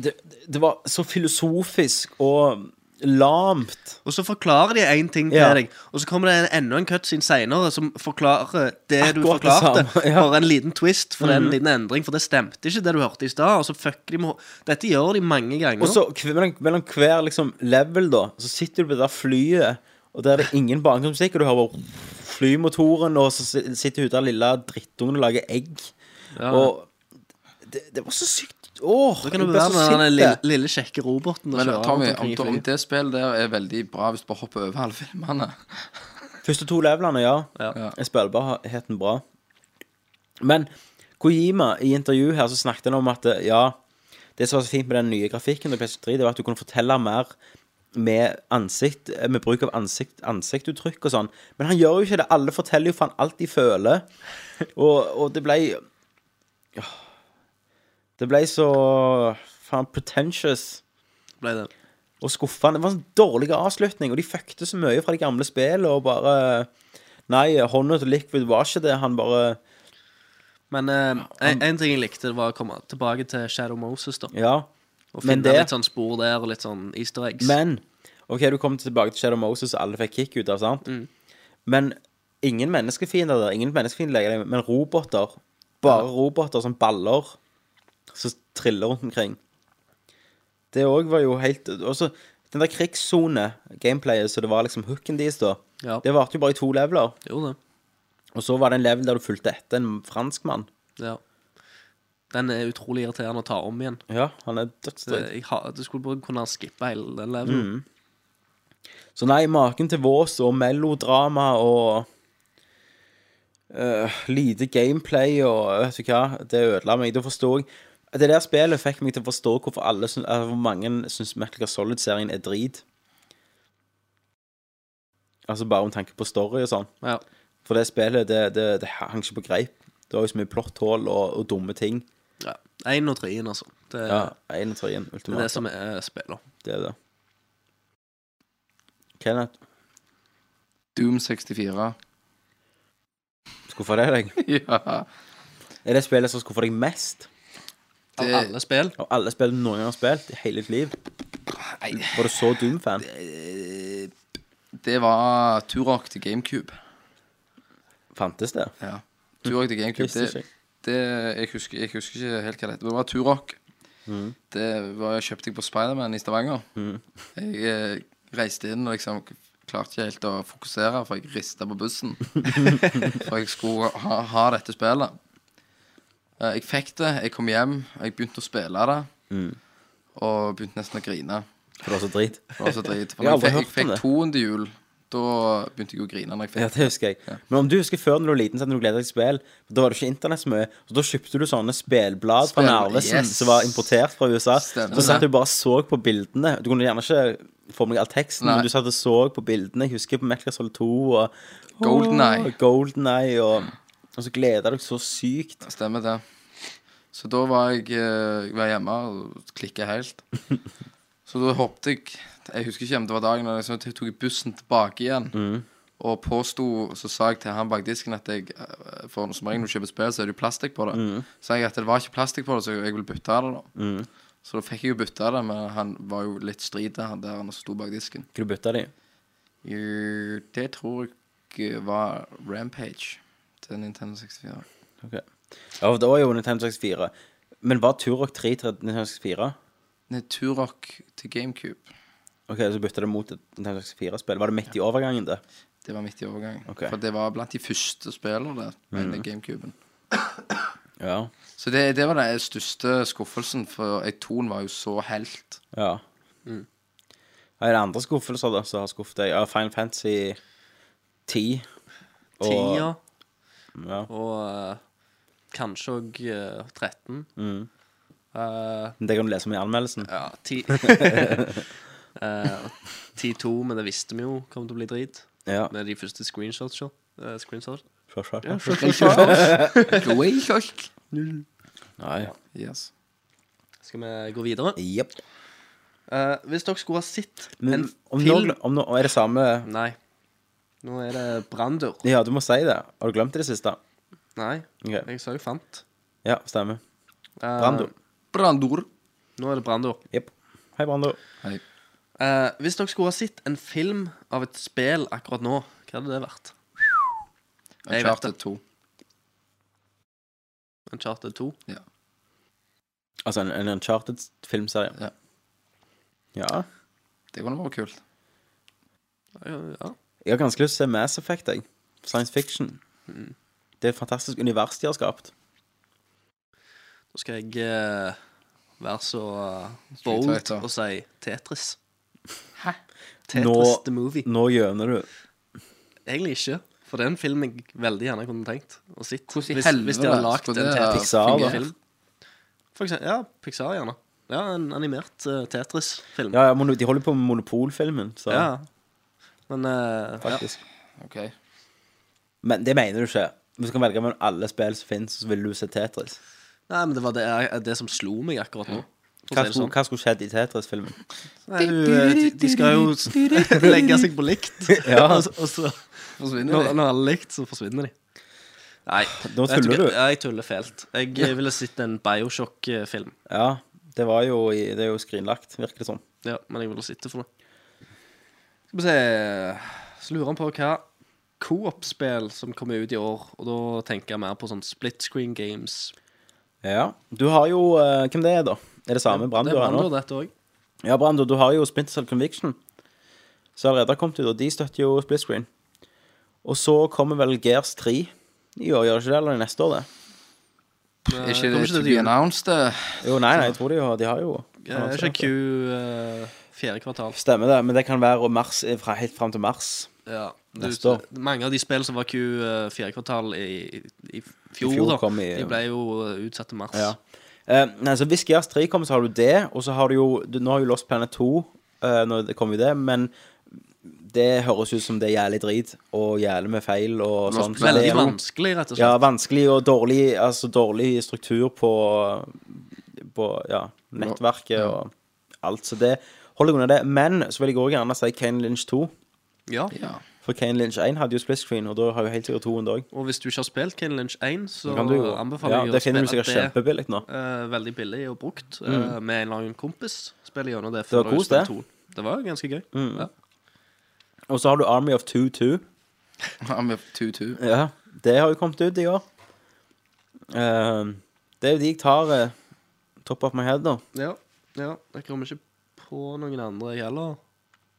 S8: det, det var så filosofisk og lamt.
S10: Og så forklarer de én ting til
S8: Ja.
S10: deg, og så kommer det en, enda en cutscene seinere som forklarer det du
S8: Akkurat det
S10: forklarte,
S8: samme, ja. Mhm.
S10: for en liten twist, for en liten endring, for det stemte ikke, det du hørte i stad. Og så fucker de med Dette gjør de mange ganger.
S8: Og så kve- mellom, mellom hver liksom, level, da, så sitter du på det der flyet, og der er det ingen bakgrunnsmusikk, og du hører bare flymotoren, og så si- sitter hun der lille drittungen og lager egg. Og det, det var så sykt. Åh,
S10: da kan du
S8: jeg ble
S10: være
S8: så
S10: med den
S8: sint,
S10: lille,
S8: jeg.
S10: lille kjekke roboten og
S9: Men
S10: kjøre
S9: Tommy,
S10: rundt
S9: om,
S10: omkring
S9: om
S10: i flyet.
S9: det spillet der er veldig bra hvis du bare hopper over alle filmene
S8: Første to levelene, ja.
S10: Ja.
S8: Er spillbarheten bra. Men Kojima, i intervju her, så snakket han om at eh, ja, det som var så fint med den nye grafikken, til PlayStation 3, det var at du kunne fortelle mer med ansikt, eh, med bruk av ansikt, ansiktuttrykk og sånn. Men han gjør jo ikke det. Alle forteller jo faen alt de føler. Og, og det ble ja, Det ble så faen pretentious
S10: Ble det.
S8: og skuffende. Det var en sånn dårlig avslutning, og de fuckte så mye fra de gamle spillene og bare Nei, hånda til Liquid var ikke det. Han bare
S10: Men eh, en, en ting jeg likte, det var å komme tilbake til Shadow Moses, da.
S8: Ja.
S10: Og
S8: men
S10: finne
S8: det-
S10: litt sånn spor der, og litt sånn easter eggs.
S8: Men OK, du kom tilbake til Shadow Moses, og alle fikk kick ut av, sant? Men ingen menneskefiender der. Ingen menneskefiender, legger deg, men roboter. Bare roboter som baller som triller rundt omkring. Det òg var jo helt Også den der krigssone-gameplayet, så det var liksom hooken deres, da.
S10: Ja.
S8: Det varte jo bare i to leveler.
S10: Jo, det.
S8: Og så var det en level der du fulgte etter en franskmann.
S10: Ja. Den er utrolig irriterende å ta om igjen.
S8: Ja, han er
S10: Det,
S8: dødsdrøy.
S10: jeg ha, du skulle bare kunne skippe hele den
S8: Mm.
S10: levelen.
S8: Så nei, maken til vås og melodrama og øh, lite gameplay og eh, vet du hva, det ødela meg. Da forstår jeg Det der spillet fikk meg til å forstå hvorfor alle syn- eh, hvor mange syns Metal Gear Solid-serien er drit. Altså bare om tanke på story og sånn.
S10: Ja.
S8: For det spillet, det, det, det hang ikke på greip. Det var jo så mye plotthull og, og dumme ting.
S10: Ja. Én og treen, altså. Det er
S8: Ja, 1 og 3
S10: det, er det
S8: ultimat.
S10: som er spiller.
S8: Det er det. Kenneth,
S9: Doom 64.
S8: skuffa det deg?
S9: (laughs) ja.
S8: Er det spillet som skuffer deg mest
S10: Av
S9: Det-
S10: alle spill.
S8: av alle spill du noen gang har spilt i hele ditt liv?
S9: Nei,
S8: Var du så Doom-fan?
S10: Eh,
S9: det var Turok til GameCube.
S8: Fantes det?
S9: Ja. Turok til GameCube.
S8: Visste ikke jeg.
S9: Det, det, jeg, husker, jeg husker ikke helt hva det het. men Det var Turok.
S8: Mm.
S9: Det var, jeg kjøpte jeg på Spiderman i Stavanger. Jeg eh, reiste inn og liksom klarte ikke helt å fokusere, for jeg rista på
S8: (laughs)
S9: bussen. for jeg skulle ha, ha dette spillet. Eh,
S8: Mm.
S9: Jeg fikk det, jeg kom hjem, jeg begynte å spille det. Og begynte nesten å grine.
S8: For det var så drit.
S9: Det var så drit. For
S8: Jeg har
S9: jeg,
S8: aldri
S9: fikk- jeg
S8: hørt om
S9: fikk
S8: det.
S9: toende jul. Da begynte jeg å grine. når
S8: (laughs)
S9: jeg
S8: Ja,
S9: fikk
S8: det husker jeg. Men om du husker før når du var liten, så hadde du gledet deg til spill. Da var det ikke internett så mye. Så da kjøpte du sånne spelblad fra
S9: Spel-
S8: Narvesen
S9: yes.
S8: som var importert fra USA.
S9: Stemmer
S8: Så satt
S9: det.
S8: du bare og så på bildene. Du kunne gjerne ikke få med deg all teksten,
S9: Nei.
S8: men du satt og så på bildene. Jeg husker på Metal Gear Solid 2 og
S9: GoldenEye.
S8: Åh, GoldenEye og, og så gleda dere så sykt.
S9: Stemmer det. Så da var jeg, eh, jeg var hjemme og klikka helt. Så da hoppet jeg Jeg husker ikke om det var dagen, men så tok jeg bussen tilbake igjen. Og påsto, så sa jeg til han bak disken at jeg eh, For som regel når du kjøper spill, så er det jo plastikk på det. Så jeg at det var ikke plastikk på det, så jeg ville bytte av det. da Så da fikk jeg jo bytta det, men han var jo litt strid han der han sto bak disken.
S8: Hva du bytta de?
S9: Jo, Det tror jeg var Rampage til Nintendo 64.
S8: Ok. Ja, for det var jo Nintendo 64. Men var Turok 3 til Nintendo 64?
S9: Nei, Turok til GameCube.
S8: Ok, Så bytta det mot et Nintendo 64-spill. Var det midt i overgangen, det?
S9: Det var midt i overgang.
S8: Ok. Mm.
S9: For det var blant de første spillene der, mener jeg, GameCuben.
S8: Ja.
S9: Så det, det var den største skuffelsen, for Eikton var jo så helt.
S8: Ja.
S10: Mm.
S8: Er det andre skuffelser da, som har skuffet deg? Ja, Final Fantasy 10. Og-
S10: Tida,
S8: Ja.
S10: og eh, kanskje eh, òg 13.
S8: Mm.
S10: Eh,
S8: Men Det kan du lese om i anmeldelsen.
S10: ja,
S8: (laughs)
S10: 10 (laughs) Eh, og 10-2, men det visste vi jo kom til å bli drit.
S8: Ja.
S10: Med de første screenshotsene. Uh, screenshot.
S8: Sure, sure,
S10: Ja,
S8: sure.
S9: (laughs) Greyhulk.
S8: Nei.
S9: Yes.
S10: Skal vi gå videre?
S8: Jep.
S10: Eh, hvis dere skulle ha sett en
S8: Men om
S10: film
S8: nå, om nå er det samme
S10: Nei. Nå er det branndør.
S8: Ja, du må si det. Har du glemt det siste?
S10: Nei,
S8: Ok.
S10: jeg sa jeg fant.
S8: Ja, stemmer.
S10: Eh,
S8: Brando.
S9: Brandor.
S10: Nå er det branndør.
S8: Jep. Hei, Brando.
S9: Hei.
S10: Eh, hvis dere skulle ha sett en film av et spill akkurat nå, hva hadde det vært? Jeg vet
S9: Uncharted 2.
S10: Uncharted 2?
S8: Altså en, en Uncharted-filmserie.
S9: Ja.
S8: ja.
S9: Det kunne vært kult.
S10: Ja, ja.
S8: Jeg har ganske lyst til å se Mass Effect, jeg. Science fiction.
S10: Mm.
S8: Det er et fantastisk univers de har skapt.
S10: Da skal jeg eh, være så eh,
S9: Street
S10: bold
S9: Fighter.
S10: og si Tetris.
S9: Hæ?
S10: Tetris
S8: Nå-
S10: the Movie.
S8: Nå gjøner du.
S10: Egentlig ikke. For det er en film jeg veldig gjerne kunne tenkt å sett.
S9: Hvordan i
S10: Hvis, hvis de
S9: helvete
S10: hadde lagd en
S9: skulle det
S10: Tetris.
S8: Pixar, da.
S10: film. For eksempel, ja, Pixar gjerne. Ja, en animert eh, Tetris-film.
S8: Ja, ja, mono- de holder på med Monopol-filmen, så
S10: Ja. Men eh,
S8: faktisk.
S9: OK.
S8: Men det mener du ikke. Hvis du kan velge mellom alle spill som finnes, så vil du se Tetris.
S10: ja. Nei, men det var det, eh, det som slo meg akkurat nå.
S8: Hva
S10: for å si det
S8: skulle,
S10: sånn.
S8: hva skulle skjedd i Tetris-filmen?
S10: Nei, du, eh, de- de skal jo s- legge seg på likt.
S8: Ja.
S10: og, så- og så,
S9: Forsvinner
S10: når,
S9: det?
S10: når alle er likt, så forsvinner de. Nei,
S8: Nå
S10: vet
S8: tuller
S10: hva?
S8: du.
S10: Ja, jeg tuller fælt. Jeg eh, ville sett en Bioshock-film.
S8: Ja, det var jo i- Det er jo skrinlagt, virker det som.
S10: Ja, men jeg ville sitte for det. Skal vi se Så lurer han på hva Coop-spill som kommer ut i år, og da tenker jeg mer på sånn split screen games.
S8: Ja. Du har jo eh, Hvem det er, da? Er det samme Brann
S10: det
S8: du har nå?
S10: vandrer dette òg.
S8: Ja, Brando, du har jo Splinter Cell Conviction. Så allerede har kommet ut, og de støtter jo split screen. Og så kommer vel Gears 3 i år, gjør det ikke det? Eller neste år, det?
S9: Er ikke
S10: kommer
S9: det
S10: ikke
S9: to
S10: til
S9: be
S10: jul.
S9: announced? det?
S8: Jo, nei, nei, jeg tror de har, de har jo
S10: Er ikke Q eh, fjerde kvartal?
S8: Stemmer det, men det kan være mars, eh, fra, helt fram til mars.
S10: Ja, du,
S8: Neste år.
S10: Mange av de spill som var Q eh, fjerde kvartal i, i, i fjor,
S8: I fjor
S10: da,
S8: kom i-
S10: de ble jo eh, utsatt til mars.
S8: Ja. Eh, nei, så Hvis Gears 3 kommer, så har du det. Og så har du jo du, Nå har jo Lost Planet 2, eh, når det kommer jo det, men det høres ut som det er jævlig drit og jævlig med feil og
S9: Lost
S8: sånn. så
S10: Veldig
S8: det er jo-
S10: vanskelig, rett og slett.
S8: Ja, vanskelig og dårlig, altså dårlig struktur på, på ja, nettverket og alt. Så det holder jeg unna det. Men så vil jeg også gjerne si Kane Lynch 2.
S10: Ja.
S9: Ja.
S8: For Kane Lynch 1 hadde jo split screen, og da har jo helt sikkert 200 òg.
S10: Og hvis du ikke har spilt Kane Lynch 1, så
S8: Kan du jo
S10: anbefaler
S8: Ja,
S10: jeg
S8: det finner du
S10: spille
S8: sikkert kjempebillig nå.
S10: eh, veldig billig og brukt eh, med en eller annen kompis. Spiller gjennom det. før
S8: var kos,
S10: du
S8: Mm.
S10: spiller
S8: det.
S10: to. Det var ganske gøy. Ja.
S8: Og så har du Army of 2-2.
S9: Ja, med 2-2.
S8: Ja, det har jo kommet ut i år. Eh, det er jo de jeg tar eh, top of my head, da.
S10: Ja. ja. Jeg kommer ikke på noen andre jeg heller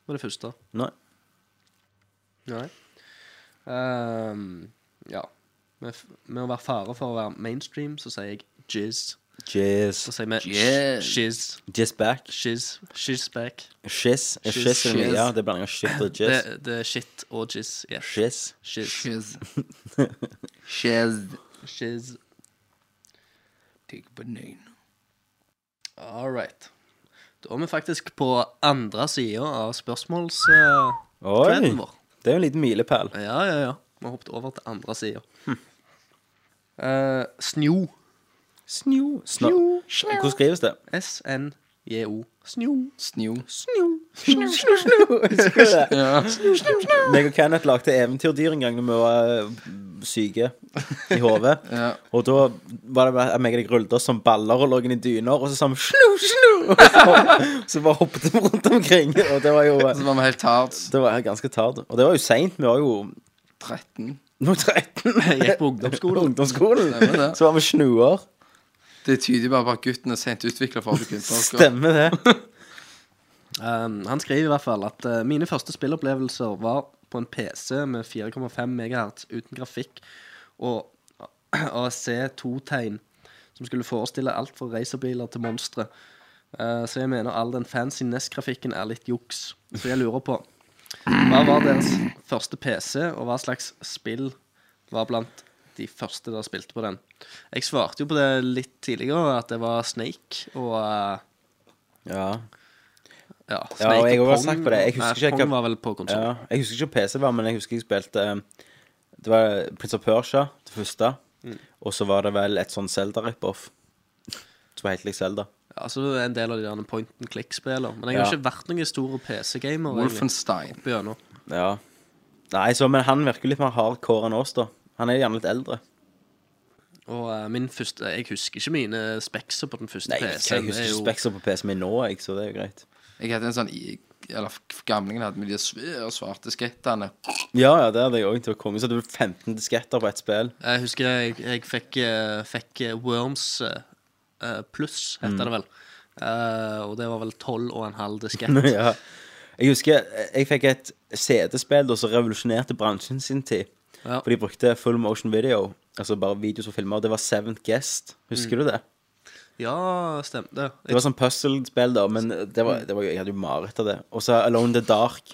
S10: med det første.
S8: Nei.
S10: Nei. Ehm, ja. Med, f- med å være fare for å være mainstream, så sier jeg jizz.
S8: Jizz.
S10: Så sier vi
S9: Jizz.
S10: shiz.
S8: Jizz back.
S10: Shiz. Shiz back.
S8: Shiz. Eh,
S10: Shiz.
S8: shiz er mye. Ja, det er blanding av shit og
S10: Det,
S8: jizz.
S10: det er shit og jizz. Yes.
S8: Shiz.
S10: Shiz.
S9: Shiz. Shiz.
S10: Shiz.
S9: Digg banan.
S10: All right. Da er vi faktisk på andre sida av spørsmålsthreaden
S8: Oi!
S10: vår.
S8: Det er jo en liten milepæl.
S10: Ja, ja, ja. Vi har hoppet over til andre sida. Eh, snjo.
S8: Snjo. Snå. Hvordan skrives det?
S10: S-N-J-O. Snjo.
S9: Snjo. (laughs)
S8: Meg og Kenneth lagde eventyrdyr en gang da vi var eh, syke i
S10: (laughs)
S8: hodet. Og da var det bare at meg og deg rullet oss som baller og lå inn i dyner, og så sa vi snu, snu! (laughs) Og så, så bare hoppet vi rundt omkring, og det var jo eh,
S9: Så var vi helt hardt.
S8: det var ganske tard. Og det var jo seint. Vi var jo
S9: 13.
S8: nå 13.
S10: Gikk på ungdomsskolen.
S8: ungdomsskolen.
S9: Stemmer det.
S8: Så var vi snuer.
S9: Det tyder bare på at gutten er sent utvikla for å bli kunstner.
S8: Stemmer det.
S10: Um, han skriver i hvert fall at eh, mine første spillopplevelser var på en PC med 4,5 MHz uten grafikk og ASC2-tegn som skulle forestille alt fra racerbiler til monstre. Eh, så jeg mener all den fancy NES-grafikken er litt juks. Så jeg lurer på Hva var deres første PC, og hva slags spill var blant de første dere spilte på den? Jeg svarte jo på det litt tidligere, at det var Snake og eh,
S8: Ja.
S10: ja,
S8: Ja, og jeg har også sagt på det. Jeg husker
S10: Nei,
S8: ikke hva-
S10: Pong var vel på konsoll.
S8: ja. Jeg husker ikke hva PC var, men jeg husker jeg spilte eh, Det var Prince of Persia, det første. Og så var det vel et sånn Zelda-rip-off. Som var helt lik Zelda.
S10: Altså en del av de der point and click-spillene. Men jeg har
S8: Ja.
S10: ikke vært noen stor PC-gamer. egentlig,
S9: Wolfenstein.
S10: opp igjennom.
S8: Ja. Nei, så, men han virker litt mer hardcore enn oss, da. Han er gjerne litt eldre.
S10: Og eh, min første Jeg husker ikke mine spekser på den første
S8: Nei, jeg,
S10: PC-en.
S8: husker ikke spekser på PC-en min nå, jeg, så det er jo greit.
S9: Jeg hadde en sånn i- Eller gamlingen hadde med de svære svarte skrettene.
S8: Ja, ja, det hadde jeg òg til å komme. Så det ble 15 disketter på ett spill.
S10: Jeg husker jeg, jeg fikk, eh, fikk eh, Worms eh, eh, pluss, heter
S8: Mm.
S10: det vel. Eh, og det var vel tolv og en halv (laughs) diskett.
S8: (laughs) ja. Jeg husker eh, jeg fikk et CD-spill da som revolusjonerte bransjen sin tid.
S10: Ja.
S8: For de brukte full motion video, altså bare video som filmer. Det var Seventh Guest. Husker du det?
S10: ja, stemte det.
S8: Det var sånn puzzle-spill, da, men det var, det var, jeg hadde jo mareritt av det. Og så Alone in the Dark.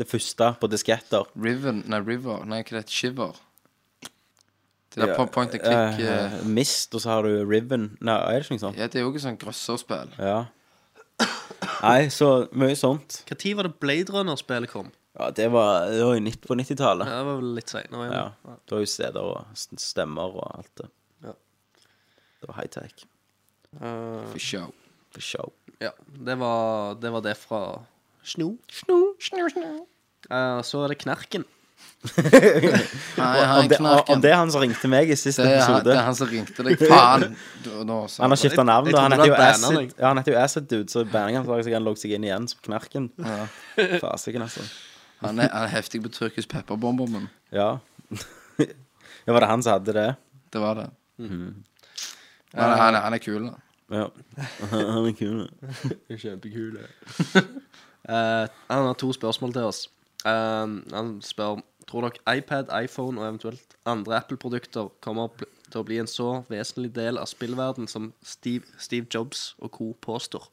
S8: Det første på disketter.
S9: Riven, nei, River. Nei, hva er det? Shiver. Det der
S8: Ja,
S9: på point and click. eh,
S8: Eh, Mist, og så har du Riven. Nei, er det ikke noe sånt?
S9: Ja, det er jo ikke sånn grøsserspill.
S8: Ja. Nei, så mye sånt.
S10: Hva tid var det Blade Runner-spillet kom?
S8: Ja, det var, det var jo nitt- på 90-tallet.
S10: Ja, det var vel litt seinere.
S8: Ja. Det var jo steder og s- stemmer og alt det.
S10: Ja.
S8: Det var high-tech.
S10: Eh,
S9: For show.
S8: For show.
S10: Ja, det var det, var det fra Sno. Eh, så er det Knerken.
S9: Nei, han
S8: Om det, om
S9: knaken.
S8: det er han som ringte meg i siste
S9: Det er, han,
S8: episode
S9: det er han som ringte deg. Faen! Du- Nå, sa
S8: Han har
S9: jeg
S8: skifta navn,
S10: jeg
S8: da. Han heter
S10: trodde
S8: jo
S10: det var bandet,
S8: Acid, ja, han heter jo Acid Dude, så banningen hans var at han logget seg inn igjen som knerken. (laughs) Fasiken, altså.
S9: bare- han, er, han er heftig på turkisk pepperbomber, men
S8: Ja. (laughs) ja, var det han som hadde det?
S9: det var det.
S8: Mhm.
S9: Han, er- han,
S8: Eh.
S9: er- han er kul, da.
S8: Ja. (laughs) Han er kul.
S10: Eh, han har to spørsmål til oss. Eh, han spør Tror dere iPad, iPhone og eventuelt andre Apple-produkter kommer pl- til å bli en så vesentlig del av spillverden som Steve, Steve Jobs og co. påstår?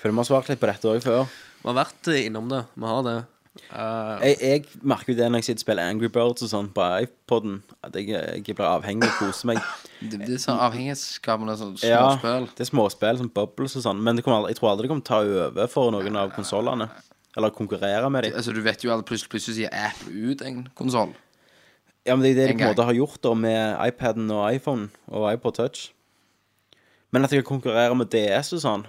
S8: Føler vi har svart litt på dette òg før.
S10: Vi har vært eh, innom det. Vi har det. Eh,
S8: Jeg, jeg merker jo det når jeg sitter og spiller Angry Birds og sånn på iPoden, at jeg, jeg blir avhengig og koser meg.
S9: Det, det er sånn avhengighetsskapende sånn
S8: Ja,
S9: småspill.
S8: det er småspill, sånn Bubbles og sånn, men det kommer aldri, jeg tror aldri det kommer til å ta over for noen av konsollene. Eller konkurrere med dem.
S9: Altså, du vet jo alle plutselig, plutselig sier Apple ut en konsoll.
S8: Ja, men det er det de
S9: En
S8: på en
S9: gang.
S8: måte har gjort da med iPaden og iPhone og iPod Touch. Men at de kan konkurrere med DS og sånn,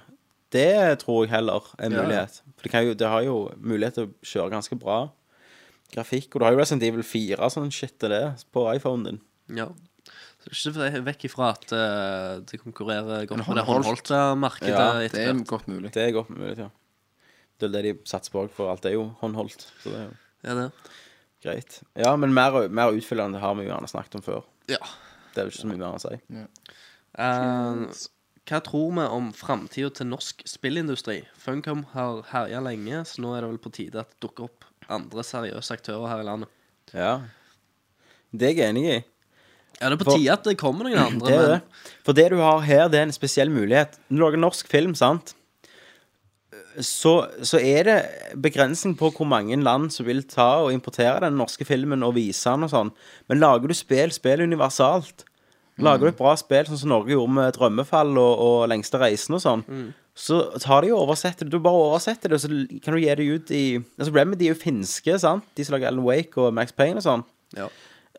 S8: det tror jeg heller er en
S9: Ja.
S8: mulighet. For det, kan jo, det har jo mulighet til å kjøre ganske bra grafikk. Og du har jo Resident Evil 4 og sånn shit til det på iPhonen din.
S10: ja. Så det er ikke vekk ifra at eh, det konkurrerer godt
S9: Men
S10: med det
S9: håndholdt.
S10: håndholdte markedet.
S8: Ja,
S10: etter
S9: Det er
S10: hvert.
S9: godt mulig.
S8: Det er godt mulig, ja. Det er det de satser på, for alt er jo håndholdt. Så det er jo
S10: Ja, det.
S8: greit. Ja, men mer, mer utfyllende har vi jo gjerne snakket om før.
S10: Ja.
S8: Det er jo ikke så mye mer å si.
S10: Eh, hva tror vi om framtida til norsk spillindustri? Funcom har herja lenge, så nå er det vel på tide at det dukker opp andre seriøse aktører her i landet.
S8: Ja. Det er jeg enig i.
S10: Ja, det er på
S8: For-
S10: tide at det kommer noen
S8: (clears throat)
S10: andre.
S8: Det er
S10: men-
S8: det. For det du har her, det er en spesiell mulighet. Når du lager norsk film, sant, så, så er det begrensning på hvor mange land som vil ta og importere den norske filmen og vise den og sånn. Men lager du spill, spill universalt. Lager du et bra spill, sånn som Norge gjorde med 'Drømmefall' og, og 'Lengste reisen' og sånn, så tar de og oversetter det. Du bare oversetter det, og så kan du gi det ut i altså Remedy er jo finske, sant? De som lager Alan Wake og Max Payne og sånn.
S10: Ja.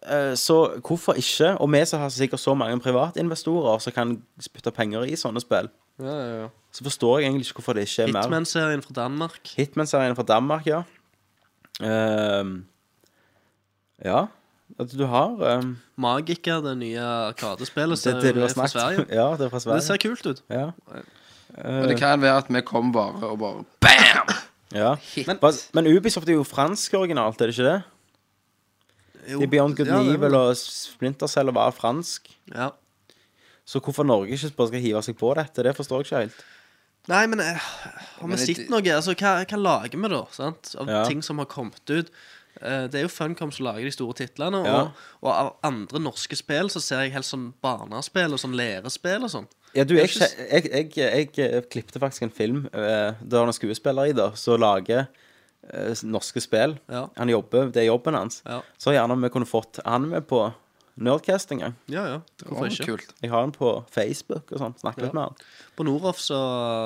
S8: Eh, Så hvorfor ikke? Og vi som har sikkert så mange privatinvestorer som kan spytte penger i sånne spill,
S10: Ja, ja, ja.
S8: så forstår jeg egentlig ikke hvorfor det ikke er mer.
S10: Hitman-serien fra Danmark.
S8: Hitman-serien fra Danmark, ja. Ehm, ja. At du har ehm,
S10: Magica, det nye arkadespillet
S8: det,
S10: som
S8: det du har
S10: er fra
S8: snakket
S10: Sverige.
S8: (laughs) Ja, det er fra Sverige.
S10: Det ser kult ut.
S8: Ja.
S10: Eh.
S9: Og det kan være at vi kom bare og bare BAM!
S8: ja.
S9: Hit.
S8: Men, men Ubisoft er jo fransk originalt, er det ikke det?
S10: Jo,
S8: De Beyond Good
S10: ja, det er vel
S8: Evil og Splinter Cell var fransk.
S10: Ja.
S8: Så hvorfor Norge ikke bare skal hive seg på dette, det forstår jeg ikke helt.
S10: Nei, men eh, har
S9: Men
S10: vi
S9: det-
S10: sett noe? Altså, hva, hva lager vi da? Sant? Av
S8: Ja.
S10: ting som har kommet ut. Eh, det er jo Funcom som lager de store titlene.
S8: Ja.
S10: Og, og av andre norske spill så ser jeg helst sånn barnespill og sånn lærespill og sånn.
S8: Ja, du,
S10: Det er
S8: jeg,
S10: ikke s-
S8: jeg, jeg, jeg, klippte faktisk en film eh, der han er skuespiller i det, som lager eh, s- norske spill.
S10: Ja.
S8: Han jobber, Det er jobben hans.
S10: Ja.
S8: Så gjerne om vi kunne fått han med på Nerdcast en gang.
S10: Ja, ja. Hvorfor
S9: Å,
S10: ikke?
S9: Kult.
S8: Jeg har han på Facebook og sånn. Snakket litt med han.
S10: På Noroff så,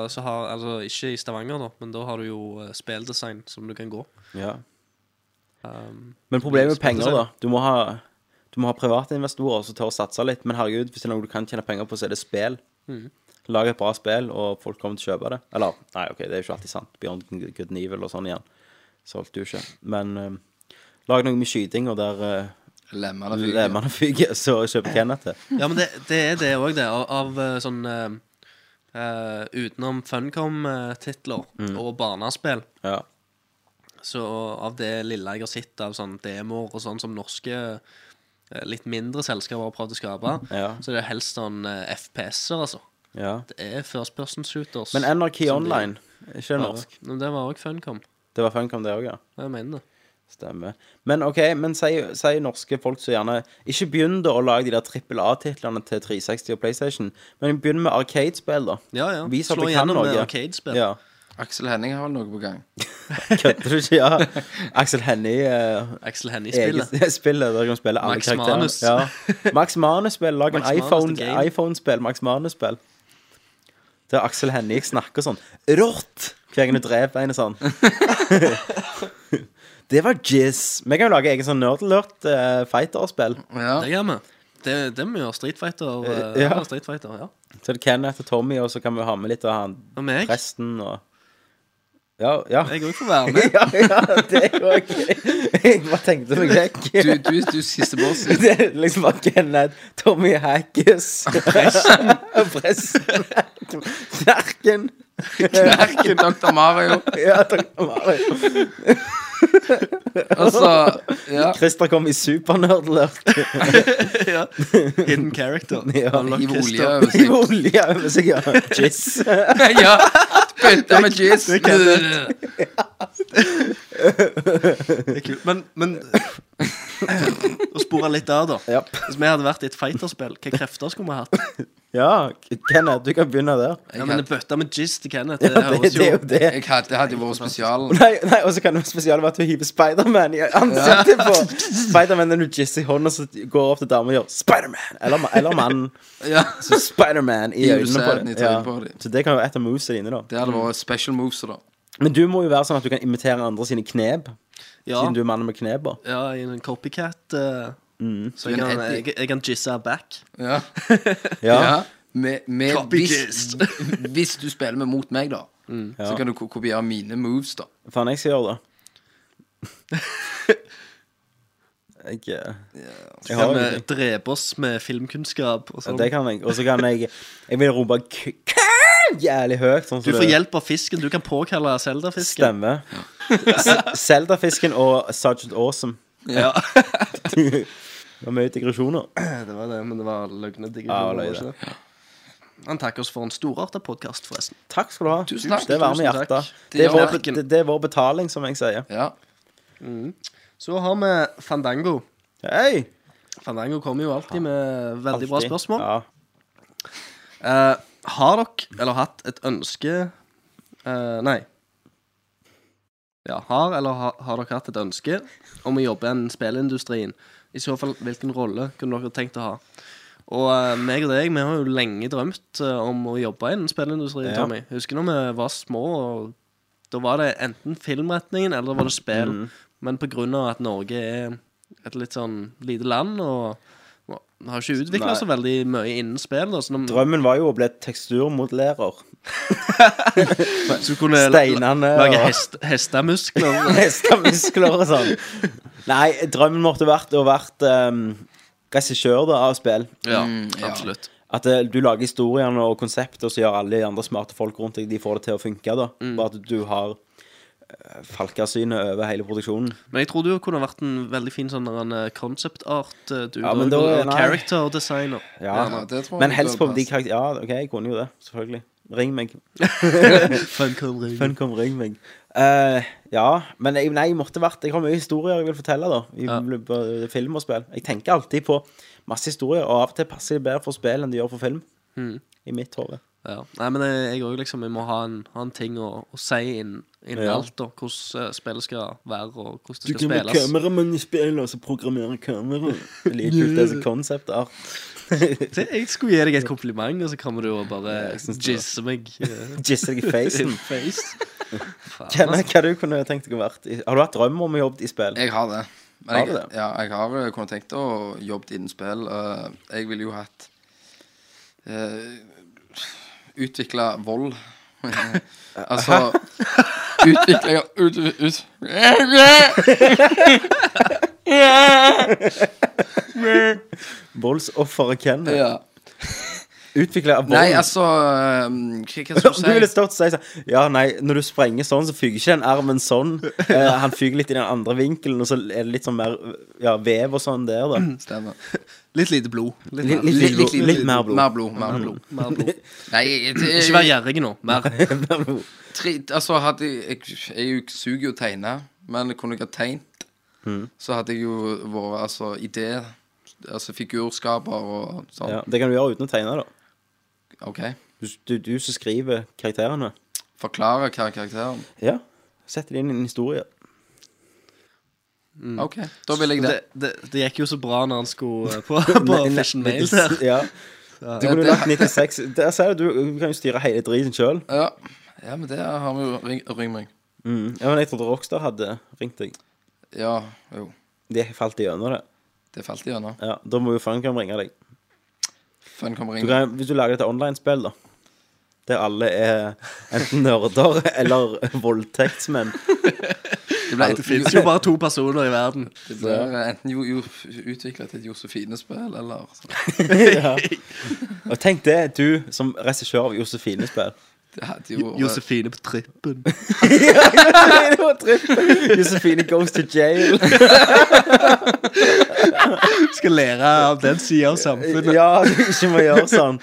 S10: så har Altså ikke i Stavanger, da, men da har du jo eh, spilldesign som du kan gå.
S8: Ja.
S10: Um,
S8: Men problemet med penger, da.
S10: Spennende.
S8: Du må ha Du må ha private investorer som tør å satse litt. Men herregud, hvis det er noe du kan tjene penger på, så er det spill.
S10: Mm.
S8: Lag et bra spill, og folk kommer til å kjøpe det. Eller nei, ok, det er jo ikke alltid sant. Beyond Good and Evil og sånn igjen. Solgte jo ikke. Men eh, lag noe med skyting, og der uh,
S9: Lemmer det fyker.
S8: lemmene (laughs) fyker, så kjøper Kenneth det.
S10: Ja, men det, det er det òg, det. Av, av eh, sånn eh, eh, Utenom Funcom-titler
S8: Mm.
S10: og barnespill,
S8: Ja.
S10: så av det lille jeg har sett av sånn demoer og sånn som norske eh, litt mindre selskaper har prøvd å skape,
S8: Ja.
S10: så det er helst sånn eh, FPS-er, altså.
S8: ja.
S10: Det er first person shooters.
S8: Men NRK
S10: som de-
S8: Online, er ikke det norsk?
S10: Ja, men det var òg Funcom.
S8: Det var Funcom, det òg, ja.
S10: Jeg mener det.
S8: Stemmer. Men OK, men si, si norske folk så gjerne Ikke begynn da å lage de der trippel A-titlene til 360 og PlayStation, men begynn med Arcade-spill, da.
S10: Ja, ja.
S8: Vis at
S10: Slå
S8: du kan
S10: igjennom
S8: noe.
S10: med arcade-spill.
S8: Ja. (laughs)
S9: Aksel Henning har vel noe på gang.
S8: Kødder du ikke? Ja. Axel Hennie uh,
S10: Axel Hennie-spillet.
S8: eget (laughs) spill der du kan spille alle
S10: Max
S8: karakterene.
S10: Manus. (laughs)
S8: Ja. Max Manus-spill. Lag en
S10: Max Manus
S8: iPhone-
S10: the Game.
S8: iPhone-spill. Max Manus-spill. Der Axel Hennie snakker sånn Rått! Hver gang du dreper en og sånn. (laughs) det var jizz. Vi kan jo lage egen sånn nerdlert uh, fighter-spill.
S9: Ja.
S10: Det gjør vi. Det, det må vi gjøre. Street Fighter. eh,
S8: Ja.
S10: ja. Street Fighter ja.
S8: Så det er Kenneth og Tommy, og så kan vi ha med litt av han
S10: Og meg.
S8: presten og Ja, ja.
S10: Jeg òg får være med.
S8: (laughs) ja, ja det er jo ok. Jeg bare tenkte meg vekk.
S9: Du, du, du siste
S8: (laughs)
S9: boss.
S8: Det er liksom bare Kenneth, Tommy Hackes (laughs) Presten. Presten. Knerken.
S9: Knerken Dr. Mario.
S8: Ja, takk for meg.
S9: Og så Altså,
S8: (laughs)
S9: Ja.
S8: Christer kom i supernerdlert.
S10: Hidden character.
S8: (laughs) Ja.
S9: Hiv olje
S10: Christer.
S9: over
S8: I
S9: seg.
S8: olje over seg, ja. Jizz.
S9: (laughs) Ja. Spytta med jizz. (laughs)
S10: Det er kult. Men, men Å spore litt der, da.
S8: Japp.
S10: Hvis vi hadde vært i et fighterspill, hvilke krefter skulle vi
S8: (laughs)
S10: hatt?
S8: Ja, Kenneth, du kan begynne der.
S10: Ja, men en bøtte med jizz til Kenneth,
S8: Ja,
S10: det
S8: det,
S10: høres
S8: det er
S10: jo
S8: jo det.
S9: Jeg hadde, det hadde jo vært
S10: (laughs)
S9: spesialen.
S8: Nei, nei og så kan det være spesielt være at hun hiver Spiderman i ansiktet på Spiderman når du jizzer i hånda, så går hun opp til damer og gjør Spiderman! Eller, ma- eller mannen.
S9: Ja.
S8: Så Spiderman i
S9: Hiver
S8: øynene på
S9: sæden i
S8: det.
S9: trynet
S8: Ja.
S9: på dem.
S8: Så det kan jo være et av movesene dine, da.
S9: Det hadde vært special moves, da.
S8: Men du må jo være sånn at du kan imitere andre sine knep,
S10: Ja,
S8: siden du er mannen med kneper.
S10: ja i en copycat. eh, Så
S8: Mm.
S9: Du
S10: jeg
S9: er en
S10: kan,
S9: Eddie.
S10: jeg, jeg kan jizze her back.
S9: Ja.
S8: Ja.
S9: ja. Med, med,
S10: Copy
S9: hvis,
S10: jizz.
S9: (laughs) hvis du spiller med mot meg, da, så
S8: Mm. Ja.
S9: kan du ko- kopiere mine moves, da.
S8: Faen, jeg skal gjøre det. (laughs) Jeg, eh, jeg har
S10: Kan
S8: jo
S10: vi
S8: ingenting.
S10: drepe oss med filmkunnskap og
S8: Ja,
S10: sånn?
S8: Det kan jeg. Og så kan jeg Jeg vil rope k k jævlig høyt. Sånn som
S10: Du får
S8: det-
S10: hjelp av fisken. Du kan påkalle Zelda-fisken.
S8: Stemmer. Selda-fisken og Sergeant Awesome. (laughs)
S10: (laughs) Ja.
S8: Det var mye digresjoner.
S10: det var det, men det var løgne
S8: Ja, det var
S10: digresjoner. var det ikke det? Han takker oss for en storartet podkast, forresten.
S8: Takk skal du ha.
S9: Tusen takk.
S8: Det varmer
S10: Tusen takk.
S8: hjertet.
S9: Det
S8: Det er,
S9: gjør
S8: vår,
S10: verken.
S8: det, det er vår betaling, som jeg sier.
S9: Ja.
S10: Så har vi Fandango.
S8: Hei!
S10: Fandango kommer jo alltid med veldig bra
S8: Alltid.
S10: spørsmål. Mm.
S8: Ja.
S10: Eh, har dere, eller hatt, et ønske eh, Nei. Ja, har eller ha, har dere hatt et ønske om å jobbe i spillindustrien? I så fall, hvilken rolle kunne dere tenkt å ha? Og eh, meg og deg, vi har jo lenge drømt eh, om å jobbe innen spillindustrien,
S8: Ja.
S10: Tommy. Husker når vi var små, og da var det enten filmretningen eller da var det spill.
S8: Mhm.
S10: Men på grunn av at Norge er et litt sånn lite land, og vi har ikke utvikla så
S8: Nei.
S10: veldig mye innen spill, da, så når,
S8: Drømmen var jo å bli (laughs) teksturmodellerer.
S10: Så du kunne
S8: Steinene
S10: la- lage
S8: og-
S10: hest,
S8: (laughs)
S10: hestemuskler.
S8: Hestemuskler og sånn. Nei, drømmen måtte vært å vært um, regissør da, av spill.
S10: Ja,
S9: ja.
S10: absolutt.
S8: At eh, du lager historiene og konseptet, og så gjør alle de andre smarte folk rundt deg De får det til å funke. da Bare at du har eh, falkasynet over hele produksjonen.
S10: Men jeg tror du kunne vært en veldig fin sånn der en eh, concept art. eh, Du,
S8: Ja,
S10: da,
S8: men da-
S10: og
S8: nei.
S10: character designer.
S8: Ja,
S9: Ja, det tror jeg
S8: Men
S9: det
S8: helst på
S9: bør
S8: de
S9: passe.
S8: karakter... Ja, OK, jeg kunne jo det. Selvfølgelig. Ring meg. Funcom, ring meg. Eh, ja, men jeg, nei, jeg måtte vært Jeg har mye historier jeg vil fortelle, da. I
S10: Ja.
S8: bl- både film og spill. Jeg tenker alltid på masse historier, og av og til passer de bedre for spill enn de gjør for film.
S10: Hmm.
S8: I mitt hode.
S10: Ja. Nei, men jeg- jeg òg liksom Jeg må ha en, ha en ting å, å si innen inn
S8: Ja.
S10: alt, da. Hvordan eh, spillet skal være, og hvordan det skal spilles.
S8: kameramann i spill, og så programmere (laughs) kamera. Like kult, det som konsept (laughs) er.
S10: Se, Jeg skulle gi deg et kompliment, og så kommer du og bare
S8: jeg synes det.
S10: jizze meg eh,
S8: Jizze deg i
S10: in
S8: facen.
S10: face.
S8: (laughs)
S10: Faen, altså.
S8: Kenneth,
S10: ass.
S8: hva du kunne tenkt deg å vært? i- Har du hatt drøm om å jobbe i spill?
S9: Jeg har det. Men
S8: Har
S9: jeg,
S8: du det?
S9: Ja, jeg har eh, kunnet tenkt å jobbe innen spill. Eh, Jeg ville jo hatt Utvikla vold. (laughs) altså Utvikla ut, ut. (laughs)
S8: Voldsofferet Kenneth.
S9: ja.
S8: Utviklet av vold.
S9: Nei, altså eh, Hva, hva
S8: Om (laughs) du
S9: skal
S8: ville
S9: jeg si?
S8: stått og sagt sånn Ja, nei, når du sprenger sånn, så fyker ikke den armen sånn.
S10: (laughs)
S8: Eh, han fyker litt i den andre vinkelen, og så er det litt sånn mer ja, vev og sånn der, da.
S10: Mm.
S9: Stemmer.
S10: Litt lite blod.
S8: Litt- litt- litt- litt- litt mer blod. (laughs) Mm.
S9: Mer blod. Mer blod.
S10: Mer blod.
S9: Nei, jeg- jeg-
S10: Ikke vær gjerrig nå. Mer.
S9: tre, altså hadde jeg, jeg, jeg er jo- suger jo å tegne, men kunne jeg ha tegnet,
S10: Mm.
S9: så hadde jeg jo vært altså, idé, altså figurskaper og sånn.
S8: Ja, det kan du gjøre uten å tegne, da.
S9: OK.
S8: Du, du, du som skriver karakterene.
S9: Forklare hva er karakteren
S8: Ja. Setter det inn i en historie.
S9: OK, da vil jeg det.
S10: Mm. det, det, det gikk jo så bra når han skulle eh,
S8: (laughs)
S10: på, på
S8: Nei,
S10: Fashion
S8: nei,
S10: Mail der.
S8: Ja. Du kunne
S9: det-
S8: lagt 96 Der ser du, du kan jo styre hele driten sjøl.
S9: Ja. ja, men det har vi jo. Ring, ring meg.
S8: Mm. Ja, men jeg trodde Rockstar hadde ringt deg.
S9: Ja, jo.
S8: De falt igjennom det.
S9: Det falt igjennom.
S8: Ja, Da må jo Funcom ringe deg.
S9: Fun kommer
S8: Du
S9: ringe.
S8: kan, hvis du lager et online-spill, da der alle er enten nerder eller (laughs) voldtektsmenn.
S9: Det ble,
S10: Det finnes jo bare to personer i verden.
S9: det ble enten jo, jo utvikla til et Josefine-spill, eller sånn.
S8: ja. Og tenk det, du som regissør av (laughs) Josefine-spill.
S9: Det hadde jo
S10: Josefine på trippen.
S8: Det var trippel. Josefine goes to (laughs) jail.
S10: Skal lære av den sida av samfunnet.
S8: Ja, du ikke må gjøre sånn.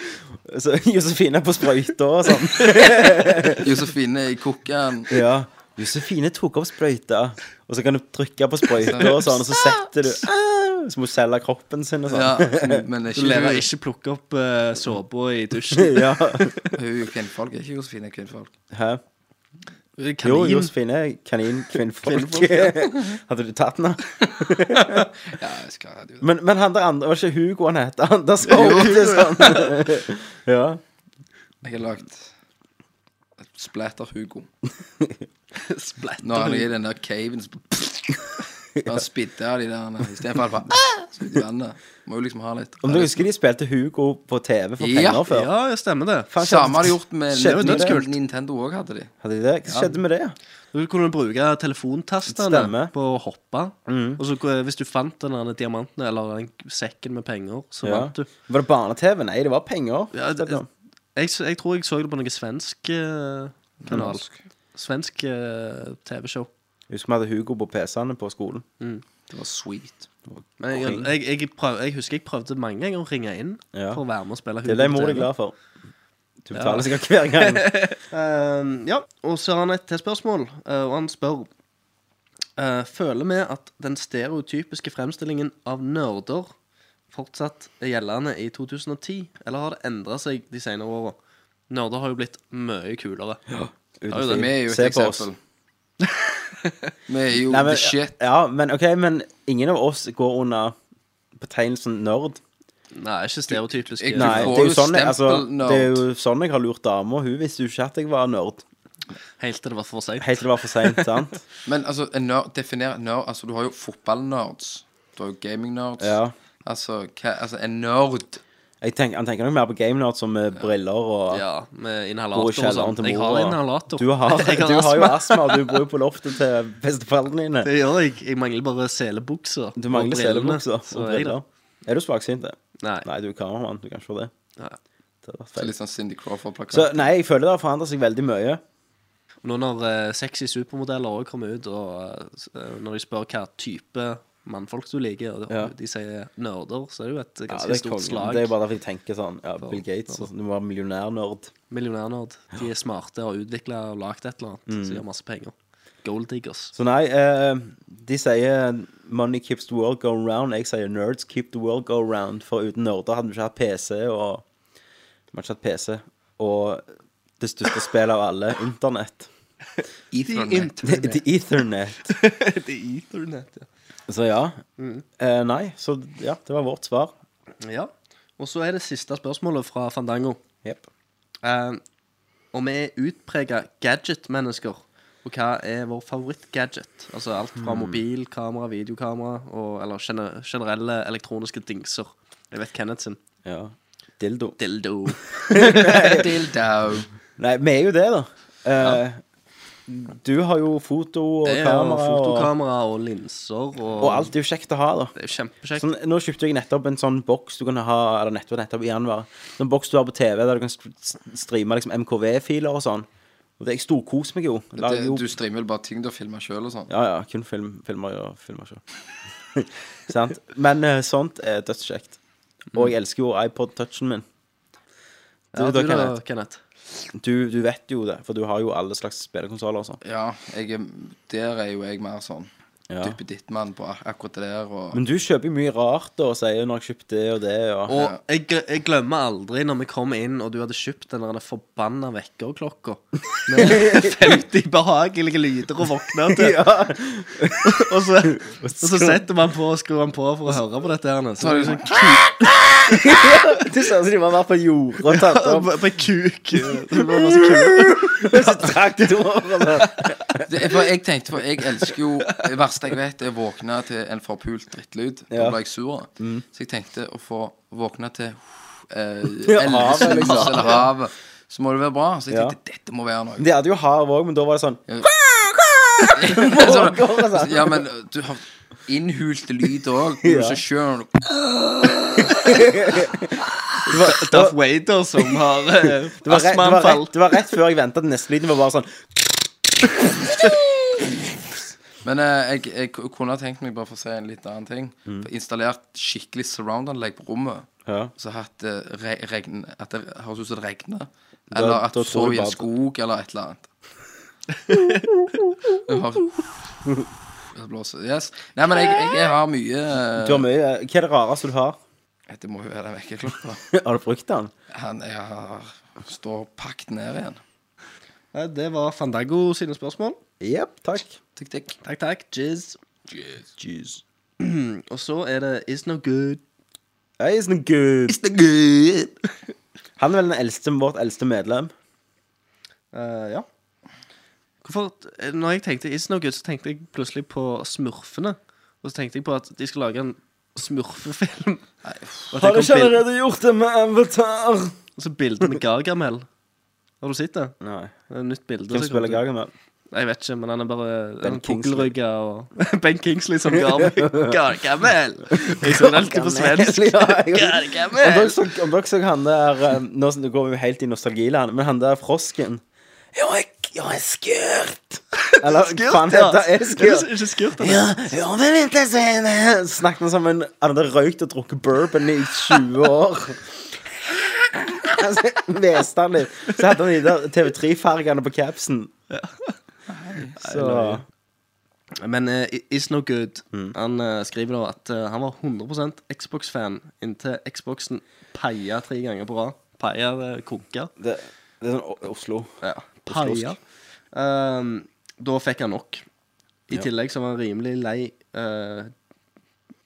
S8: Så Josefine er på sprøyta og sånn.
S9: Josefine i kokken.
S8: Ja. Josefine tok opp sprøyta, og så kan du trykke på sprøyta, og sånn, og så setter du (laughs) Så må du selge kroppen sin og sånn.
S9: Ja, men
S10: Du lærer
S9: ikke
S10: ikke plukke opp uh, såpa i dusjen.
S8: (laughs) Ja.
S9: hun kvinnfolk. Er ikke Josefine kvinnfolk?
S8: Hæ?
S10: Kanin.
S8: (laughs) Jo, Josefine er kanin,
S9: (laughs)
S8: kvinnfolk. (laughs) Hadde du tatt den? da?
S9: Ja, jeg skal ha det.
S8: Men, men han der andre, var ikke Hugo han het? Han der som hodet sånn.
S9: (laughs)
S8: Ja.
S9: Jeg har lagt Splatter Hugo.
S10: Splatter
S9: Når han er i den der caven så Når han spidder av de der Istedenfor at han bare "Ah!" så ut i vannet. Må jo liksom ha litt
S8: Om du husker de spilte Hugo på TV for
S9: Ja.
S8: penger før?
S10: Ja, det stemmer det.
S8: Faen, skjedde-
S9: Samme har de gjort med
S8: Skjedde
S9: Nin-
S8: det?
S9: Nin- Nintendo òg, hadde de.
S8: Hadde de det? Hva skjedde med det?
S10: Du kunne bruke telefontastene
S8: Stemmer. Mm.
S10: på å hoppe. Og så eh, hvis du fant den der diamanten eller den sekken med penger, så
S8: Ja.
S10: vant du.
S8: Var det barne-TV? Nei, det var penger.
S10: Ja, det- Jeg, s- jeg tror jeg så det på noe svensk eh, kanal. Svensk eh, TV-show.
S8: Husker vi hadde Hugo på PC-ene på skolen.
S9: Det var sweet.
S10: Men jeg, jeg, jeg, prøv, jeg husker jeg prøvde mange ganger å ringe inn
S8: Ja.
S10: for å være med og spille
S8: Det er det mor er
S10: TV.
S8: glad for. Du betaler sikkert hver
S9: (laughs)
S8: gang.
S10: Eh, ja, og så har han et til spørsmål, eh, og han spør eh, Føler vi at den stereotypiske fremstillingen av nerder fortsatt er gjeldende i 2010, eller har det endra seg de senere åra? Nerder har jo blitt mye kulere.
S8: Ja,
S10: Det
S8: uten
S10: jo
S8: tvil.
S10: det.
S9: Vi er jo et
S8: Se på oss.
S9: eksempel. Vi er jo
S8: Nei, men-
S9: the shit.
S8: Ja, men ok, men ingen av oss går under betegnelsen nerd.
S10: Nei, ikke stereotypisk.
S9: Jeg-
S8: Nei,
S9: får
S8: det er, jo
S9: jo
S8: sånn, jeg- altså,
S9: stempel-nerd.
S8: det er jo sånn jeg har lurt dama. Hun visste jo ikke at jeg var nerd.
S10: Helt til det var for seint.
S8: Helt til det var for
S10: (laughs)
S8: seint, sant?
S9: Men altså, en nerd, definer nerd Altså, du har jo fotballnerds. Du har jo gaming-nerds.
S8: Ja.
S9: Altså, hva, altså, en nerd
S8: Jeg tenker, han tenker nok mer på game nerd som med briller og
S10: Ja, med
S8: bor i
S10: inhalator og
S8: kjelleren
S10: sånn.
S8: til
S10: Jeg
S8: mor.
S10: har
S8: og-
S10: inhalator.
S8: Du har,
S10: (laughs) Jeg
S8: du har jo
S10: astma.
S8: astma, og du bor jo på loftet til besteforeldrene dine.
S10: Det gjør jeg. Jeg mangler bare selebukser.
S8: Du mangler
S10: og brillene,
S8: selebukser
S10: så
S8: og
S10: er jeg det.
S8: briller. Er du svaksynt? det?
S10: Nei.
S8: Nei, du er kameramann. Du kan ikke få det.
S10: Nei.
S8: Det hadde vært
S9: så
S8: feil.
S9: Litt sånn Cindy Crawford-plakat.
S8: Så nei, jeg føler det har forandret seg veldig mye.
S10: Nå når eh, sexy supermodeller òg kommer ut, og eh, når de spør hva type mannfolk du liker, og
S8: Ja.
S10: de sier nerder, så er det jo et
S8: Ja,
S10: ganske
S8: det, er
S10: stort
S8: kongen.
S10: slag.
S8: det er bare derfor jeg tenker sånn ja, Bill Gates,
S10: for-
S8: du må være millionærnerd.
S10: Millionærnerd. De er smarte og har utvikla og lagd et eller annet,
S8: Mm.
S10: så de har masse penger. Gold diggers.
S8: Så nei, eh, de sier 'money keeps the world go round'. Jeg sier 'nerds keep the world go round'. For uten nerder hadde vi ikke hatt PC, og vi hadde ikke hatt PC. Og det største spillet av alle, internett.
S9: Ethernet.
S8: (laughs) The Ethernet.
S10: Det er Ethernet, ja.
S8: Så ja. Eh, nei, så ja, det var vårt svar.
S10: (laughs) ja. Og så er det siste spørsmålet fra Fandango.
S8: Jep.
S10: Eh, og vi er utprega gadget-mennesker. Og hva er vår favoritt-gadget? Altså alt fra
S8: Hmm.
S10: mobil, kamera, videokamera og eller gene- generelle elektroniske dingser. Jeg vet Kenneth sin.
S8: Ja. Dildo. (laughs)
S10: Dildo.
S9: Dildo.
S8: Nei, vi er jo det, da. Eh, Du har jo foto og
S10: Det er jo
S8: kamera og,
S10: fotokamera og linser og,
S8: og alt er jo kjekt å ha, da.
S10: Det er jo kjempekjekt.
S8: Sånn, nå kjøpte jeg nettopp en sånn boks du kan ha Eller nettopp, nettopp i januar. Sånn boks du har på TV, der du kan st- streame liksom, MKV-filer og sånn. Og det, Jeg storkoser meg jo. Lager
S9: Det,
S8: jo
S9: du streamer vel bare ting du har filma sjøl og sånn.
S8: Ja, ja. Kun film, filmer og filmer selv. (laughs) Sant? Men eh, sånt er dødskjekt. Og jeg elsker jo iPod-touchen min. Du,
S10: Ja,
S8: da,
S10: du da,
S8: Kenneth,
S10: Kenneth.
S8: du, du vet jo det, for du har jo alle slags spillekonsoller og sånn.
S9: Ja, jeg er, der er jo jeg mer sånn
S8: Ja.
S9: dyppe ditt-mann på ak- akkurat det der. Og,
S8: Men du kjøper jo mye rart da, og sier når jeg kjøpte det og det. Og...
S10: Og jeg, gl- jeg glemmer aldri når vi kom inn og du hadde kjøpt den der forbanna vekkerklokka
S8: (laughs)
S10: med 50 behagelige lyder å våkne til. (laughs) og, så, og så setter man på og skrur man på for å høre på dette her.
S9: så
S10: Så
S9: er
S10: er
S9: det
S10: det
S8: (laughs)
S9: sånn
S8: Det ser ut som de må ha vært på jordet og tatt
S10: sånn
S8: opp
S10: på, på
S8: (laughs)
S10: kuk. Det var masse kule.
S8: traktorer.
S9: (laughs) det, er- for jeg tenkte, for jeg elsker jo Det verste jeg vet, er å våkne til en forpult drittlyd. Da
S8: Ja. Mm.
S9: ble jeg sur. Så jeg tenkte å få våkne til eh,
S8: (laughs) Ja,
S9: Elvesen
S8: havet, liksom.
S9: eller havet. Så må det være bra. Så jeg
S8: Ja.
S9: tenkte dette må være noe.
S8: De hadde jo hav òg, men da var det sånn
S9: (laughs) Så- ja, men eh, du har innhulte lyd òg.
S8: altså. (laughs) Ja.
S9: Ja. Sjøl
S8: (laughs)
S10: Duff Wader som har
S8: Det var,
S10: eh,
S8: rett, det, var
S10: astmaanfall.
S8: rett, det var rett før jeg venta at neste lyden var bare sånn
S9: Men eh, jeg, jeg k- kunne ha tenkt meg bare for å si en litt annen ting.
S8: Mm.
S9: For Installert skikkelig surround-anlegg på rommet.
S8: Ja.
S9: Så hatt eh, re regn, at det høres ut som det regner.
S8: Da-
S9: Eller at
S8: da
S9: du
S8: tror
S9: sov
S8: jeg
S9: i en
S8: bare-
S9: skog, eller et eller annet. Jeg har- Det blåser. Yes. Nei, men jeg, jeg, jeg har mye eh,
S8: Du har mye Hva er det rareste du har? (laughs)
S9: Det må jo være den vekkerklokka.
S8: Har du brukt den?
S9: Han jeg har, står pakket ned igjen.
S10: Ja, Det var Fandago sine spørsmål.
S8: Jepp, takk.
S9: Tikk, tikk.
S10: Takk, takk. Jizz. (clears throat) Og så er det Is No Good.
S8: Hey, isn't it good.
S10: Good.
S8: sånn Han er vel den eldste, vårt eldste medlem.
S10: Eh, ja. Hvorfor, eh, når jeg tenkte Is No Good, så tenkte jeg plutselig på smurfene. Og så tenkte jeg på at de skal lage en smurfefilm. (laughs) Og at det kom bild-
S8: gjort det med Avatar?
S10: og så bilde med Gargamel. Har du sett det?
S8: Nei.
S10: Det er et nytt bilde.
S8: Hvem
S10: som
S8: spiller
S10: kom til.
S8: Gargamel?
S10: Jeg vet ikke, men han er bare
S8: Ben
S10: en
S8: Kingsley.
S10: pukkelrygge og (laughs) Ben Kingsley som Gargamel. Gargamel! Jeg så det alltid på svensk.
S8: (laughs) Ja, jeg- Om dere
S10: Gargamel!
S8: så, om dere så han der eh, Nå s- nå går vi jo helt i nostalgiland, men han der frosken Ja, jeg, ja, jeg er skurt! (laughs) Eller hva faen heter det? Er det
S10: Er
S8: skurt?
S10: det ikke skurt? eller?
S8: Ja, ja, men vent litt sen. Snakket som en Han hadde røykt og drukket bourbon i 20 år. Altså, Hveste han litt. Så hadde han de der TV3-fargene på capsen. Så
S10: Men eh, Is No Good Han eh, skriver da at eh, han var 100 Xbox-fan inntil Xboxen paia tre ganger på rad. Paia uh, konka.
S8: Det, er sånn Oslo.
S10: Ja.
S8: Oslosk.
S10: Paia. Ehm, da fikk han nok. I
S8: Ja.
S10: tillegg så var han rimelig lei uh,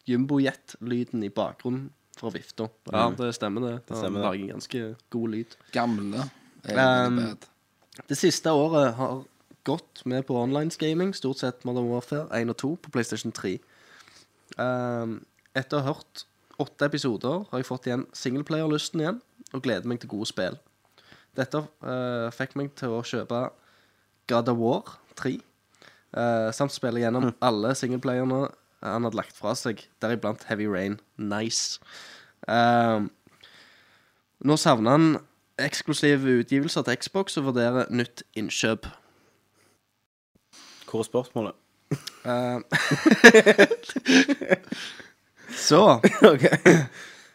S10: jumbojet-lyden i bakgrunnen fra vifta. Ja,
S9: Mm.
S10: det stemmer, det.
S9: Det stemmer det.
S10: han lager ganske god lyd.
S9: Gamle. er
S10: Ehm,
S9: veldig bad.
S10: det siste året har gått med på online-gaming, stort sett Modern Warfare 1 og 2 på PlayStation 3. Ehm, etter å ha hørt åtte episoder har jeg fått igjen singleplayer-lysten igjen, og gleder meg til gode spill. Dette eh, fikk meg til å kjøpe God of War 3, eh, samt spille gjennom alle singleplayerne han hadde lagt fra seg, deriblant Heavy Rain. Nice. Ehm, nå savner han eksklusive utgivelser til Xbox og vurderer nytt innkjøp.
S8: Hvor er spørsmålet?
S10: Eh,
S8: (laughs)
S10: Så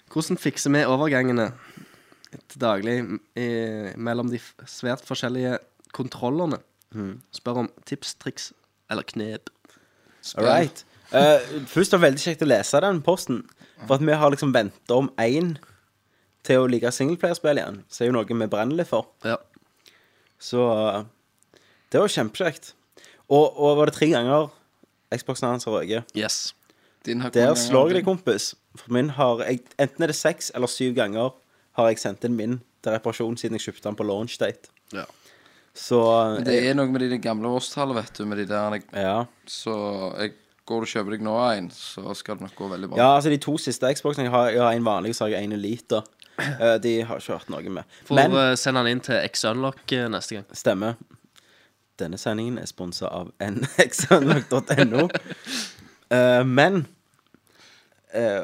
S10: Hvordan fikser vi overgangene til daglig i, mellom de f- svært forskjellige kontrollene?
S9: Mm.
S8: Mhm.
S10: Spør om tips, triks eller knep.
S8: All right. Eh, først var det veldig kjekt å lese den posten. For at vi har liksom venta om én til å like singleplayerspill igjen. Så er jo noe vi brenner litt for. Så eh, det var kjempekjekt. Og, og var det tre ganger Xboxen hans har røket?
S10: Yes.
S9: Din har
S8: Der
S9: kommet en
S8: slår jeg
S9: gang
S8: deg, kompis. For min har jeg, Enten er det seks eller syv ganger har jeg sendt inn min til reparasjon siden jeg kjøpte den på launchdate.
S10: Ja.
S8: Så
S9: Men det er noe med de de gamle årstallene, vet du. Med de der,
S8: eh,
S9: Så jeg går og kjøper deg nå en, så skal det nok gå veldig bra.
S8: Ja, altså de to siste Xboxene Jeg har, jeg har en vanlig, så har jeg en Elite. Eh, de har ikke hørt noe med.
S10: Får
S8: Men
S10: eh, sende den inn til X-Unlock eh, neste gang.
S8: stemmer. Denne sendingen er sponsa av nxunlock.no. (laughs) Eh, men eh,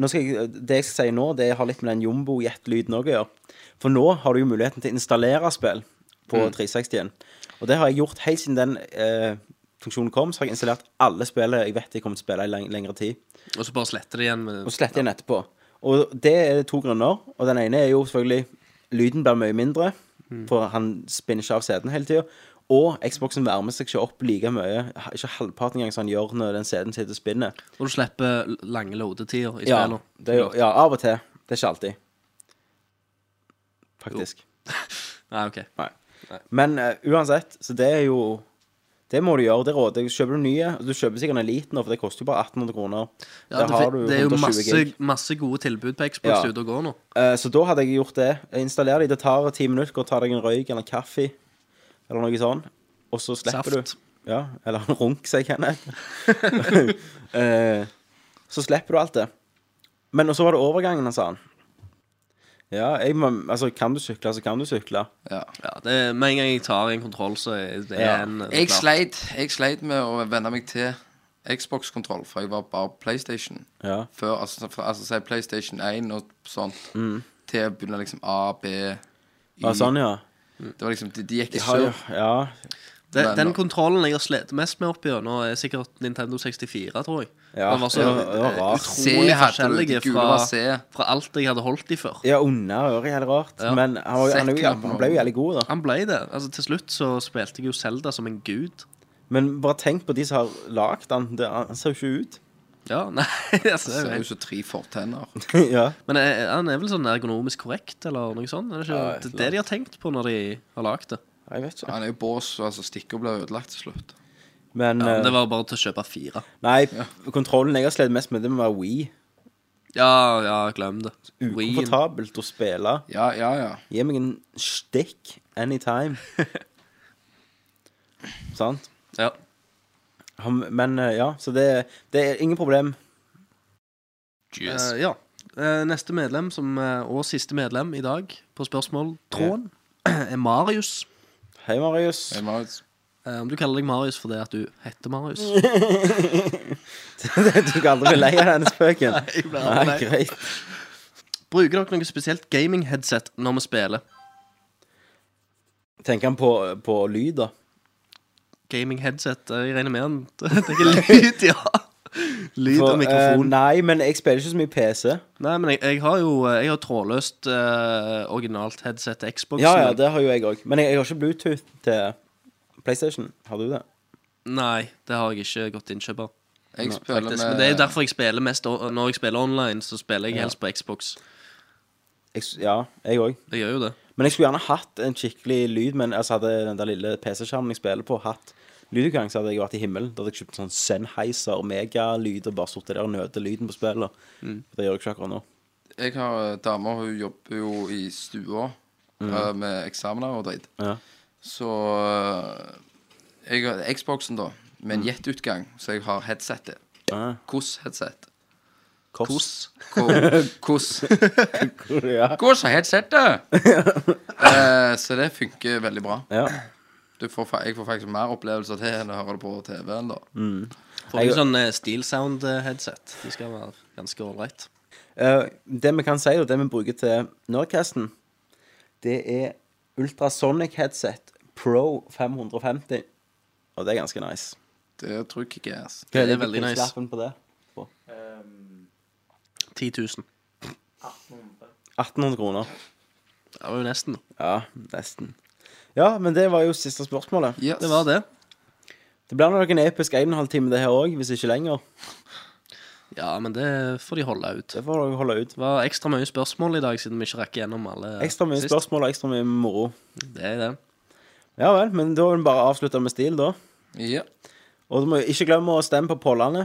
S8: nå skal jeg, det jeg skal si nå, det har litt med den jumbo-jet-lyden òg å gjøre. For nå har du jo muligheten til å installere spill på
S10: Mm.
S8: 360-en. Og det har jeg gjort helt siden den eh, funksjonen kom. Så har jeg installert alle spillene jeg vet jeg kommer til å spille i leng lengre tid.
S10: Og så bare sletter det igjen. Med,
S8: Og slette igjen etterpå. Og det er det to grunner. Og den ene er jo selvfølgelig lyden blir mye mindre,
S10: Mm.
S8: for han spinner ikke av CD-en hele tida. Og Xboxen varmer seg ikke opp like mye, ikke halvparten engang som han gjør når den CD-en sitter og spinner.
S10: Og du slipper l- lange loadetider i
S8: Ja,
S10: spillene.
S8: det er jo, ja, av og til. Det er ikke alltid. Faktisk.
S10: Nei, OK.
S8: Nei. Men eh, uansett, så det er jo Det må du gjøre. Det råder jeg. Kjøper du nye og Du kjøper sikkert en liten, nå, for det koster jo bare 1800 kroner.
S10: Ja,
S8: Der
S10: det,
S8: har
S10: fi-
S8: du
S10: det er jo
S8: 120
S10: masse,
S8: gig.
S10: masse gode tilbud på Xbox
S8: Ja.
S10: ute og går nå.
S8: Eh, Så da hadde jeg gjort det. Jeg installerer de, det tar ti minutter. Gå og ta deg en røyk eller en kaffe eller noe sånt. Og så slipper
S10: Saft.
S8: du Ja, eller en runk, som jeg kjenner. (laughs) Eh, så slipper du alt det. Men og så var det overgangen, sa han. Ja, jeg må, altså, kan du sykle, så kan du sykle.
S9: Ja.
S10: det, med en gang jeg tar en kontroll, så er det
S9: Ja.
S10: en det er
S9: jeg,
S10: klart.
S9: sleit, jeg sleit med å venne meg til Xbox-kontroll, for jeg var bare PlayStation.
S8: Ja.
S9: Før, altså, fra, altså si PlayStation 1 og sånt,
S8: Mm.
S9: til å begynne liksom A, B, Y.
S8: Ja, sånn, ja.
S9: Det var liksom, de, de gikk
S8: De
S9: i
S8: har jo-
S9: sør.
S8: ja.
S10: Det,
S9: Men-
S10: den kontrollen jeg har slitt mest med opp igjennom, er sikkert Nintendo 64, tror jeg.
S8: Ja,
S10: den var så
S8: det var- det var rart.
S10: utrolig
S9: C hadde du, de
S10: forskjellig
S9: gule
S10: fra,
S9: var C.
S10: fra alt jeg hadde holdt i før.
S8: Ja, under øret, helt rart.
S10: Ja.
S8: Men han, var, jo- han, er jo- han ble jo jævlig god, da.
S10: Han ble det. Altså, til slutt så spilte jeg jo Zelda som en gud.
S8: Men bare tenk på de som har lagd han. Det, han ser jo ikke ut. (laughs)
S10: Ja, (laughs) nei, altså,
S9: Det
S10: jeg
S9: er
S10: vet.
S9: jo så tre fortenner.
S8: ja.
S10: Men er, han er vel sånn ergonomisk korrekt, eller noe sånt? Er det ikke
S9: Ja,
S10: det, det de har tenkt på når de har lagd det?
S8: Jeg vet ikke.
S9: Han er jo bås, og altså, stikker blir ødelagt til slutt.
S8: Men,
S10: Ja, men
S8: eh,
S10: det var bare til å kjøpe fire.
S8: Nei, kontrollen jeg har slitt mest med, det må være Wii.
S10: Ja, ja, glem det. Wien.
S8: Ukomfortabelt å spille.
S9: Ja, ja, ja.
S8: Gi meg en stikk
S10: (laughs)
S8: anytime. Sant?
S10: Ja.
S8: Han- Men eh, ja, så det, det er ingen problem.
S10: Eh, ja. Eh, neste medlem, som, eh, og siste medlem i dag på spørsmåltråden, er Marius.
S8: Hei, (laughs) Marius.
S9: Hey, Maurits.
S10: Eh, om du kaller deg Marius fordi at du heter
S8: (laughs)
S10: Marius.
S8: du kan aldri bli lei av denne spøken.
S10: (laughs) Nei, jeg blir aldri
S8: Nei,
S10: lei.
S8: greit.
S10: Bruker dere noe spesielt gaming-headset når vi spiller?
S8: Tenker han på, på lyd, da?
S10: Gaming-headset, eh, jeg regner med han (laughs) tenker lyd, ja. Lyd
S8: For,
S10: og mikrofon.
S8: eh, nei, men jeg spiller ikke så mye PC.
S10: Nei, men jeg, jeg har jo eh, jeg har trådløst eh, originalt headset til Xbox.
S8: Ja, ja, det har jo jeg òg. Men jeg, jeg har ikke Bluetooth til PlayStation. Har du det?
S10: Nei, det har jeg ikke gått innkjøp av.
S9: Jeg
S10: Nå,
S9: spiller
S10: faktisk.
S9: med-
S10: Men det er jo derfor jeg spiller mest o- Når jeg spiller online, så spiller jeg
S8: Ja.
S10: helst på Xbox.
S8: Jeg, s- ja, jeg òg.
S10: Jeg gjør jo det.
S8: Men jeg skulle gjerne hatt en skikkelig lyd, men altså hadde den der lille PC-skjermen jeg spiller på, hatt lydutgang, så hadde jeg vært i himmelen. Da hadde jeg kjøpt en sånn Sennheiser megalyd og bare sittet der og nøte lyden på spillet.
S10: Mm.
S8: Det gjør jeg ikke akkurat nå.
S9: Jeg har eh, damer, hun jobber jo i stua eh, med eksamener og dritt.
S8: Ja.
S9: Så eh, jeg har Xboxen, da, med en jetutgang, så jeg har headsetet.
S8: Ah.
S9: KOS-headset.
S8: Koss.
S9: KOS.
S8: Ja.
S9: KOS har headsetet! Eh, så det funker veldig bra.
S8: Ja.
S9: Du får, fa- jeg får faktisk mer opplevelser til enn å høre det på TV-en, da.
S10: Får du sånn eh, SteelSound-headset? De skal være ganske ålreit.
S8: Eh, det vi kan si, og det vi bruker til Nordcasten, det er Ultrasonic Headset Pro 550. Og det er ganske nice.
S9: Det tror jeg ikke ass.
S10: Det er veldig nice.
S8: prislappen på det?
S10: 10 000.
S8: 1800 kroner.
S10: Det var jo nesten.
S8: Ja, nesten. Ja, men det var jo siste spørsmålet.
S9: Yes.
S10: Det var det.
S8: Det blir nok en episk 1,5 time det her òg, hvis ikke lenger.
S10: Ja, men det får de holde ut.
S8: Det får dere holde ut.
S10: Det var ekstra mye spørsmål i dag, siden vi ikke rakk gjennom alle
S8: Ekstra mye
S10: sist.
S8: spørsmål og ekstra mye moro.
S10: Det er det.
S8: Ja vel, men da vil vi bare avslutte med stil, da.
S9: Ja.
S8: Og du må ikke glemme å stemme på pollene.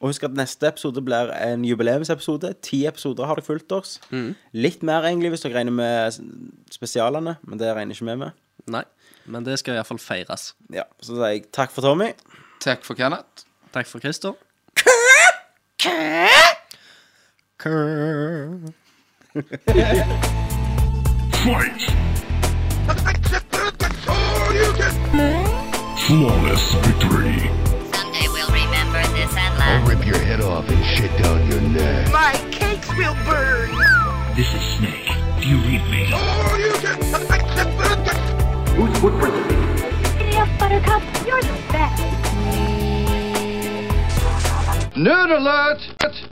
S8: Og husk at neste episode blir en jubileumsepisode. Ti episoder har dere fulgt oss.
S10: Mm.
S8: Litt mer, egentlig, hvis dere regner med s- spesialene, men det regner ikke vi med.
S10: Nei, men det skal iallfall feires.
S8: Ja, Så sier jeg takk for Tommy.
S9: Takk for Kenneth.
S10: Takk for Christer.
S4: Fight! Flawless victory.
S5: Someday we'll remember this and laugh.
S6: I'll rip your head off and shit down your neck.
S4: This is Snake. Do you read me?
S7: City of Buttercup, you're the best.
S6: Nerd alert!